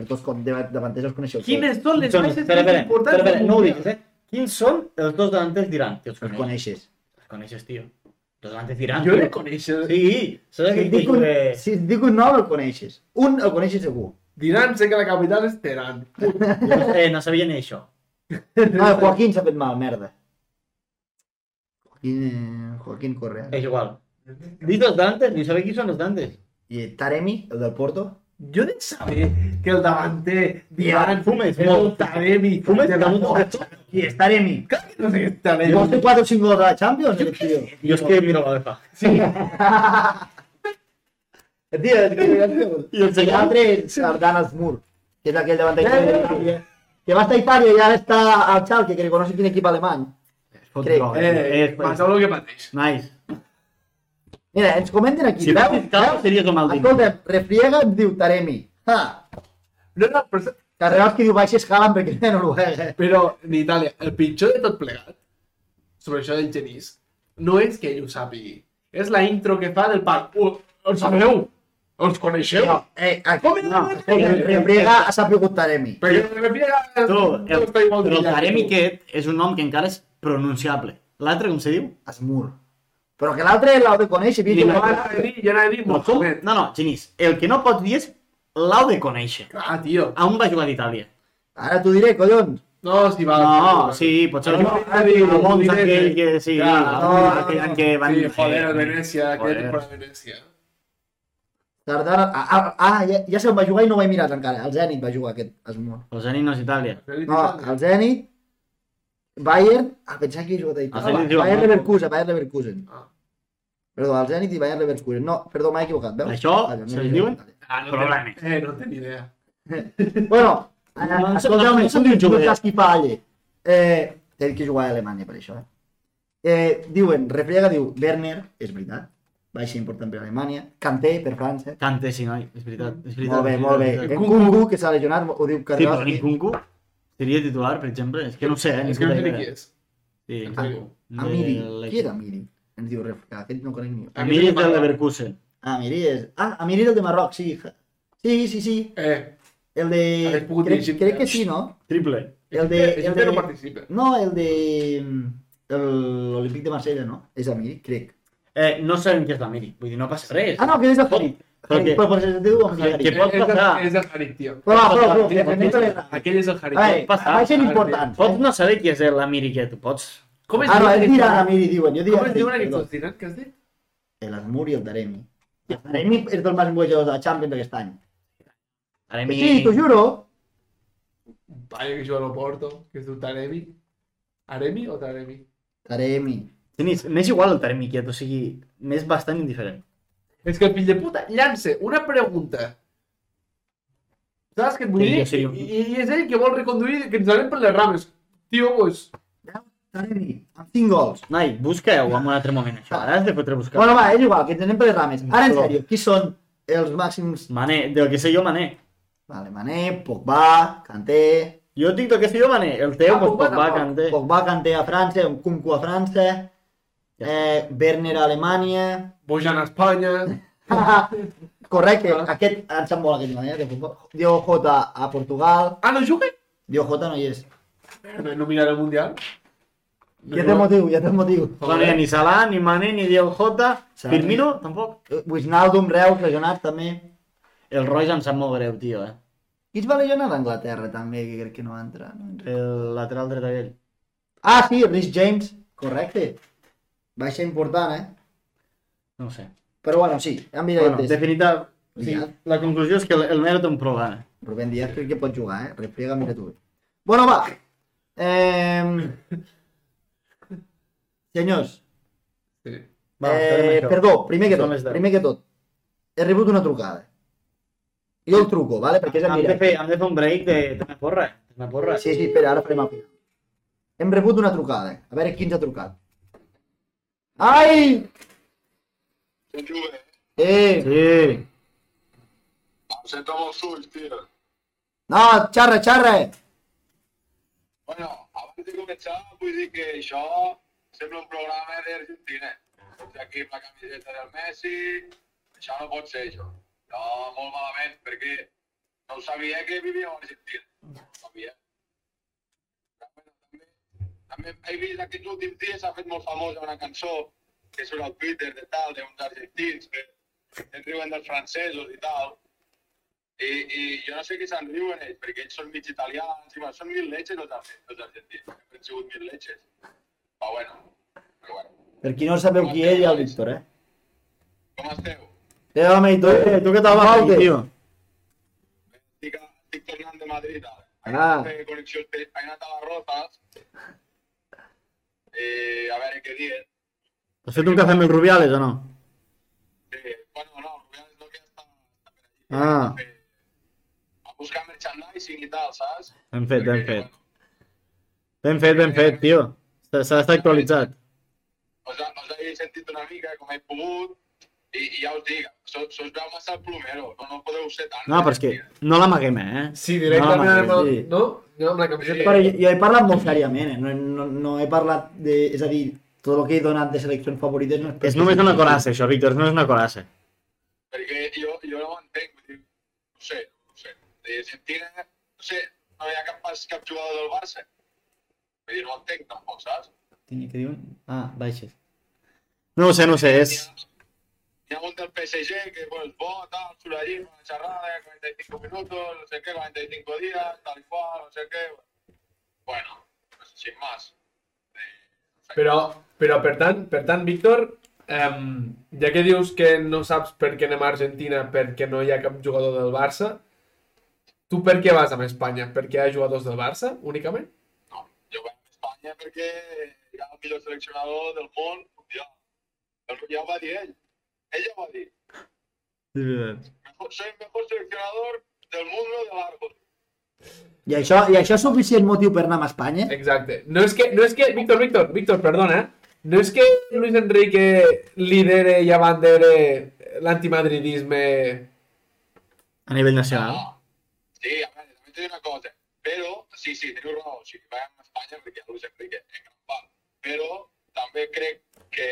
Speaker 1: Els dos com- dava- davanters els coneixeu tots.
Speaker 3: Quines són les
Speaker 2: Són-
Speaker 3: baixes
Speaker 2: espera,
Speaker 3: més
Speaker 2: espera,
Speaker 3: importants
Speaker 2: espera, espera,
Speaker 3: del
Speaker 2: no ho
Speaker 3: Mundial?
Speaker 2: diguis, eh? Quins són els dos davanters d'Iran? Tio, els
Speaker 1: Els
Speaker 2: coneixes.
Speaker 1: coneixes.
Speaker 2: Els coneixes, tio. Els dos davanters d'Iran.
Speaker 3: Jo
Speaker 2: tio.
Speaker 3: les coneixo.
Speaker 2: Sí, saps
Speaker 1: Si
Speaker 2: aquell
Speaker 1: et dic
Speaker 2: tio
Speaker 1: un,
Speaker 2: de-
Speaker 1: si et dic un nom, el coneixes. Un el coneixes segur.
Speaker 3: Diran, sé que la capital és Teherán.
Speaker 2: Jo, eh, no sabia ni això.
Speaker 1: No, el Ah, Joaquín s'ha fet mal, merda. Joaquín, eh, Joaquín Correa.
Speaker 2: És igual. Dis els Dantes, ni saber qui són els Dantes.
Speaker 1: I Taremi, el del Porto.
Speaker 3: Jo de saber que el davanter Diran
Speaker 2: Fumes,
Speaker 3: és
Speaker 2: molt.
Speaker 3: un Taremi.
Speaker 2: Fumes,
Speaker 3: de la
Speaker 2: damunt del
Speaker 3: mort.
Speaker 2: cartó.
Speaker 1: Qui és Taremi?
Speaker 3: Clar que no sé què és
Speaker 1: I vols fer
Speaker 3: Taremi.
Speaker 1: 4 o 5 gols a la Champions? aquest tio?
Speaker 2: Jo és que miro la UEFA.
Speaker 3: Sí.
Speaker 2: Eh,
Speaker 1: Tio, és que... I el l'altre és Ardan Asmur, que és aquell davant d'Itàlia. Que va estar a Itàlia i ara està al Schalke, que no sé quin equip alemany.
Speaker 2: Fot
Speaker 1: Crec.
Speaker 2: droga, tio.
Speaker 3: Eh,
Speaker 2: Eh,
Speaker 3: passeu el que pateix.
Speaker 2: Nice.
Speaker 1: Mira, ens comenten aquí.
Speaker 2: Si
Speaker 1: veu?
Speaker 2: no fiscal, series el Maldini.
Speaker 1: Escolta, refriega em diu Taremi. Ha!
Speaker 3: No, no, però,
Speaker 1: Carregaus que diu baixes calen perquè és de Noruega.
Speaker 3: però en Itàlia, el pitjor de tot plegat, sobre això del genís, no és que ell ho sàpigui. És la intro que fa del parc. Uh, els sabeu? Els coneixeu?
Speaker 1: No, eh, aquí,
Speaker 3: Com és?
Speaker 1: no, escolta, refriega ha sapigut Taremi.
Speaker 3: Perquè em refiero a...
Speaker 2: Tu, el,
Speaker 3: està igual de
Speaker 2: però el
Speaker 3: brillant
Speaker 2: Taremi
Speaker 3: que tu.
Speaker 2: aquest és un nom que encara és pronunciable. L'altre, com se diu?
Speaker 1: Asmur. Però que l'altre l'heu de conèixer,
Speaker 2: I
Speaker 1: vídeo.
Speaker 3: Jo anava a dir, jo anava a dir
Speaker 2: No, com?
Speaker 3: Mohamed.
Speaker 2: no, no, Genís. El que no pots dir és l'heu de conèixer.
Speaker 3: Clar, tio.
Speaker 2: A on va jugar d'Itàlia?
Speaker 1: Ara t'ho diré, collons.
Speaker 3: No, si va...
Speaker 2: No, sí, pues potser
Speaker 3: No,
Speaker 2: no,
Speaker 3: ha dit
Speaker 2: el Mons
Speaker 3: Udinese.
Speaker 2: aquell que sí,
Speaker 3: Clar,
Speaker 1: no, no,
Speaker 2: aquell
Speaker 1: no,
Speaker 2: que van...
Speaker 3: Sí, joder,
Speaker 2: eh,
Speaker 3: el Venècia, aquella
Speaker 2: joder.
Speaker 3: temporada a Venècia.
Speaker 1: Tardar... Ah, ah, ah ja, ja se'n va jugar i no ho he mirat encara. El Zenit va jugar aquest Asmur.
Speaker 2: El Zenit no és Itàlia.
Speaker 1: No, el Zenit, Bayern... Ah, pensava que he jugat a
Speaker 2: El
Speaker 1: Itàlia. Ah,
Speaker 2: Zenit juga
Speaker 1: Bayern
Speaker 2: molt.
Speaker 1: Leverkusen, Bayern Leverkusen.
Speaker 3: Ah.
Speaker 1: Perdó, el Zenit i Bayern Leverkusen. No, perdó, m'he equivocat, veus?
Speaker 2: Això
Speaker 1: Vaja, no
Speaker 2: se
Speaker 1: he
Speaker 2: li
Speaker 1: jugat
Speaker 2: diuen?
Speaker 1: a Itàlia.
Speaker 3: Ah, no
Speaker 2: Problemes.
Speaker 3: Té, eh, no té ni idea.
Speaker 1: Bueno,
Speaker 2: No, no,
Speaker 1: escolta'm, no
Speaker 2: no, no, no, no,
Speaker 1: saps
Speaker 2: no, no,
Speaker 1: qui fa allà. Eh, té que jugar a Alemanya per això, eh? Eh, diuen, Refriega diu, Werner, és veritat, va ser important per Alemanya, Kanté per França,
Speaker 2: Cante, sí, noi, és veritat. És veritat
Speaker 1: molt bé, molt bé,
Speaker 2: Sí,
Speaker 1: Nkunku, que s'ha lesionat, ho diu
Speaker 2: però
Speaker 1: Carles,
Speaker 2: Nkunku seria titular, per exemple? És que no ho sé, eh?
Speaker 3: És que no sé ni qui és.
Speaker 2: Sí,
Speaker 3: Ah,
Speaker 1: Amiri, qui era Amiri? Ens diu Refriega, aquest no conec ni un.
Speaker 2: Amiri és del Leverkusen.
Speaker 1: Amiri és... Ah, Amiri és el de Marroc, sí. Sí, sí, sí,
Speaker 3: Eh,
Speaker 1: el de...
Speaker 3: Hagués pogut
Speaker 1: Crec,
Speaker 3: dirigir-
Speaker 1: crec que sí, no?
Speaker 2: Triple.
Speaker 1: El de...
Speaker 3: Egipte
Speaker 1: El de...
Speaker 3: no participa.
Speaker 1: No, el de... mm, el- L'Olímpic de Marsella, no? És Amiri, crec.
Speaker 2: Eh, no sabem què és l'Amiri, vull dir, no passa res.
Speaker 1: Ah, no, que Pues, és de Farid.
Speaker 2: Però que-
Speaker 1: Però per ser teu, amb
Speaker 2: Que
Speaker 1: Farid.
Speaker 2: pot
Speaker 3: Eh, és el-
Speaker 2: passar.
Speaker 3: És el Harit, tio.
Speaker 1: Però va, però, però,
Speaker 3: Mira,
Speaker 1: que no te l'he-
Speaker 3: Aquell és el Harit.
Speaker 1: A veure,
Speaker 2: passar.
Speaker 1: va ser important.
Speaker 2: Pots no saber qui és l'Amiri que tu pots.
Speaker 3: Com
Speaker 1: pues,
Speaker 3: es
Speaker 1: Ah, no,
Speaker 3: diuen
Speaker 1: és
Speaker 3: aquests-
Speaker 1: Miran Amiri, diuen. Jo diria
Speaker 3: Com es diuen
Speaker 1: Farid,
Speaker 3: aquests
Speaker 1: perdó.
Speaker 3: dos dinars que has dit?
Speaker 1: El Asmur i el Taremi. El Taremi és del més boig de la Champions d'aquest any.
Speaker 2: Taremi...
Speaker 1: Sí, pues t'ho juro.
Speaker 3: Un paio que juga a l'Oporto, que es diu Taremi. Aremi o Taremi?
Speaker 1: Taremi.
Speaker 2: Genís, m'és igual el Taremi Kiet, o sigui, m'és bastant indiferent.
Speaker 3: És que el fill de puta llança una pregunta. Saps què et vull
Speaker 2: Sí,
Speaker 3: dir?
Speaker 2: jo seria un-
Speaker 3: I, i és ell que vol reconduir, que ens anem per les rames. Tio, pues,
Speaker 1: Taremi, amb 5 gols.
Speaker 2: Noi, busca-ho en un altre moment, això. Ara has de fotre a buscar.
Speaker 1: Bueno, va, és igual, que ens anem per les rames. Ara, en
Speaker 2: Però-
Speaker 1: sèrio, qui són els màxims...
Speaker 2: Mané, del que sé jo, Mané.
Speaker 1: Vale, Mané, Pogba, Kanté...
Speaker 2: Jo et dic del que sé jo, Mané. El teu,
Speaker 3: Ah,
Speaker 1: pues,
Speaker 2: doncs,
Speaker 3: Pogba
Speaker 2: pot va,
Speaker 3: tampoc.
Speaker 2: canté.
Speaker 1: Pogba, Kanté a França, un Kunku a França,
Speaker 2: Ja.
Speaker 1: eh, Werner a Alemanya...
Speaker 3: Bojan a Espanya.
Speaker 1: Ah. Correcte,
Speaker 3: Ah.
Speaker 1: aquest em sap molt aquest noi, eh, de futbol. Diogo Jota a Portugal,
Speaker 3: Ah, no juga?
Speaker 1: Diogo Jota no hi és.
Speaker 3: No, no mirarà el Mundial. No
Speaker 1: Ja té
Speaker 3: juga.
Speaker 1: motiu, ja té motiu.
Speaker 2: No hi ha ni Salah, ni Mané, ni Diego Jota.
Speaker 1: pues, Salah.
Speaker 2: Firmino, tampoc.
Speaker 1: Eh, Wijnaldum, Reus, lesionat també.
Speaker 2: El Roig em sap molt greu, tio, eh?
Speaker 1: Qui es va lesionar a Anglaterra també, que crec que no va entrar? No?
Speaker 2: El lateral dret aquell.
Speaker 1: Ah, sí, Rhys James, correcte. Va ser important, eh?
Speaker 2: No ho sé.
Speaker 1: Però bueno, sí, hem mirat
Speaker 2: Bueno,
Speaker 1: bueno,
Speaker 2: definitiva... Sí,
Speaker 1: Ja.
Speaker 2: la conclusió és que el, el Mero té un problema.
Speaker 1: Rubén Díaz crec que pot jugar, eh? Refriega, mira tu. Bueno, va. Eh... Senyors,
Speaker 3: Sí.
Speaker 2: Va,
Speaker 1: eh, perdó, primer que
Speaker 2: Són
Speaker 1: tot,
Speaker 2: les deu.
Speaker 1: primer que tot. He rebut una trucada. Jo el truco, vale? perquè és en
Speaker 2: Hem de,
Speaker 1: directe.
Speaker 2: fer, hem de fer un break de... Tena porra, tena porra.
Speaker 1: Sí, sí, espera, ara farem el final. Hem rebut una trucada. A veure qui ens ha trucat. Ai! Eh,
Speaker 2: Sí.
Speaker 5: Senta els ulls, tio.
Speaker 1: no, xarra, xarra!
Speaker 5: Bueno, abans de començar, vull dir que això sembla un programa d'Argentina. Porti aquí amb la camiseta del Messi, això no pot ser, això. No, molt malament, perquè no sabia que vivia a Argentina. No ho sabia. També, també, també he vist aquests últims dies, s'ha fet molt famosa una cançó que surt al Twitter de tal, d'uns argentins que en riuen dels francesos i tal. I, i jo no sé qui se'n riuen ells, perquè ells són mig italians, i bueno, són mil leches els, argen- els argentins, sempre han sigut mil leches. Però bueno, però bueno.
Speaker 1: Per qui no sabeu qui és, hi ha el Víctor, eh?
Speaker 5: Com esteu?
Speaker 1: Té Eh, home i tu, tu què tal va,
Speaker 2: Mauri,
Speaker 1: Mauri?
Speaker 2: tio?
Speaker 5: Estic, estic tornant de Madrid ara.
Speaker 1: Ah.
Speaker 5: Ah. He connexió, he anat a les Rozas. Eh, a veure què diuen.
Speaker 2: Has fet un cafè amb el Rubiales o no?
Speaker 5: Eh, bueno, no, Rubial és el que està, està per allí.
Speaker 2: Ah.
Speaker 5: Eh, a buscar merchandising i tal, saps?
Speaker 2: Ben fet, ben fet.
Speaker 5: Bueno,
Speaker 2: Ben fet, ben fet, tio. S'ha s'ha d'estar actualitzat.
Speaker 5: us, ha- us he sentit una mica com he pogut i, i ja us dic, se se us veu massa el plomero, no, no podeu ser tan...
Speaker 2: No, però és que no l'amaguem, eh?
Speaker 3: Sí, directament
Speaker 2: No,
Speaker 3: amb el...
Speaker 1: sí.
Speaker 3: No? No, amb la camiseta.
Speaker 1: Però jo, jo he parlat molt seriament, eh? No, no, no he parlat de... És a dir, tot el que he donat de seleccions favorites no
Speaker 2: És només una corassa, això, Víctor, és només una corassa.
Speaker 5: Perquè jo, jo no ho entenc, vull dir, pues, no sé, no sé. De Argentina, no sé, no hi ha cap, pas, cap jugador del Barça. Vull dir, no ho entenc tampoc, saps?
Speaker 1: Tinc que diuen... Ah, baixes.
Speaker 2: No ho sé, no ho sé, és...
Speaker 5: Hi ha un del PSG que bueno, és bo, tal, surt allí, fa una xerrada, 45 minutos, no sé què, 45 dies, tal i qual, no sé què. Bueno, pues, sin más.
Speaker 3: Però, però per tant, per tant, Víctor, em, ja que dius que no saps per què anem a Argentina perquè no hi ha cap jugador del Barça, tu per què vas amb Espanya? Perquè hi ha jugadors del Barça, únicament?
Speaker 5: No, jo vaig a Espanya perquè hi ha el millor seleccionador del món mundial. Però ja ho va dir ell. Ell ja ho va dir. Mejor- Soy el mejor seleccionador del mundo de largos.
Speaker 1: I això, I això és suficient motiu per anar a Espanya?
Speaker 2: Eh,
Speaker 3: Exacte. No és que, no és que, Víctor, Víctor, Víctor, perdona, eh? no és que Luis Enrique lidere i abandere l'antimadridisme...
Speaker 2: A nivell nacional.
Speaker 5: Ah, sí, a veure, també t'he dit una cosa. Però, sí, sí, teniu raó. O sigui, vaig a Espanya perquè Luis Enrique en gran part. Però també crec que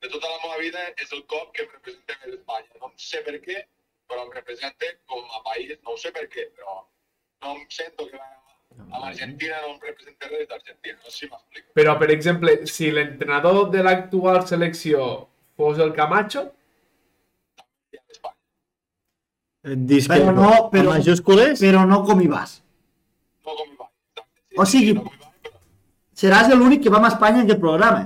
Speaker 5: de tota la meva vida és el cop que em representa més Espanya. No em sé per què, però em representa com a país. No ho sé per què, però no em sento que vaig amb Argentina no em representa res d'Argentina. No sé si m'explico.
Speaker 3: Però, per exemple, si l'entrenador de l'actual selecció fos el Camacho,
Speaker 5: Ja, Espanya.
Speaker 2: Discrepo.
Speaker 1: Però no, però-
Speaker 2: Amb majúscules?
Speaker 1: Però no com hi vas.
Speaker 5: No com hi va. Exacte. Sí,
Speaker 1: O
Speaker 5: sí,
Speaker 1: sigui-
Speaker 5: no com hi va, però...
Speaker 1: Seràs l'únic que va a Espanya en aquest programa.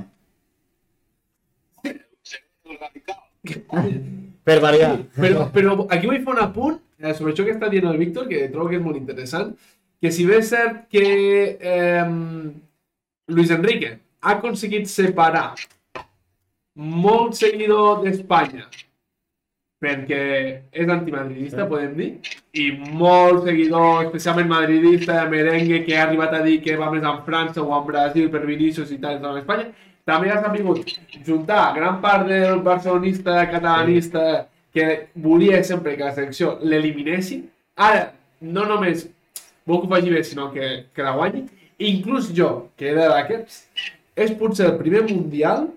Speaker 5: Seré el radical.
Speaker 2: Per variar.
Speaker 3: Però, però aquí vull fer un apunt eh, sobre això que està dient el Víctor, que trobo que és molt interessant, que si bé és cert que eh, Luis Enrique ha aconseguit separar molt seguidor d'Espanya perquè és antimadridista, podem dir, i molt seguidor, especialment madridista, de merengue, que ha arribat a dir que va més en França o en Brasil per Vinícius i tal, i tal, en Espanya, també ha sabut juntar gran part del barcelonista, catalanista, que volia sempre que la selecció l'eliminessin. Ara, no només vol que ho faci bé, sinó que, que la guanyi. Inclús jo, que era d'aquests, és potser el primer mundial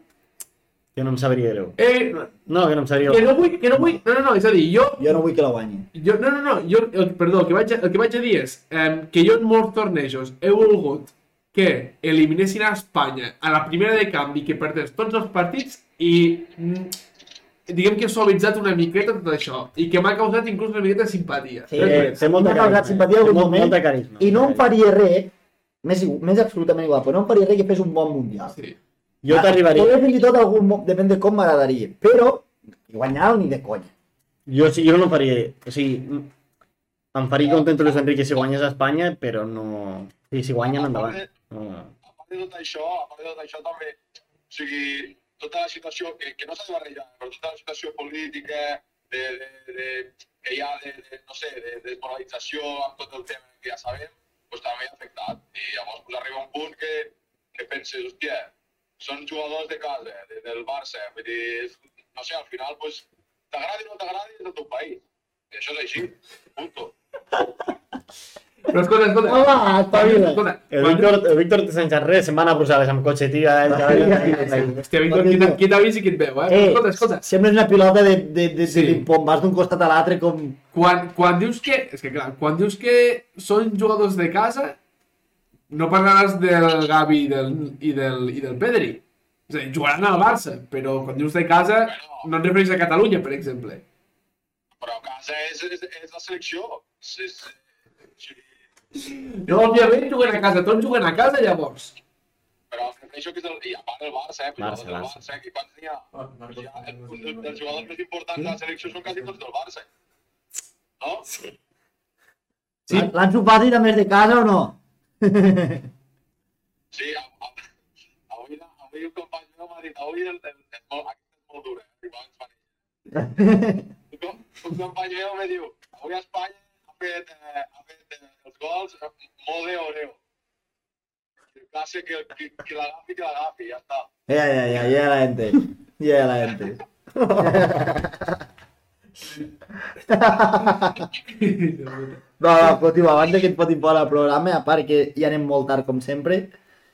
Speaker 2: Que no em sabria greu.
Speaker 3: eh,
Speaker 2: No, que no em sabria
Speaker 3: que
Speaker 2: greu.
Speaker 3: no vull, que no vull, no, no, no, és a dir, jo
Speaker 1: Jo no vull que la guanyi.
Speaker 3: jo, no, no, no, jo, el, perdó, el que vaig a, el que vaig a dir és eh, que jo en molts tornejos he volgut que eliminessin a Espanya a la primera de canvi que perdés tots els partits i mm, diguem que he suavitzat una miqueta tot això i que m'ha causat inclús una miqueta de simpatia.
Speaker 1: Sí,
Speaker 3: Res
Speaker 2: Eh,
Speaker 3: més.
Speaker 2: té molta
Speaker 1: M'ha causat
Speaker 2: carisma.
Speaker 1: simpatia
Speaker 2: eh?
Speaker 1: algun
Speaker 2: Té molt-
Speaker 1: moment
Speaker 2: molta carisma.
Speaker 1: I no em faria res, més, igu- més absolutament igual, però no em faria res que fes un bon mundial.
Speaker 3: ah, Sí.
Speaker 2: Jo t'arribaria.
Speaker 1: Poder fins i tot algun, mo- depèn de com m'agradaria, però guanyar ni de conya.
Speaker 2: Jo, sí, jo no em faria... O sigui, m- em faria content Luis Enrique si guanyes a Espanya, però no... Sí, si guanyen, endavant. No.
Speaker 5: a part de tot això, a part de tot això també, o sigui, tota la situació, que, que no s'ha de barrejar, però tota la situació política, de, de, de, que hi ha, de, de, no sé, de, desmoralització amb tot el tema que ja sabem, doncs també ha afectat. I llavors pues, arriba un punt que, que penses, hòstia, són jugadors de casa, de, del Barça, vull dir, és, no sé, al final, pues, t'agradi o no t'agradi, és el teu país. I això és així, punto.
Speaker 3: Però escolta, escolta.
Speaker 1: Home,
Speaker 2: Ah,
Speaker 1: espavila.
Speaker 3: Escolta,
Speaker 6: El
Speaker 3: quan-
Speaker 6: Víctor, el Víctor sense res se'n va anar a Brussel·les amb cotxe, tia. Eh,
Speaker 1: Sí.
Speaker 3: Hòstia, Víctor, qui t'ha- qui t'ha vist i qui et veu, eh? Però
Speaker 1: Eh,
Speaker 3: escolta, escolta,
Speaker 1: sembles una pilota de, de, de,
Speaker 3: Sí.
Speaker 1: de ping-pong, vas d'un costat a l'altre com...
Speaker 3: quan, quan dius que... És que clar, quan dius que són jugadors de casa, no parlaràs del Gavi i del, i del, i del Pedri. És a dir, jugaran al Barça, però quan dius de casa no et refereix a Catalunya, per exemple.
Speaker 5: Però a casa és, és, és la selecció. És, és, sí.
Speaker 3: No, òbviament, juguen a casa, tots juguen a casa, llavors.
Speaker 5: Però em refereixo que és el, i a part el Barça, eh?
Speaker 6: Barça,
Speaker 5: Barça, del
Speaker 6: Barça.
Speaker 5: Barça. Barça que quan tenia, ja, el, el, els jugadors més importants de la selecció són quasi tots del Barça. No?
Speaker 3: Sí.
Speaker 1: Sí. L'han sopat i també és de casa o no?
Speaker 5: Sí, a, a, avui, la- avui un company meu m'ha dit, avui el, el, és molt, aquest és molt dur, eh? Arribar a Espanya. Un com- un company meu me diu, avui a Espanya ha fet, eh, ha fet eh, els gols eh, molt de oreo. El cas que, que, que l'agafi, que l'agafi, ja està.
Speaker 1: Ja, ja, ja, ja la ente. Ja la ente. No, no, continua, abans de que et fotin fora el programa, a part que ja anem molt tard com sempre,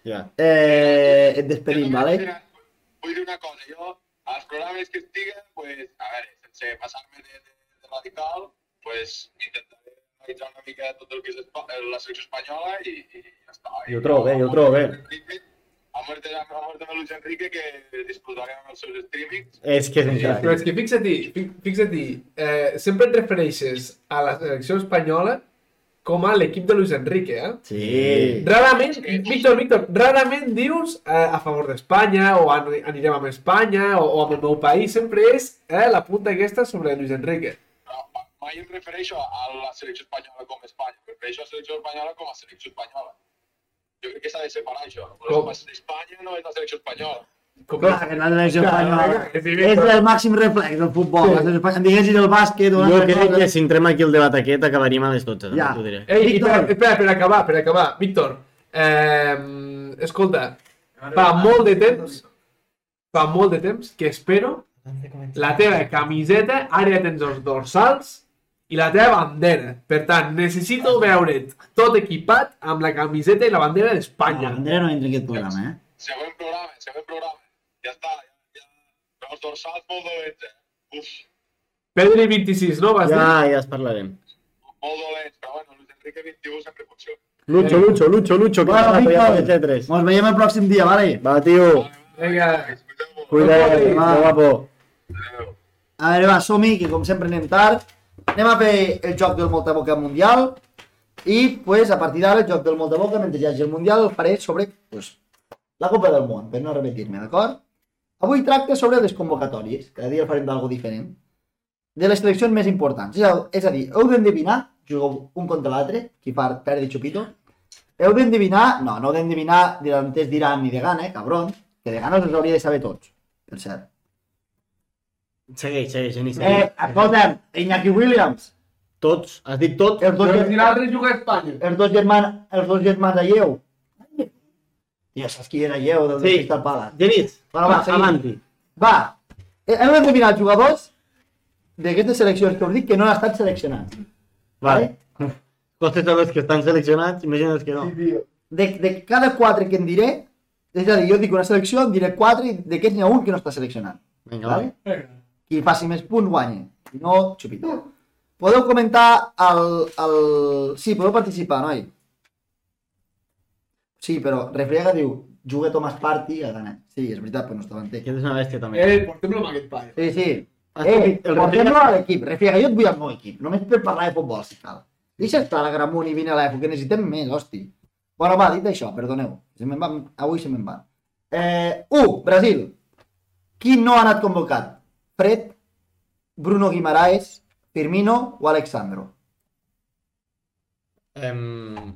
Speaker 6: Ja.
Speaker 1: eh, et despedim, vale?
Speaker 5: Mira, Vull dir una cosa, jo, als programes que estiguen, pues, a veure, sense passar-me de, de, de radical, pues, intentaré analitzar una mica tot el que és espa- eh, la selecció espanyola i, i ja està.
Speaker 6: Jo trobo bé, jo trobo bé.
Speaker 5: A mort de, a mort de Luis Enrique, que disfrutarem amb els seus streamings.
Speaker 6: És que és un
Speaker 1: pues,
Speaker 3: Però
Speaker 6: crac.
Speaker 3: és que fixa't, fi- fixa't, eh, sempre et refereixes a la selecció espanyola com a l'equip de Luis Enrique, eh?
Speaker 6: Sí.
Speaker 3: Rarament, eh, Víctor, Víctor, rarament dius eh, a favor d'Espanya o an anirem amb Espanya o, o amb el meu país, sempre és eh, la punta aquesta sobre Luis Enrique.
Speaker 5: Però ma- mai em refereixo a la selecció espanyola com a Espanya, em refereixo a la selecció espanyola com a selecció espanyola. Jo crec que s'ha de separar això.
Speaker 3: Com?
Speaker 5: Espanya no és la selecció espanyola.
Speaker 3: Com
Speaker 1: Clar, que no és la selecció espanyola.
Speaker 3: Clar, sí,
Speaker 1: És el màxim reflex del futbol. Sí. Diguessis el bàsquet o
Speaker 6: Jo crec que si entrem aquí el debat aquest acabaríem a les 12, també
Speaker 1: Ja.
Speaker 6: t'ho diré.
Speaker 3: Ei, i per,
Speaker 1: Víctor.
Speaker 3: espera, per acabar, per acabar. Víctor, eh, escolta, fa molt de temps, fa molt de temps que espero la teva camiseta, ara ja tens els dorsals, i la teva bandera. Per tant, necessito veure't tot equipat amb la camiseta i la bandera d'Espanya.
Speaker 1: Andrea no entra en aquest programa, eh?
Speaker 5: Següent programa, següent programa. Ja està, ja, ja. Els dorsals molt dolents, eh? Uf,
Speaker 3: Pedri 26, no? Vas dir?
Speaker 6: Ja, ja es parlarem.
Speaker 5: molt dolents, però este. bueno, Luis Enrique 21 sempre funciona.
Speaker 6: Lucho, Lucho, Lucho, Lucho, que
Speaker 1: Bueno,
Speaker 6: bueno, ja
Speaker 1: Víctor.
Speaker 6: de 3.
Speaker 1: Nos veiem el pròxim dia, vale?
Speaker 6: Va, tio,
Speaker 3: Vinga.
Speaker 5: Escolteu-vos.
Speaker 6: cuida,
Speaker 1: Cuida't, va.
Speaker 6: guapo.
Speaker 5: Adéu.
Speaker 1: A veure, va, som que com sempre anem tard. Anem a fer el joc del Molta Boca Mundial. I, pues, a partir d'ara, el joc del Molta Boca, mentre hi hagi el Mundial, el faré sobre, pues, la Copa del Món, per no repetir-me, d'acord? Avui tracta sobre les convocatòries. Cada dia farem d'algo diferent. De les seleccions més importants. És a, és a dir, heu d'endevinar, jugueu un contra l'altre, qui part perd i xupito. Heu d'endevinar, no, no heu d'endevinar, delanters diran ni de gana, eh, cabron, que de gana us els hauria de saber tots, per cert.
Speaker 6: Segueix, segueix, Geni, segueix.
Speaker 1: Eh, escolta'm, Iñaki Williams,
Speaker 6: Tots, has dit tot?
Speaker 1: els dos,
Speaker 3: Doncs si
Speaker 1: ger-
Speaker 3: l'altre juga a Espanya.
Speaker 1: els dos germans, els dos germans de Lleu. Ja saps qui era Lleu, del
Speaker 6: Sí.
Speaker 1: sí. Crystal Palace.
Speaker 6: Genís,
Speaker 1: Bueno, va, seguim.
Speaker 6: avanti.
Speaker 1: Va, eh, hem d'endevinar els jugadors d'aquestes seleccions que us dic que no han estat seleccionats.
Speaker 6: Vale. Costes són els que estan seleccionats, imagina els que no.
Speaker 1: De, de cada quatre que en diré, és a dir, jo dic una selecció, en diré quatre i d'aquests n'hi ha un que no està seleccionat.
Speaker 6: Vinga,
Speaker 1: Vale?
Speaker 6: vale.
Speaker 1: qui faci més punts guanya. Si no, xupito. Podeu comentar el, el... Sí, podeu participar, noi. Sí, però Refriega diu, juga Thomas Party i ha ganat. Sí, és veritat, però no estava entès.
Speaker 6: Aquest és una bèstia també.
Speaker 3: Eh, portem-lo amb aquest paio.
Speaker 1: Sí, sí.
Speaker 6: Has
Speaker 1: Eh,
Speaker 6: dit el
Speaker 1: portem-lo
Speaker 6: Refriega-
Speaker 1: a l'equip. Refriega, jo et vull al meu equip. Només per parlar de futbol, si cal. Deixa estar la Gramunt i vine a l'EFO, que necessitem més, hosti. Bueno, va, dit això, perdoneu. Se me'n va, avui se me'n va. Eh, 1. Brasil. Qui no ha anat convocat? Fred, Bruno Guimaraes, Firmino o Alexandro?
Speaker 6: Em,
Speaker 1: Eh,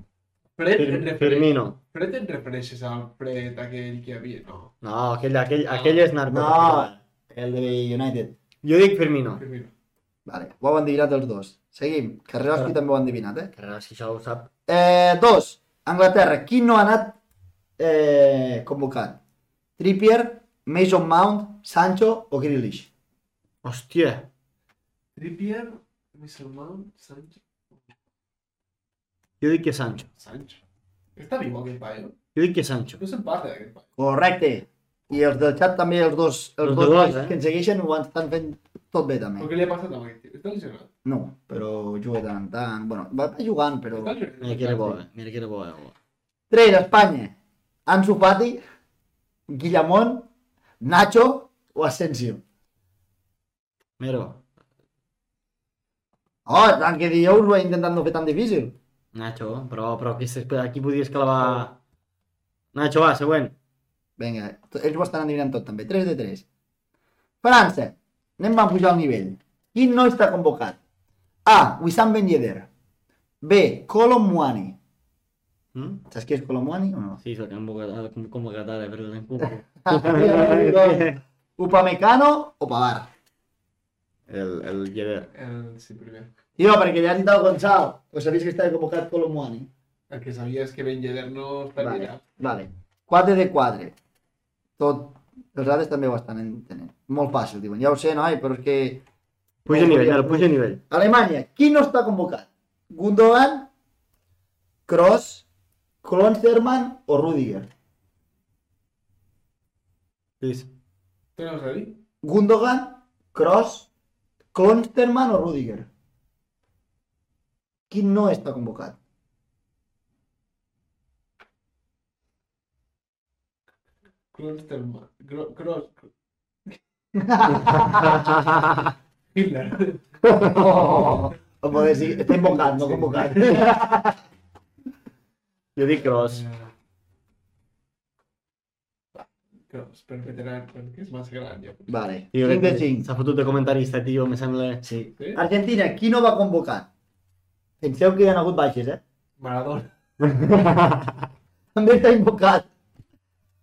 Speaker 3: Fred, et
Speaker 6: Fir-
Speaker 3: refereixes-
Speaker 6: Firmino.
Speaker 3: Fred et refereixes al Fred aquell que havia, no?
Speaker 6: No, aquell, aquell, aquell és narco.
Speaker 2: este
Speaker 1: No, el de United.
Speaker 6: Jo dic Firmino.
Speaker 3: Firmino.
Speaker 1: Vale, ho heu endevinat els dos. Seguim. Carreroski també ho ha endevinat, eh?
Speaker 6: Carreras, si això ho sap.
Speaker 1: Eh, dos, Anglaterra. Qui no ha anat eh, convocat? Trippier, Mason Mount, Sancho o Grealish?
Speaker 6: Hòstia.
Speaker 3: Trippier, Missel Mount, Sancho...
Speaker 2: Jo dic que Sancho.
Speaker 3: Sancho. Està viu aquest paio?
Speaker 2: Jo dic que Sancho.
Speaker 3: No se'n parla d'aquest paio.
Speaker 1: Correcte. I els del xat també, els dos, els
Speaker 2: Los
Speaker 1: dos
Speaker 2: de dos,
Speaker 1: nois
Speaker 2: eh?
Speaker 1: que ens segueixen ho estan fent tot bé
Speaker 3: Però
Speaker 1: també.
Speaker 3: què li ha passat amb aquest tio? Està lesionat.
Speaker 1: No, però juga de tant en tant. Bueno, va va jugant, però...
Speaker 3: Està lesionat.
Speaker 2: Mira que era bo, eh? Mira que era bo, eh? bo.
Speaker 1: 3, Espanya. Ansu Fati, Guillamón, Nacho o Asensio.
Speaker 2: Mero,
Speaker 1: Oh, tant que dieu, us ho he intentat no fer tan difícil.
Speaker 2: Nacho, però, però aquí, aquí podies clavar... Nacho, va, següent.
Speaker 1: Vinga, to- ells ho estan endivinant tot també. 3 de 3. França. Anem a pujar el nivell. Qui no està convocat? A. Wissam Ben Yedder. B. Colom Muani.
Speaker 2: Mm?
Speaker 1: Saps qui és Colom Muani o no? Ah,
Speaker 2: Sí, és el que hem convocat, el que hem convocat ara, però l'hem convocat.
Speaker 1: Upamecano o Pavar.
Speaker 2: El, el Llever.
Speaker 3: El, sí, primer.
Speaker 1: Tio, perquè ja has dit el Gonzalo. Ho sabies que estava convocat Colom Muani.
Speaker 3: El que sabies que Ben Yedder no està
Speaker 1: Vale.
Speaker 3: lesionat.
Speaker 1: Vale. 4 de 4. Tot. Els altres també ho estan entenent. Molt fàcil, diuen. Ja ho sé, noi, però és que...
Speaker 2: Puja nivell, ara, puja nivell.
Speaker 1: Alemanya, qui no està convocat? Gundogan, Kroos, Klonsterman o Rudiger?
Speaker 2: Lluís.
Speaker 3: Tu no ho sabies?
Speaker 1: Gundogan, Kroos, Klonsterman o Rudiger? Qui no està convocat?
Speaker 3: Klosterman. Gro- Cross. Hitler.
Speaker 1: Oh, o poder dir, està invocat, no convocat.
Speaker 2: Jo dic Cross.
Speaker 3: Cross, per veterano, perquè és massa gran. Jo.
Speaker 1: Vale,
Speaker 2: Tio,
Speaker 1: 5 de
Speaker 2: que-
Speaker 1: 5.
Speaker 2: S'ha fotut de comentarista, tio, me sembla...
Speaker 1: Sí.
Speaker 3: Sí?
Speaker 1: Argentina, qui no va convocar? Penseu que hi ha hagut baixes, eh?
Speaker 3: Maradona.
Speaker 1: També està invocat.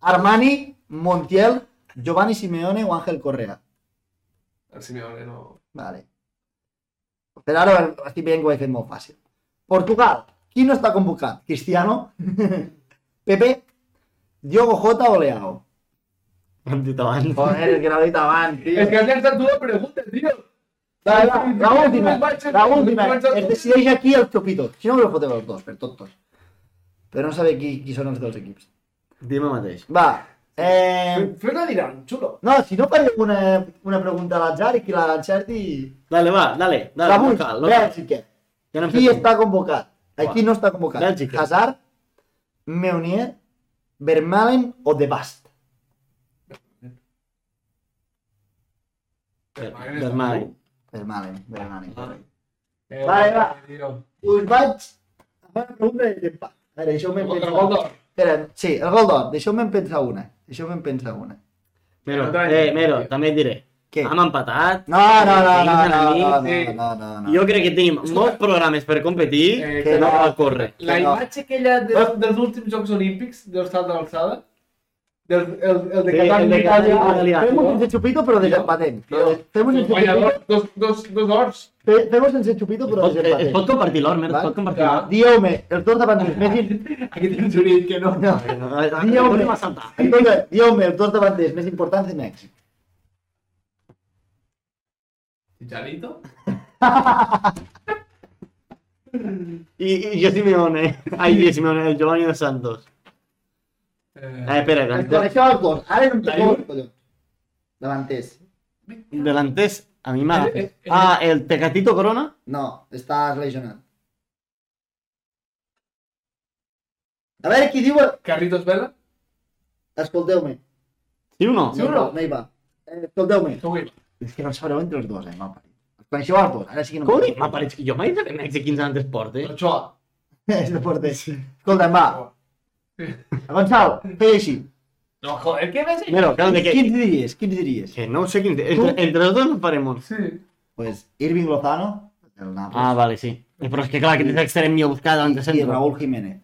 Speaker 1: Armani, Montiel, Giovanni Simeone o Ángel Correa.
Speaker 3: El Simeone no...
Speaker 1: Vale. Per ara estic veient que ho he fet molt fàcil. Portugal. Qui no està convocat? Cristiano? Pepe? Diogo Jota o Leao?
Speaker 2: Hem dit abans.
Speaker 1: Joder, el que l'ha dit abans, tio.
Speaker 3: És que has llançat tu la pregunta, tio.
Speaker 1: Va, va, la última, la última. Es decideix aquí el xopito. Si no, us el foteu els dos, per tot, tot. Però no saber qui, qui són els dos equips.
Speaker 2: Dime mateix.
Speaker 1: Va. Eh,
Speaker 3: Fes-la diran, xulo.
Speaker 1: no, si no faré una, una pregunta a l'atzar i qui la encerti...
Speaker 2: Dale, va, dale. dale
Speaker 1: La
Speaker 2: no
Speaker 1: vull,
Speaker 2: cal, no cal.
Speaker 1: Bèlgica.
Speaker 2: Ja n'hem
Speaker 1: Qui
Speaker 2: fet un.
Speaker 1: està convocat? Aquí no està convocat.
Speaker 2: Bèlgica.
Speaker 1: Hazard, Meunier, Vermaelen o De Bast.
Speaker 2: Del Mali.
Speaker 1: Vermaelen, Vermaelen. correcte.
Speaker 3: Eh,
Speaker 1: Vale, va.
Speaker 3: tio.
Speaker 1: Us vaig a fer una pregunta d'empat. A veure, deixeu-me
Speaker 3: El
Speaker 1: pensar.
Speaker 3: gol d'or.
Speaker 1: Espera, sí, el gol d'or. Deixeu-me pensar una. Deixeu-me pensar una.
Speaker 2: Mero, eh, Mero, també et diré.
Speaker 1: Què?
Speaker 2: Hem empatat.
Speaker 1: No, no, no, no,
Speaker 2: Vinga,
Speaker 1: no,
Speaker 2: nani.
Speaker 1: no, no,
Speaker 3: sí.
Speaker 1: no, no, no.
Speaker 2: Jo crec que tenim molts programes per competir Ah,
Speaker 3: Eh,
Speaker 2: que
Speaker 1: que
Speaker 2: no
Speaker 1: no.
Speaker 2: cal córrer.
Speaker 3: La
Speaker 1: Que no.
Speaker 3: imatge aquella de, dels últims Jocs Olímpics, del salt de l'alçada, del, el, el de
Speaker 2: Sí, el de
Speaker 3: Catalunya,
Speaker 2: Catalunya,
Speaker 3: Itàlia,
Speaker 2: Itàlia.
Speaker 1: Fem-ho sense xupito, però
Speaker 3: Tio.
Speaker 1: desempatem.
Speaker 3: Tio.
Speaker 1: Fem-ho
Speaker 3: un
Speaker 1: sense
Speaker 3: guanyador,
Speaker 1: xupito,
Speaker 3: dos, dos, dos ors.
Speaker 1: fe- fem-ho sense xupito,
Speaker 2: Es
Speaker 1: però
Speaker 2: pot, eh, es pot
Speaker 1: desempatem.
Speaker 2: compartir l'or, Mero, es
Speaker 1: Val.
Speaker 2: pot compartir l'or.
Speaker 1: Dieu-me, els dos davant dels Messi,
Speaker 3: Aquí tens un hit que no.
Speaker 1: No.
Speaker 2: No, no, no,
Speaker 1: Dieu-me.
Speaker 2: tornem a saltar.
Speaker 1: Escolta, dieu-me els dos davanters més importants de Mèxic.
Speaker 4: Chicharito.
Speaker 2: I, i jo Simeone. Ai, jo Simeone, el Giovanni dos Santos. Eh,
Speaker 3: Eh,
Speaker 2: espera,
Speaker 1: Els
Speaker 2: delanter-
Speaker 1: coneixeu els dos. Ara no em
Speaker 3: Ai,
Speaker 1: toco els collons. Davanters.
Speaker 2: delanters, a mi
Speaker 3: Eh,
Speaker 2: m'agrada. Ah, el Tecatito Corona?
Speaker 1: No, estàs lesionat. A veure qui diu...
Speaker 3: Carlitos Vela,
Speaker 1: Escolteu-me.
Speaker 2: Sí o no?
Speaker 3: Sí o no?
Speaker 1: No hi va. Eh, Escolteu-me.
Speaker 3: tu guai.
Speaker 1: És que no sabreu entre els dos, eh? Mal parit. Els coneixeu els dos. Ara sí que no...
Speaker 2: Com dic? M'ha pareix que jo mai he de Mèxic 15 anys d'esport, eh?
Speaker 3: Ochoa.
Speaker 1: És de porter. Escolta'm, va. Gonçalo, feia així.
Speaker 3: No, joder, què vas dir?
Speaker 2: Mero, clar, de que...
Speaker 1: Quins diries? Quins diries?
Speaker 2: Que no sé quin... Entre,
Speaker 1: Tu?
Speaker 2: entre els dos no farem un.
Speaker 3: Sí.
Speaker 1: Pues Irving Lozano, el Nàpols.
Speaker 2: Ah, vale, sí. Eh, Però és que clar, aquest és l'extrem i buscar davant de
Speaker 1: I
Speaker 2: centre.
Speaker 1: Raúl Jiménez.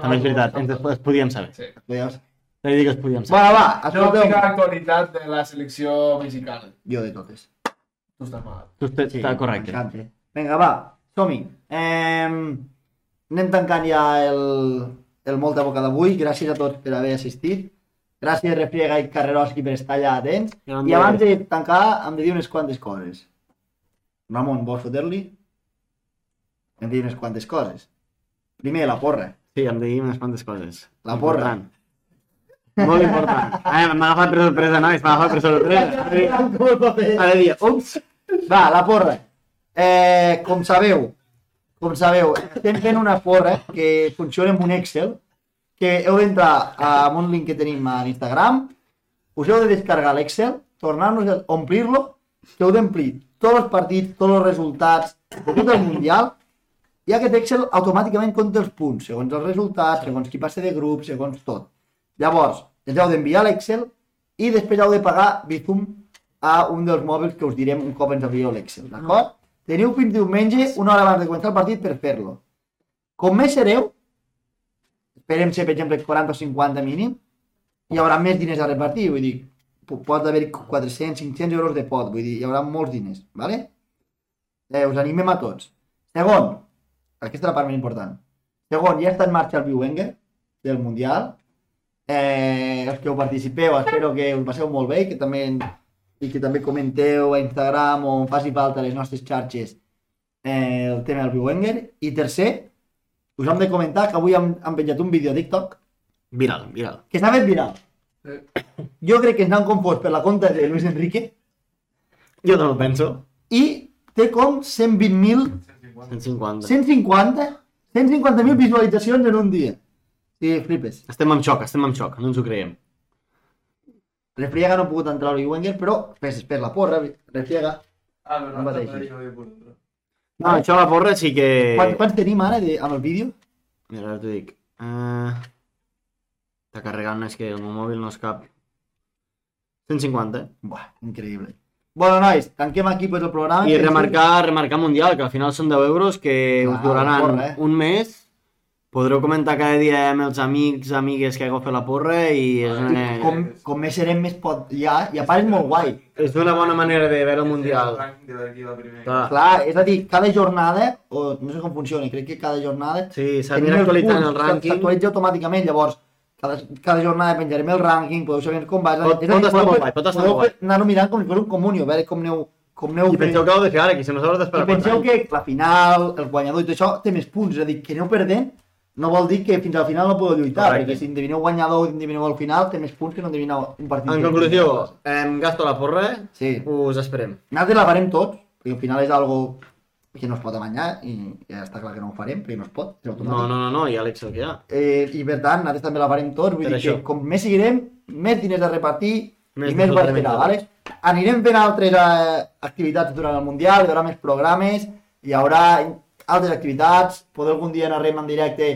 Speaker 2: També és veritat, ens es, es podíem saber.
Speaker 1: Veus?
Speaker 2: T'he dit que es podíem saber.
Speaker 1: Bueno, va,
Speaker 3: No
Speaker 1: escolteu.
Speaker 3: fica l'actualitat de la selecció mexicana.
Speaker 1: Jo de totes.
Speaker 3: Tu estàs mal.
Speaker 2: Tu estàs sí, correcte.
Speaker 1: m'encanta. Vinga, va, som-hi. Eh, anem tancant ja el, el Molta Boca d'avui. Gràcies a tots per haver assistit. Gràcies, Refriega i Carreroski, per estar allà atents. I abans de tancar, hem de dir unes quantes coses. Ramon, vols fotre-li? Hem de dir unes quantes coses. Primer, la porra.
Speaker 2: Sí, em deia unes quantes coses.
Speaker 1: La porra.
Speaker 2: Molt important. Ai, m'ha agafat per sorpresa, nois, m'ha agafat per sorpresa.
Speaker 1: A
Speaker 2: Ara dia, ups.
Speaker 1: Va, la porra. Eh, com sabeu, com sabeu, estem fent una porra que funciona amb un Excel, que heu d'entrar a un link que tenim a Instagram, us heu de descarregar l'Excel, tornar-nos a omplir-lo, que heu d'omplir tots els partits, tots els resultats, de tot el Mundial, i aquest Excel automàticament compta els punts, segons els resultats, segons qui passa de grup, segons tot. Llavors, ens heu d'enviar l'Excel i després heu de pagar Bizum a un dels mòbils que us direm un cop ens envieu l'Excel, d'acord? Teniu fins diumenge, una hora abans de començar el partit, per fer-lo. Com més sereu, esperem ser, per exemple, 40 o 50 mínim, hi haurà més diners a repartir, vull dir, po- pot haver 400, 500 euros de pot, vull dir, hi haurà molts diners, ¿vale? Eh, us animem a tots. Segon, aquesta és la part més important. Segon, ja està en marxa el Biwenger del Mundial. Eh, els que ho participeu, espero que us passeu molt bé i que també, i que també comenteu a Instagram o on faci falta a les nostres xarxes eh, el tema del Biwenger. I tercer, us hem de comentar que avui hem, hem penjat un vídeo a TikTok
Speaker 2: Viral, viral.
Speaker 1: que s'ha fet viral. Jo crec que ens han confós per la compte de Luis Enrique
Speaker 2: Jo també ho penso.
Speaker 1: i té com 120.000
Speaker 2: 150.
Speaker 1: 150, 150.000 visualitzacions en un dia. Sí, flipes.
Speaker 2: Estem en xoc, estem en xoc, no ens ho creiem.
Speaker 1: Refriega no ha pogut entrar l'Oli Wenger, però per, per la porra, Refriega.
Speaker 4: Ah, no,
Speaker 1: No
Speaker 4: no,
Speaker 1: pateixis.
Speaker 4: no,
Speaker 2: No, això la porra sí que...
Speaker 1: Quants, quants tenim ara de, amb el vídeo?
Speaker 2: Mira, ara t'ho dic. Uh... T'ha carregat, no és que el meu mòbil no és cap... 150.
Speaker 1: Buah, increïble. Bueno, nois, tanquem aquí pues, el programa.
Speaker 2: I remarcar, remarcar Mundial, que al final són 10 euros que
Speaker 1: Clar,
Speaker 2: us duraran
Speaker 1: porra, eh?
Speaker 2: un mes. Podreu comentar cada dia amb els amics, amigues que hagueu fet la porra i és una,
Speaker 1: Com, com més serem, més pot... Ja, i a part és molt guai.
Speaker 2: és una bona manera de veure el Mundial. Clar.
Speaker 1: Clar, és a dir, cada jornada, o no sé com funciona, crec que cada jornada
Speaker 2: Sí, s'ha
Speaker 1: Tenim
Speaker 2: d'anar
Speaker 1: els
Speaker 2: actualitzant
Speaker 1: punts,
Speaker 2: el rànquing.
Speaker 1: S'actualitza automàticament, llavors, cada, cada jornada penjarem el rànquing, podeu saber com va. és a
Speaker 2: Pot-
Speaker 1: dir,
Speaker 2: pot estar
Speaker 1: podeu
Speaker 2: molt
Speaker 1: fer-
Speaker 2: guai, pot estar
Speaker 1: podeu
Speaker 2: molt
Speaker 1: fer- Anar-ho mirant com si fos un comunio, a veure com aneu, com aneu
Speaker 2: I penseu que heu de fer ara, que se nos haurà
Speaker 1: I
Speaker 2: d'esperar quatre
Speaker 1: penseu
Speaker 2: anys.
Speaker 1: que la final, el guanyador i tot això té més punts, és a dir, que aneu perdent no vol dir que fins al final no podeu lluitar,
Speaker 2: Correcte.
Speaker 1: perquè si endevineu guanyador o endevineu al final, té més punts que no endevineu un partit.
Speaker 2: En
Speaker 1: que-
Speaker 2: conclusió, em gasto la porra,
Speaker 1: Sí.
Speaker 2: us esperem.
Speaker 1: Nosaltres la farem tots, perquè al final és algo que no es pot amanyar i ja està clar que no ho farem, perquè no es pot, és automàtic.
Speaker 2: No, no, no, no, i Àlex el que hi ha.
Speaker 1: Eh, I per tant, nosaltres també la farem tots, vull
Speaker 2: Per
Speaker 1: dir
Speaker 2: això.
Speaker 1: que com més seguirem, més diners a repartir
Speaker 2: Més
Speaker 1: i més
Speaker 2: disfrutarem
Speaker 1: barberà,
Speaker 2: entre
Speaker 1: vale? Anirem fent altres eh, activitats durant el Mundial, hi haurà més programes, hi haurà altres activitats, poder algun dia anarem en directe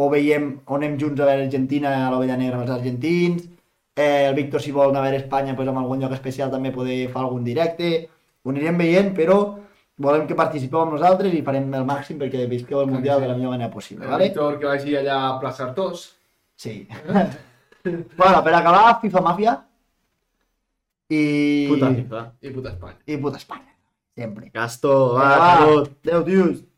Speaker 1: o veiem on anem junts a veure Argentina a l'Ovella Negra amb els argentins, eh, el Víctor si vol anar a veure Espanya pues, en algun lloc especial també poder fer algun directe, ho anirem veient, però volem que participeu amb nosaltres i farem el màxim perquè visqueu el Mundial de la millor manera possible,
Speaker 3: El
Speaker 1: vale?
Speaker 3: Víctor que vagi allà a plaça Artós.
Speaker 1: Sí. bueno, per acabar, FIFA Màfia. I...
Speaker 2: Puta, FIFA.
Speaker 3: i puta Espanya.
Speaker 1: I puta Espanya. Sempre.
Speaker 2: Gasto, va,
Speaker 1: Vinga,
Speaker 2: salut.
Speaker 1: Adéu, tios.